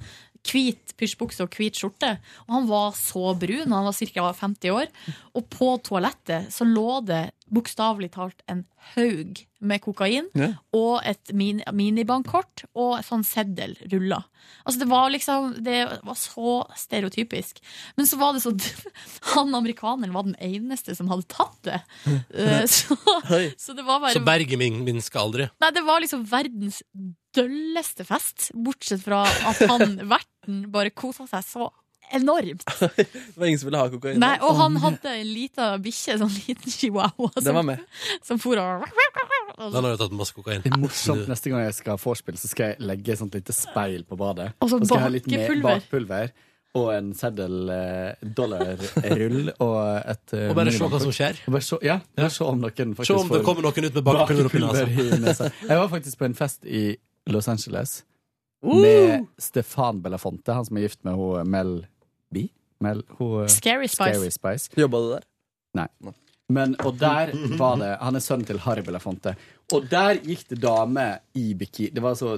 Hvit pysjbukse og hvit skjorte. Og han var så brun, han var ca. 50 år. Og på toalettet så lå det bokstavelig talt en haug med kokain Ja. og et min, minibankkort og en sånn seddel rulla. Altså det var liksom Det var så stereotypisk. Men så var det så Han amerikaneren var den eneste som hadde tatt det. Eh, Så, Hei. så det var Så bare Bergen min minsker aldri. Nei, det var liksom verdens dølleste fest, bortsett fra at han verten bare kosa seg så enormt. Det var ingen som ville ha kokain. Nei, da. og han hadde en lita bikkje, sånn liten chihuahua, Den var med. som for og og så- har jo tatt masse kokain. Det er morsomt. Neste gang jeg skal ha vorspiel, så skal jeg legge et sånt lite speil på badet. Og så Da skal jeg ha litt med- bakepulver. bakpulver. Og en seddel, eh, dollarrull og et eh, Og bare se minibankkort. hva som skjer. Og bare se, ja, bare se om noen faktisk Se om det får kommer noen ut med bakpulver oppi nesa. bakepulver i nesa. Jeg var faktisk på en fest i Los Angeles Uh! med Stefan Belafonte, han som er gift med ho, Mel B. Mel, ho, Scary Spice. Scary Spice. Jobba du der? Nei. Men, og der var det Han er sønnen til Harry Belafonte. Og der gikk det damer i bikini. Det var så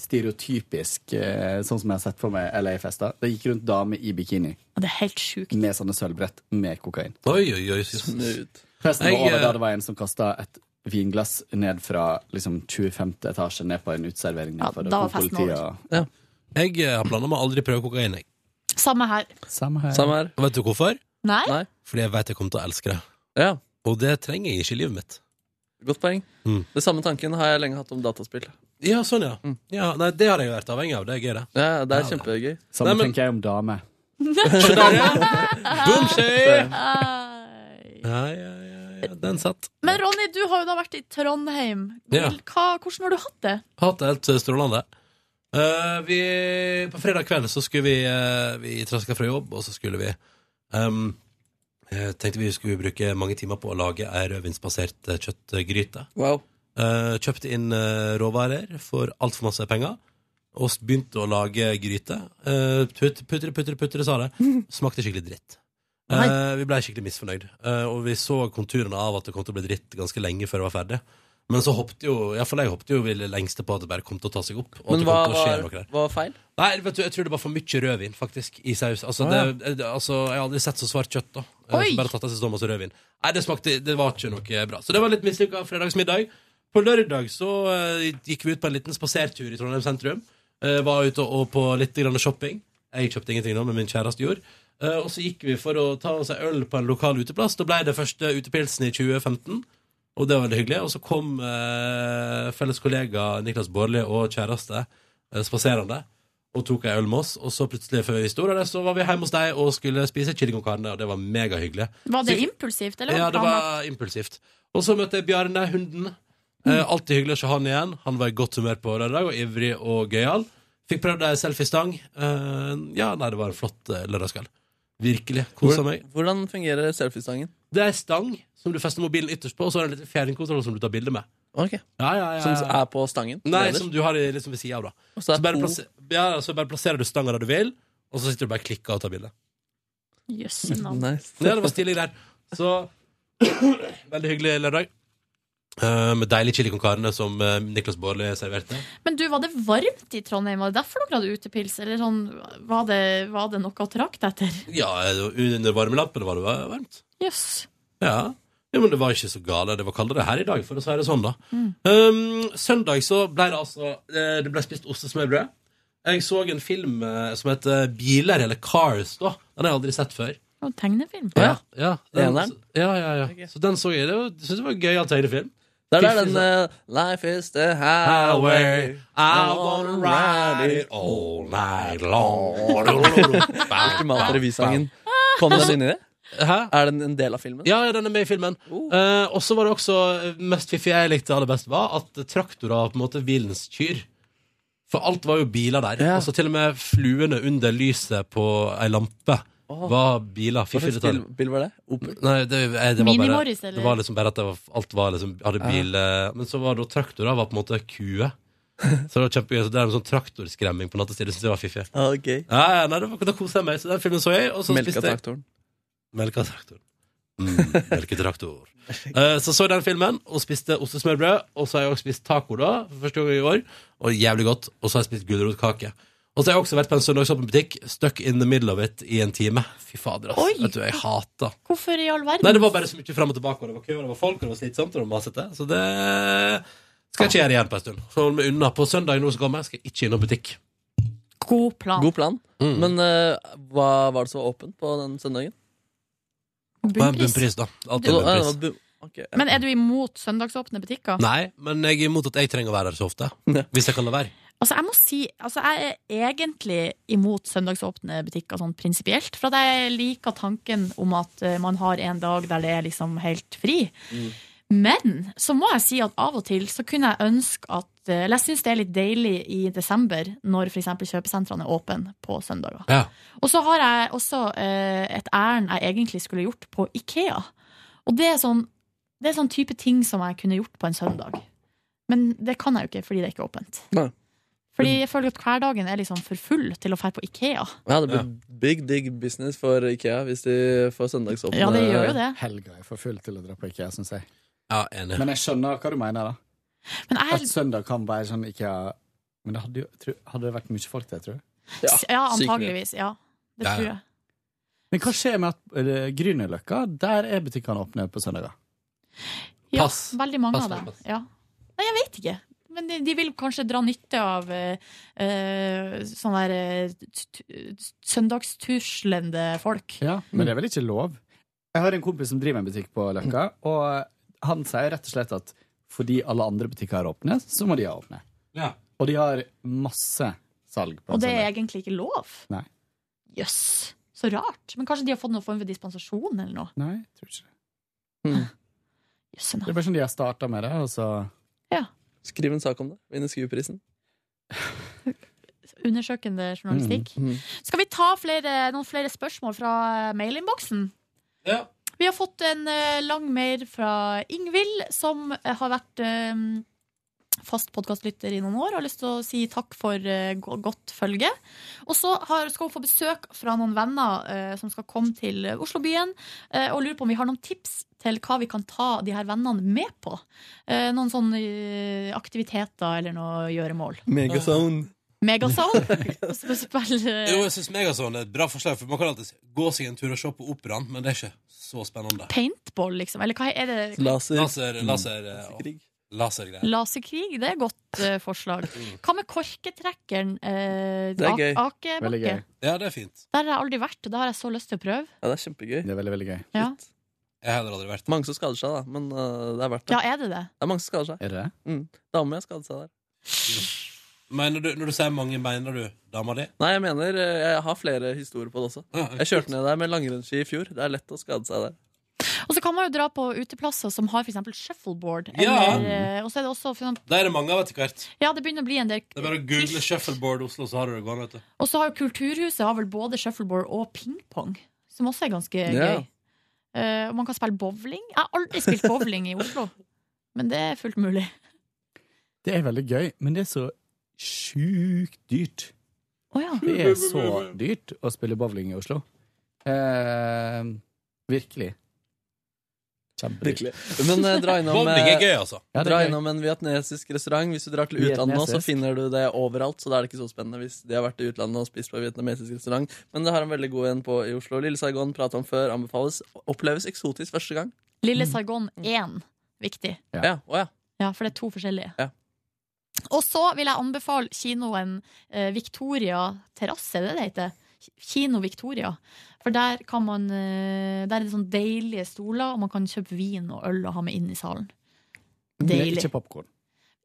stereotypisk, eh, sånn som jeg har sett for meg LA-fester. Det gikk rundt damer i bikini. Og det er helt sjukt. Med sånne sølvbrett med kokain. Oi, oi, oi. Snudd. Festen Jeg, var over eh, der det var en som kasta et vinglass ned fra liksom 25. etasje ned på en uteservering. Ja, da var festen over. Ja. Jeg eh, har planer om å aldri prøve kokain. Jeg. Samme her. Samme Og Vet du hvorfor? Nei? Fordi jeg vet jeg kommer til å elske det. Og det trenger jeg ikke i livet mitt. Godt poeng. Mm. Det samme tanken har jeg lenge hatt om dataspill. Ja, Mm. sånn, ja. ja nei, det har jeg vært avhengig av. Det er gøy, det. Ja, det er kjempegøy. Samme tenker jeg om damer. Se der, ja. Ah! Boom, skje. Ja, ja, ja, ja. Den satt. Men Ronny, du har jo da vært i Trondheim. Ja. Hva, hvordan har du hatt det? Hatt det helt eh, strålende. Eh, vi, på fredag kveld så skulle vi eh, Vi traska fra jobb, og så skulle vi ehm, eh, Tenkte vi skulle bruke mange timer på å lage ei rødvinsbasert eh, kjøttgryte. Eh, kjøpte inn eh, råvarer for altfor masse penger. Og s- begynte å lage gryte. Eh, put- putre, putre, putre, sa det. Smakte skikkelig dritt. Nei. Eh, vi ble skikkelig misfornøyd. Eh, og vi så konturene av at det kom til å bli dritt ganske lenge før det var ferdig. Men så hoppet jo i hvert fall jeg hoppet jo det lengste på at det bare kom til å ta seg opp. Og at Men det hva kom til å skje var, noe der. hva var feil? Nei, vet du, jeg tror det var for mye rødvin, faktisk, i saus. Altså, Ah, ja. det, det- altså, jeg har aldri sett så svart kjøtt, da. Eh, Oi! som Bare tatt av seg så masse rødvin. Nei, det smakte Det var ikke noe bra. Så det var litt mislykka fredagsmiddag. På lørdag så eh, gikk vi ut på en liten spasertur i Trondheim sentrum. Eh, var ute og, og på litt grann shopping. Jeg kjøpte ingenting nå, men min kjæreste gjorde. Eh, og så gikk vi for å ta oss en øl på en lokal uteplass. Da ble det første utepilsen i 2015. Og det var veldig hyggelig. Og så kom eh, felles kollega Niklas Bårli og kjæreste eh, spaserende og tok ei øl med oss. Og så plutselig før vi sto der, så var vi hjemme hos deg og skulle spise chili con carne, og det var megahyggelig. Var det Så- impulsivt, eller? Ja, det planlagt? var impulsivt. Og så møtte jeg Bjarne, hunden. Eh, alltid hyggelig å se han igjen. Han var i godt humør på lørdag, og ivrig og gøyal. Fikk prøvd ei selfiestang. Eh, ja, nei, det var en flott eh, lørdagskveld. Virkelig. Kosa Hvordan- meg. Hvordan fungerer selfiestangen? Det er ei stang som du fester mobilen ytterst på, og så er det en liten fjernkontroll som du tar bilde med. Ja, ja, ja, ja. Som er på stangen? Nei, nederst? som du har i- liksom ved sida av, da. Og Så så er bare, to- plasser, ja, så bare plasserer du stanga der du vil, og så sitter du bare og klikker og tar bilde. Jøsse navn. Nice. Ja, det var stilig der. Så Veldig hyggelig lørdag. Eh, med deilig chili con carne som eh, Niklas Baarli serverte. Men du, var det varmt i Trondheim? Var det derfor dere hadde utepils? Eller sånn, var det, var det noe å trakte etter? Ja, eh, under varmelappene var det va- varmt. Jøss. Ja. ja, men det var ikke så gale. Det var kaldere her i dag, for å si det sånn, da. Mm. Um, søndag så ble det altså eh, Det ble spist ostesmørbrød. Jeg så en film eh, som heter Biler, eller Cars, da. Den har jeg aldri sett før. Det var en tegnefilm. Ja, ja, den, Eneren? ja, ja, ja. Så den så jeg. Det var- jeg synes det var en gøyal tegnefilm. Der er den eh, Life is the highway I wanna ride it all night long Hvilken mat er revysangen? Ah. Kom den inn i det? Er den en del av filmen? Ja, ja, den er med i filmen. Eh, og så var det også eh, mest fiffige jeg likte aller best, var at traktorer var på en måte bilens kyr. For alt var jo biler der. Og så til og med fluene under lyset på ei lampe Åh. var biler. Hva Fiffig slags bil, detalj. bil var det? Opel? Nei, det, eh, det var Mini bare, Morris, eller? det var liksom bare at det var, alt var liksom, hadde Ja. bil eh, Men så var det jo traktorer var på en måte kuer. Så det var kjempegøy. Så det er en sånn traktorskremming på nattestid. Det synes jeg var fiffig. Ok. Ja, ja, nei, det var, da koset jeg meg. Så den filmen så jeg, og så spiste jeg Melkatraktoren. Melkatraktor. Mm, melketraktor. Eh, så så jeg den filmen og spiste ostesmørbrød. Og så har jeg også spist taco da, for første gang i år. Og jævlig godt. Og så har jeg spist gulrotkake. Og så har jeg også vært på en søndagsåpen butikk, stuck in the middle of it, i en time. Fy fader, ass. Vet du, jeg hater. Hvorfor i all verden? Nei, det var bare så mye fram og tilbake, og det var kø, og det var folk, og det var slitsomt, og det var masete. Så det skal jeg ikke gjøre igjen på en stund. Så hold meg unna. På søndag nå som kommer, skal jeg ikke innom butikk. Mm. God plan. God plan. Men eh, hva var det som var åpent på den søndagen? Bunnpris. Bunnpris, da. Alltid Å, ja, det bunnpris. var bu- eh, ok. Men er du imot søndagsåpne butikker? Nei, men jeg er imot at jeg trenger å være her så ofte. Hvis jeg kan la være. Altså, jeg må si altså, Jeg er egentlig imot søndagsåpne butikker sånn prinsipielt. For at jeg liker tanken om at eh, man har en dag der det er liksom helt fri. Men så må jeg si at av og til så kunne jeg ønske at eh, Eller jeg syns det er litt deilig i desember når f.eks. kjøpesentrene er åpne på søndager. Ja. Og så har jeg også eh, et ærend jeg egentlig skulle gjort på Ikea. Og det er, sånn, det er sånn type ting som jeg kunne gjort på en søndag. Men det kan jeg jo ikke fordi det er ikke åpent. Fordi jeg føler at hverdagen er liksom for full til å dra på Ikea. Ja, det blir big digg business for Ikea hvis de får søndagsåpne. Ja, det gjør jo det. Helga er for full til å dra på IKEA, syns jeg. Ja, enig. Men jeg skjønner hva du mener, da. At søndag kan være sånn IKEA Men det hadde, jo, tror- hadde det vært mye folk der, tror du? Ja, antageligvis. Ja, det Ja, ja. tror jeg. Men hva skjer med at eh, Grünerløkka, der er butikkene åpne på søndager? Ja, Pass. Veldig mange Pass, av dem. pass, Ja. Nei, jeg vet ikke. Men de, de vil kanskje dra nytte av eh, eh, sånn der eh, t- t- søndagstuslende folk. Ja, men det er vel ikke lov? Jeg har en kompis som driver en butikk på Løkka, og han sier rett og slett at fordi alle andre butikker har åpne, så må de ha åpne. Ja. Og de har masse salg på Og det søndag. er egentlig ikke lov. Nei. Jøss. Så rart. Men kanskje de har fått noen form for dispensasjon eller noe? Nei, jeg tror ikke det. Det er bare sånn de har starta med det, og så Skriv en sak om det. Vinne Skueprisen. Undersøkende journalistikk. Mm, Skal vi ta flere, noen flere spørsmål fra eh, mailinnboksen? Ja. Vi har fått en eh, lang mail fra Ingvild, som eh, har vært eh, fast podkastlytter i noen år og har lyst til å si takk for eh, go- godt følge. Og så har, skal hun få besøk fra noen venner eh, som skal komme til eh, Oslobyen, eh, og lurer på om vi har noen tips til hva vi kan ta de her vennene med på. Eh, noen sånne eh, aktiviteter eller noe gjøremål. Megazone. Megazone. Og så spille- eh, Jo, jeg syns Megazone er et bra forslag, for man kan alltid gå seg en tur og se på operaen, men det er ikke så spennende. Paintball, liksom? Eller hva er det? Laser. Laser, laser, og- Lasergreier. Laserkrig, det er et godt eh, forslag. Hva med korketrekkeren? Eh, Det er gøy. ak- akebakke? Ja, det er fint. Der har jeg aldri vært, og det har jeg så lyst til å prøve. Ja, det er kjempegøy. Det er veldig, veldig gøy. Ja, Jeg har heller aldri vært Mange som skader seg, da, men øh, det er verdt det. ja er det det? Det er mange som skader seg. Er det? Mm. Dame jeg skadet seg der. Mener du, når du sier mange, mener du dama di? Nei, jeg mener øh, Jeg har flere historier på det også. Jeg kjørte ned der med langrennsski i fjor. Det er lett å skade seg der. Og så kan man jo dra på uteplasser som har for eksempel shuffleboard. Ja. Eller, eh, og så er det også for eksempel, Det er det mange av etter hvert. Ja, det begynner å bli en del Det er bare å google shuffleboard Oslo, så har du det gående. vet du. Og så har jo Kulturhuset har vel både shuffleboard og pingpong, som også er ganske Ja. gøy. Eh, og man kan spille bowling. Jeg har aldri spilt bowling i Oslo, men det er fullt mulig. Det er veldig gøy, men det er så sjukt dyrt. ja. Det er så dyrt å spille bowling i Oslo. Eh, virkelig. Kjempedyrt. Men øh, dra innom Bowling er øh, gøy, altså. Ja, det er Dra gøy. innom en vietnamesisk restaurant. Hvis du drar til utlandet nå, så Vietnamesisk. finner du det overalt. Så da er det ikke så spennende hvis de har vært i utlandet og spist på en vietnamesisk restaurant. Men det har en veldig god en på i Oslo. Lille Saigon prata om før. Anbefales. Oppleves eksotisk første gang. Lille Saigon 1, viktig. Ja, ja. Å, ja. Ja, for det er to forskjellige. Ja. Og så vil jeg anbefale kinoen eh, Victoria Terrasse, er det det heter? Kino Victoria. For der, kan man, eh, der er det sånn deilige stoler, og man kan kjøpe vin og øl og ha med inn i salen. Men Deilig. Ikke popkorn.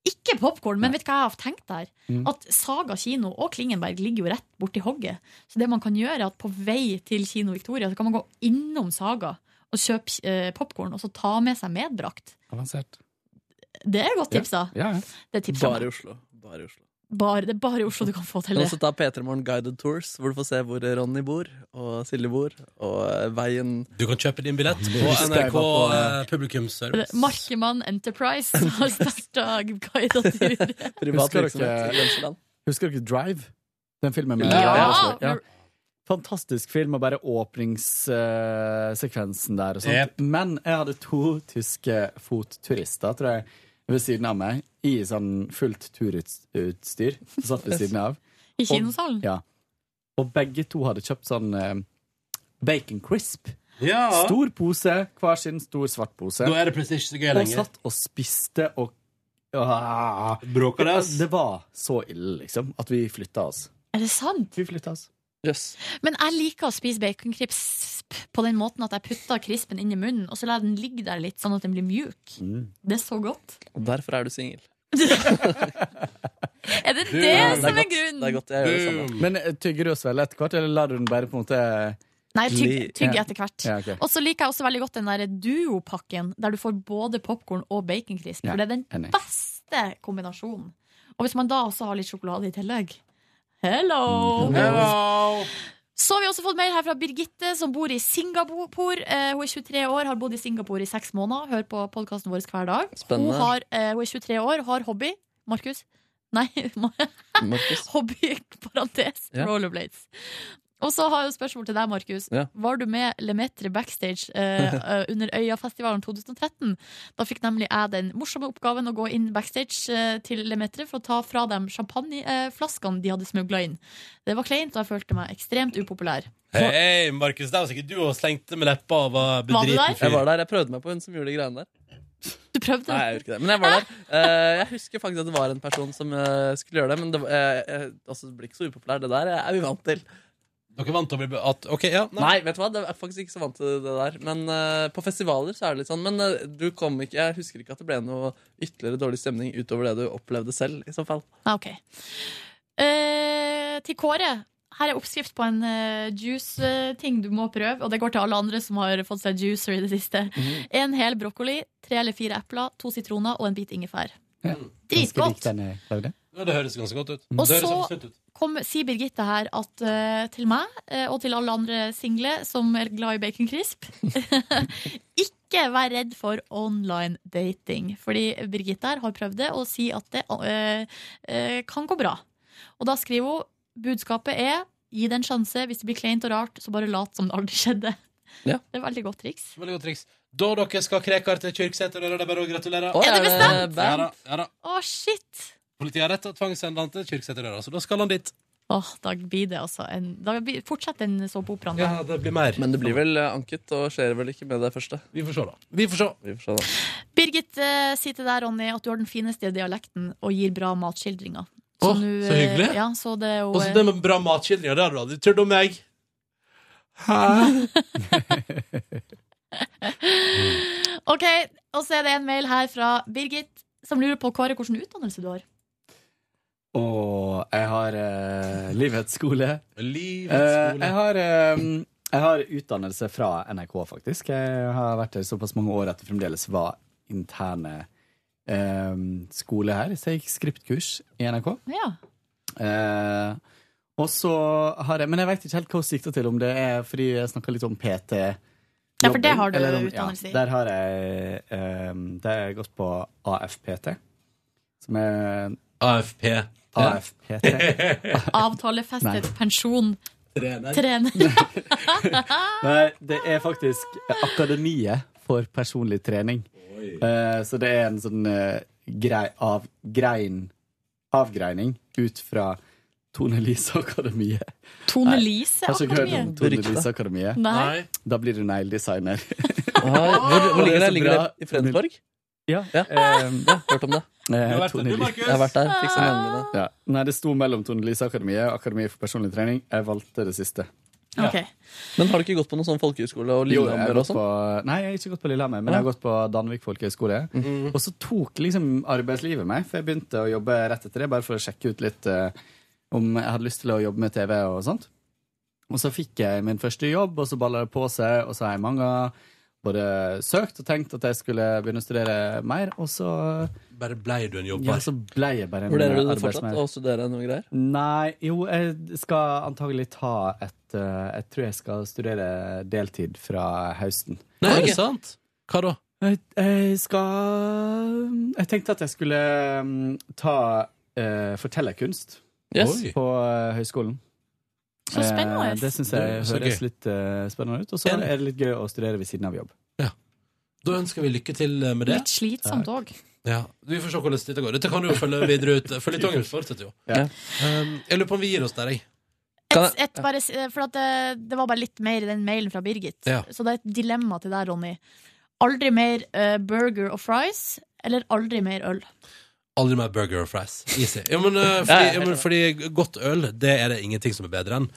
Ikke popkorn, men vet du hva jeg har tenkt der? Mm. At Saga kino og Klingenberg ligger jo rett borti hogget. Så det man kan gjøre, er at på vei til Kino Victoria så kan man gå innom Saga og kjøpe eh, popkorn, og så ta med seg medbrakt. Avansert. Det er et godt tips, da. Ja, ja. Det er tips fra Bare i meg. Oslo. Bare i Oslo. Bare, det er bare i Oslo du kan få Du til kan det. også ta P3 Morgen Guided Tours, hvor du får se hvor Ronny bor, og Silje bor, og eh, veien Du kan kjøpe din billett på Og NRK eh, Publikumsservice. Markemann Enterprise har starta guida tur. Husker virksomhet i dere, husker dere Drive? Den filmen med Ja! Ryan Gosling? Fantastisk film, og bare åpningssekvensen der og sånt. Jep. Men jeg hadde to tyske fotturister, tror jeg, ved siden av meg, i sånn fullt turutstyr. som Satt ved siden av. I Og- kinosalen? Ja. Og begge to hadde kjøpt sånn eh, bacon crisp. Ja. Stor pose, hver sin stor svart pose. Da er det plutselig ikke så gøy lenger. Og satt og spiste og ah, Bråka det, løs. det var så ille, liksom, at vi flytta oss. Er det sant? Vi flytta oss. Men jeg liker å spise baconcrisp på den måten at jeg putter crispen inn i munnen, og så lar jeg den ligge der litt, sånn at den blir mjuk. Mm. Det er så godt. Og derfor er du singel. Er det Boom. det Ja, det er som er godt. grunnen? Mm. Men eh, tygger du og svelger etter hvert, eller lar du den bare på en måte eh, Nei, tygg, tygg etter hvert. Ja, ok. Og så liker jeg også veldig godt den der duo-pakken, der du får både popkorn og baconcrisp. Ja, For det er den enig. beste kombinasjonen. Og hvis man da også har litt sjokolade i tillegg Hello! Mm, Så har vi også fått mail her fra Birgitte, som bor i Singapore. Eh, hun er 23 år, har bodd i Singapore i seks måneder. Hører på podkasten vår hver dag. Spennende. Hun, har, eh, hun er 23 år, har hobby. Markus? Nei, hobby, parentes, Ja. rollerblades. Og så har jeg et spørsmål til deg, Markus. Ja. Var du med Lemaitre backstage eh, eh, under Øyafestivalen 2013? Da fikk nemlig jeg den morsomme oppgaven å gå inn backstage eh, til Lemaitre for å ta fra dem champagneflaskene de hadde smugla inn. Det var kleint, og jeg følte meg ekstremt upopulær. Hei, Markus. Der var sikkert du og slengte med leppa og var Var du bedriten der? Jeg var der, jeg prøvde meg på hun som gjorde de greiene der. Du prøvde? Nei, jeg gjorde ikke det. Men jeg var der. Eh, jeg husker faktisk at det var en person som eh, skulle gjøre det, men det, var- eh, eh, altså, det blir ikke så upopulær. Det der er vi vant til. Dere vant til å bli be- at, Ok, ja. Nei. vet du hva? Det er faktisk ikke så vant til det der. Men eh, på festivaler så er det litt sånn. Men eh, du kom ikke Jeg husker ikke at det ble noe ytterligere dårlig stemning utover det du opplevde selv, i så fall. Ah, ok. Eh, Ah, til Kåre. Her er oppskrift på en eh, juice-ting du må prøve, og det går til alle andre som har fått seg juicer i det siste. Mhm. En hel brokkoli, tre eller fire epler, to sitroner og en bit ingefær. Ja. Dritgodt. Ganske lik den eh, jeg lagde. Ja, det høres ganske godt ut. Og Det høres liksom så- absolutt ut. Kom, sier Birgitte her at eh, til meg, eh, og til alle andre single som er glad i bacon crisp Ikke vær redd for online dating. Fordi Birgitte her har prøvd det, og sier at det eh, eh, kan gå bra. Og da skriver hun budskapet er gi det en sjanse. Hvis det blir kleint og rart, så bare lat som det aldri skjedde. Ja. Det er et veldig godt triks. Veldig godt triks. Da dere skal ha krekar til Kyrksæter, da er det bare å gratulere. Å, Er det er det bestemt? Ja da, ja da. Å, shit! Politiet har rett til å tvangssende han til Kyrksæterøra, så da skal han dit. Åh, da blir det altså en Da blir, Fortsett den såpeoperaen. Ja, det blir mer. Men det blir vel eh, anket, og skjer vel ikke med det første. Vi får se, da. Vi får se. da. Birgit eh, sier til deg, Ronny, at du har den fineste dialekten og gir bra matskildringer. Å, du, så eh, hyggelig. Ja, så det er jo, Og så det med bra matskildringer, det har du aldri trodd om meg. eh, Ok, og så er det en mail her fra Birgit, som lurer på Kåre, hvilken utdannelse du har. Og jeg har eh, livets skole. Livets skole. Eh, jeg, har, eh, jeg har utdannelse fra NRK, faktisk. Jeg har vært her såpass mange år at det fremdeles var interne eh, skole her, så jeg gikk skriptkurs i NRK. Ja. Eh, og så har jeg Men jeg veit ikke helt hva det sikter til, om det er fordi jeg snakka litt om PT. Ja, for det har du eller om- utdannelse i. ja, Der har jeg eh, Der har jeg gått på AFPT, som er AFP. AFPT. Avtalefestet Nei. pensjon. Trener. Nei, det er faktisk Akademiet for personlig trening. Eh, så det er en sånn eh, grei, av, grein, avgreining ut fra Tone Lise Akademiet. Tone Nei, Lise Har ikke hørt om Akademiet? Tone Beryktet. Lise Akademiet? Nei. Da blir du negledesigner. hvor- hvor ligger det? Ligger det i Fredensborg? Ja. Um, ja, hørt om det. Eh, vært der, Tone du, Lise- Markus? Jeg har vært der, fikk seg navnene. Ja. Nei, det sto mellom Tone Lise Akademiet og Akademiet for personlig trening. Jeg valgte det siste. Ja. Ok. Men har du ikke gått på noen sånn folkehøyskole og Jo, jeg har Lillehammer og gått sånn? på, nei, jeg har ikke gått på Lillehammer, Ja. men jeg har gått på Danvik folkehøgskole. Mhm. Og så tok liksom arbeidslivet meg, for jeg begynte å jobbe rett etter det, bare for å sjekke ut litt eh, om jeg hadde lyst til å jobbe med TV og sånt. Og så fikk jeg min første jobb, og så balla det på seg, og så har jeg mange både søkt og tenkt at jeg skulle begynne å studere mer, og så Bare blei du en jobber. ja, så ble jeg bare en eh, Vurderer du det arbeidsmer. fortsatt å studere noe greier? Nei, jo, jeg skal antagelig ta et eh, Jeg tror jeg skal studere deltid fra høsten. Nei, er det sant? Hva da? Jeg, jeg skal Jeg tenkte at jeg skulle mm, ta eh, fortellerkunst Yes. Oi. på eh, høyskolen. Så spennende. Eh, det syns Det jeg er så gøy. høres litt eh, spennende ut. Og så er det litt gøy å studere ved siden av jobb. Da ønsker vi lykke til eh, med det. Litt slitsomt òg. Ja, Vi får se hvordan dette går. Dette kan du jo følge videre ut. Føljetongen fortsetter jo. Ja. Um, jeg lurer på om vi gir oss der, jeg. Et, et bare, s- for at det, det var bare litt mer i den mailen fra Birgit. Ja. Så det er et dilemma til deg, Ronny. Aldri mer eh, burger og fries, eller aldri mer øl. Aldri mer burger og fries. Easy. Ja, men, eh, Ja, fordi, ja, ja, men, fordi godt øl, det er det ingenting som er bedre enn.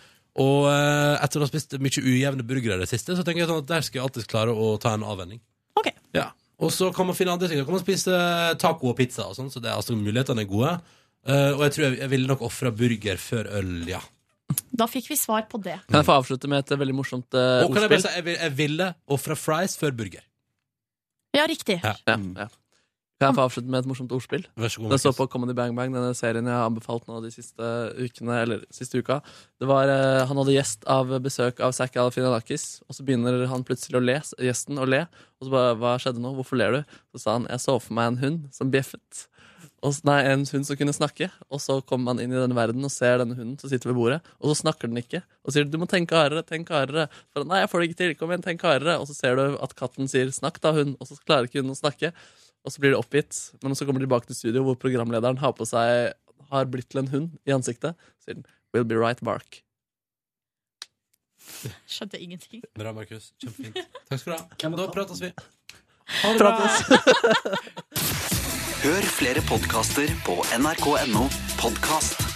Og eh, etter å ha spist mye ujevne burgere i det siste, så tenker jeg sånn at der skal jeg alltid klare å ta en avvenning. Ja. Og så kan man finne andre ting. Da kan man spise taco og pizza og sånn, så det er, altså, mulighetene er gode. Eh, og jeg tror jeg, jeg ville nok ofra burger før øl, ja. Da fikk vi svar på det. Kan jeg få avslutte med et veldig morsomt eh, Og kan jeg bare ordspill? si, jeg, vil- jeg ville ofra fries før burger. Ja, riktig. Ja. Ja. Kan jeg få avslutte med et morsomt ordspill? Vær så god, Det står Markus. på Comedy Bang Bang, denne serien jeg har anbefalt nå de siste ukene. Eller siste uka Det var, eh, Han hadde gjest av besøk av Zack Alfinadakis, og så begynner han plutselig å le, gjesten å le. Og så bare 'Hva skjedde nå? Hvorfor ler du?' Så sa han 'Jeg så for meg en hund som bjeffet'. Og, s- nei, en hund som kunne snakke. Og så kommer man inn i denne verden og ser denne hunden som sitter ved bordet, og så snakker den ikke. Og sier 'du må tenke hardere, tenk hardere'. For, 'Nei, jeg får det ikke til. Kom igjen, tenk hardere'. Og så ser du at katten sier 'snakk da, hund', og så klarer ikke hunden å snakke. Og så blir det oppgitt. Men så kommer de tilbake til studio, hvor programlederen har på seg har blitt til en hund i ansiktet. Så sier den 'Will be right bark'. Skjønte ingenting. Bra, Markus. Kjempefint. Takk skal du ha. Da prates vi. Ha det Hør flere podkaster på nrk.no podkast.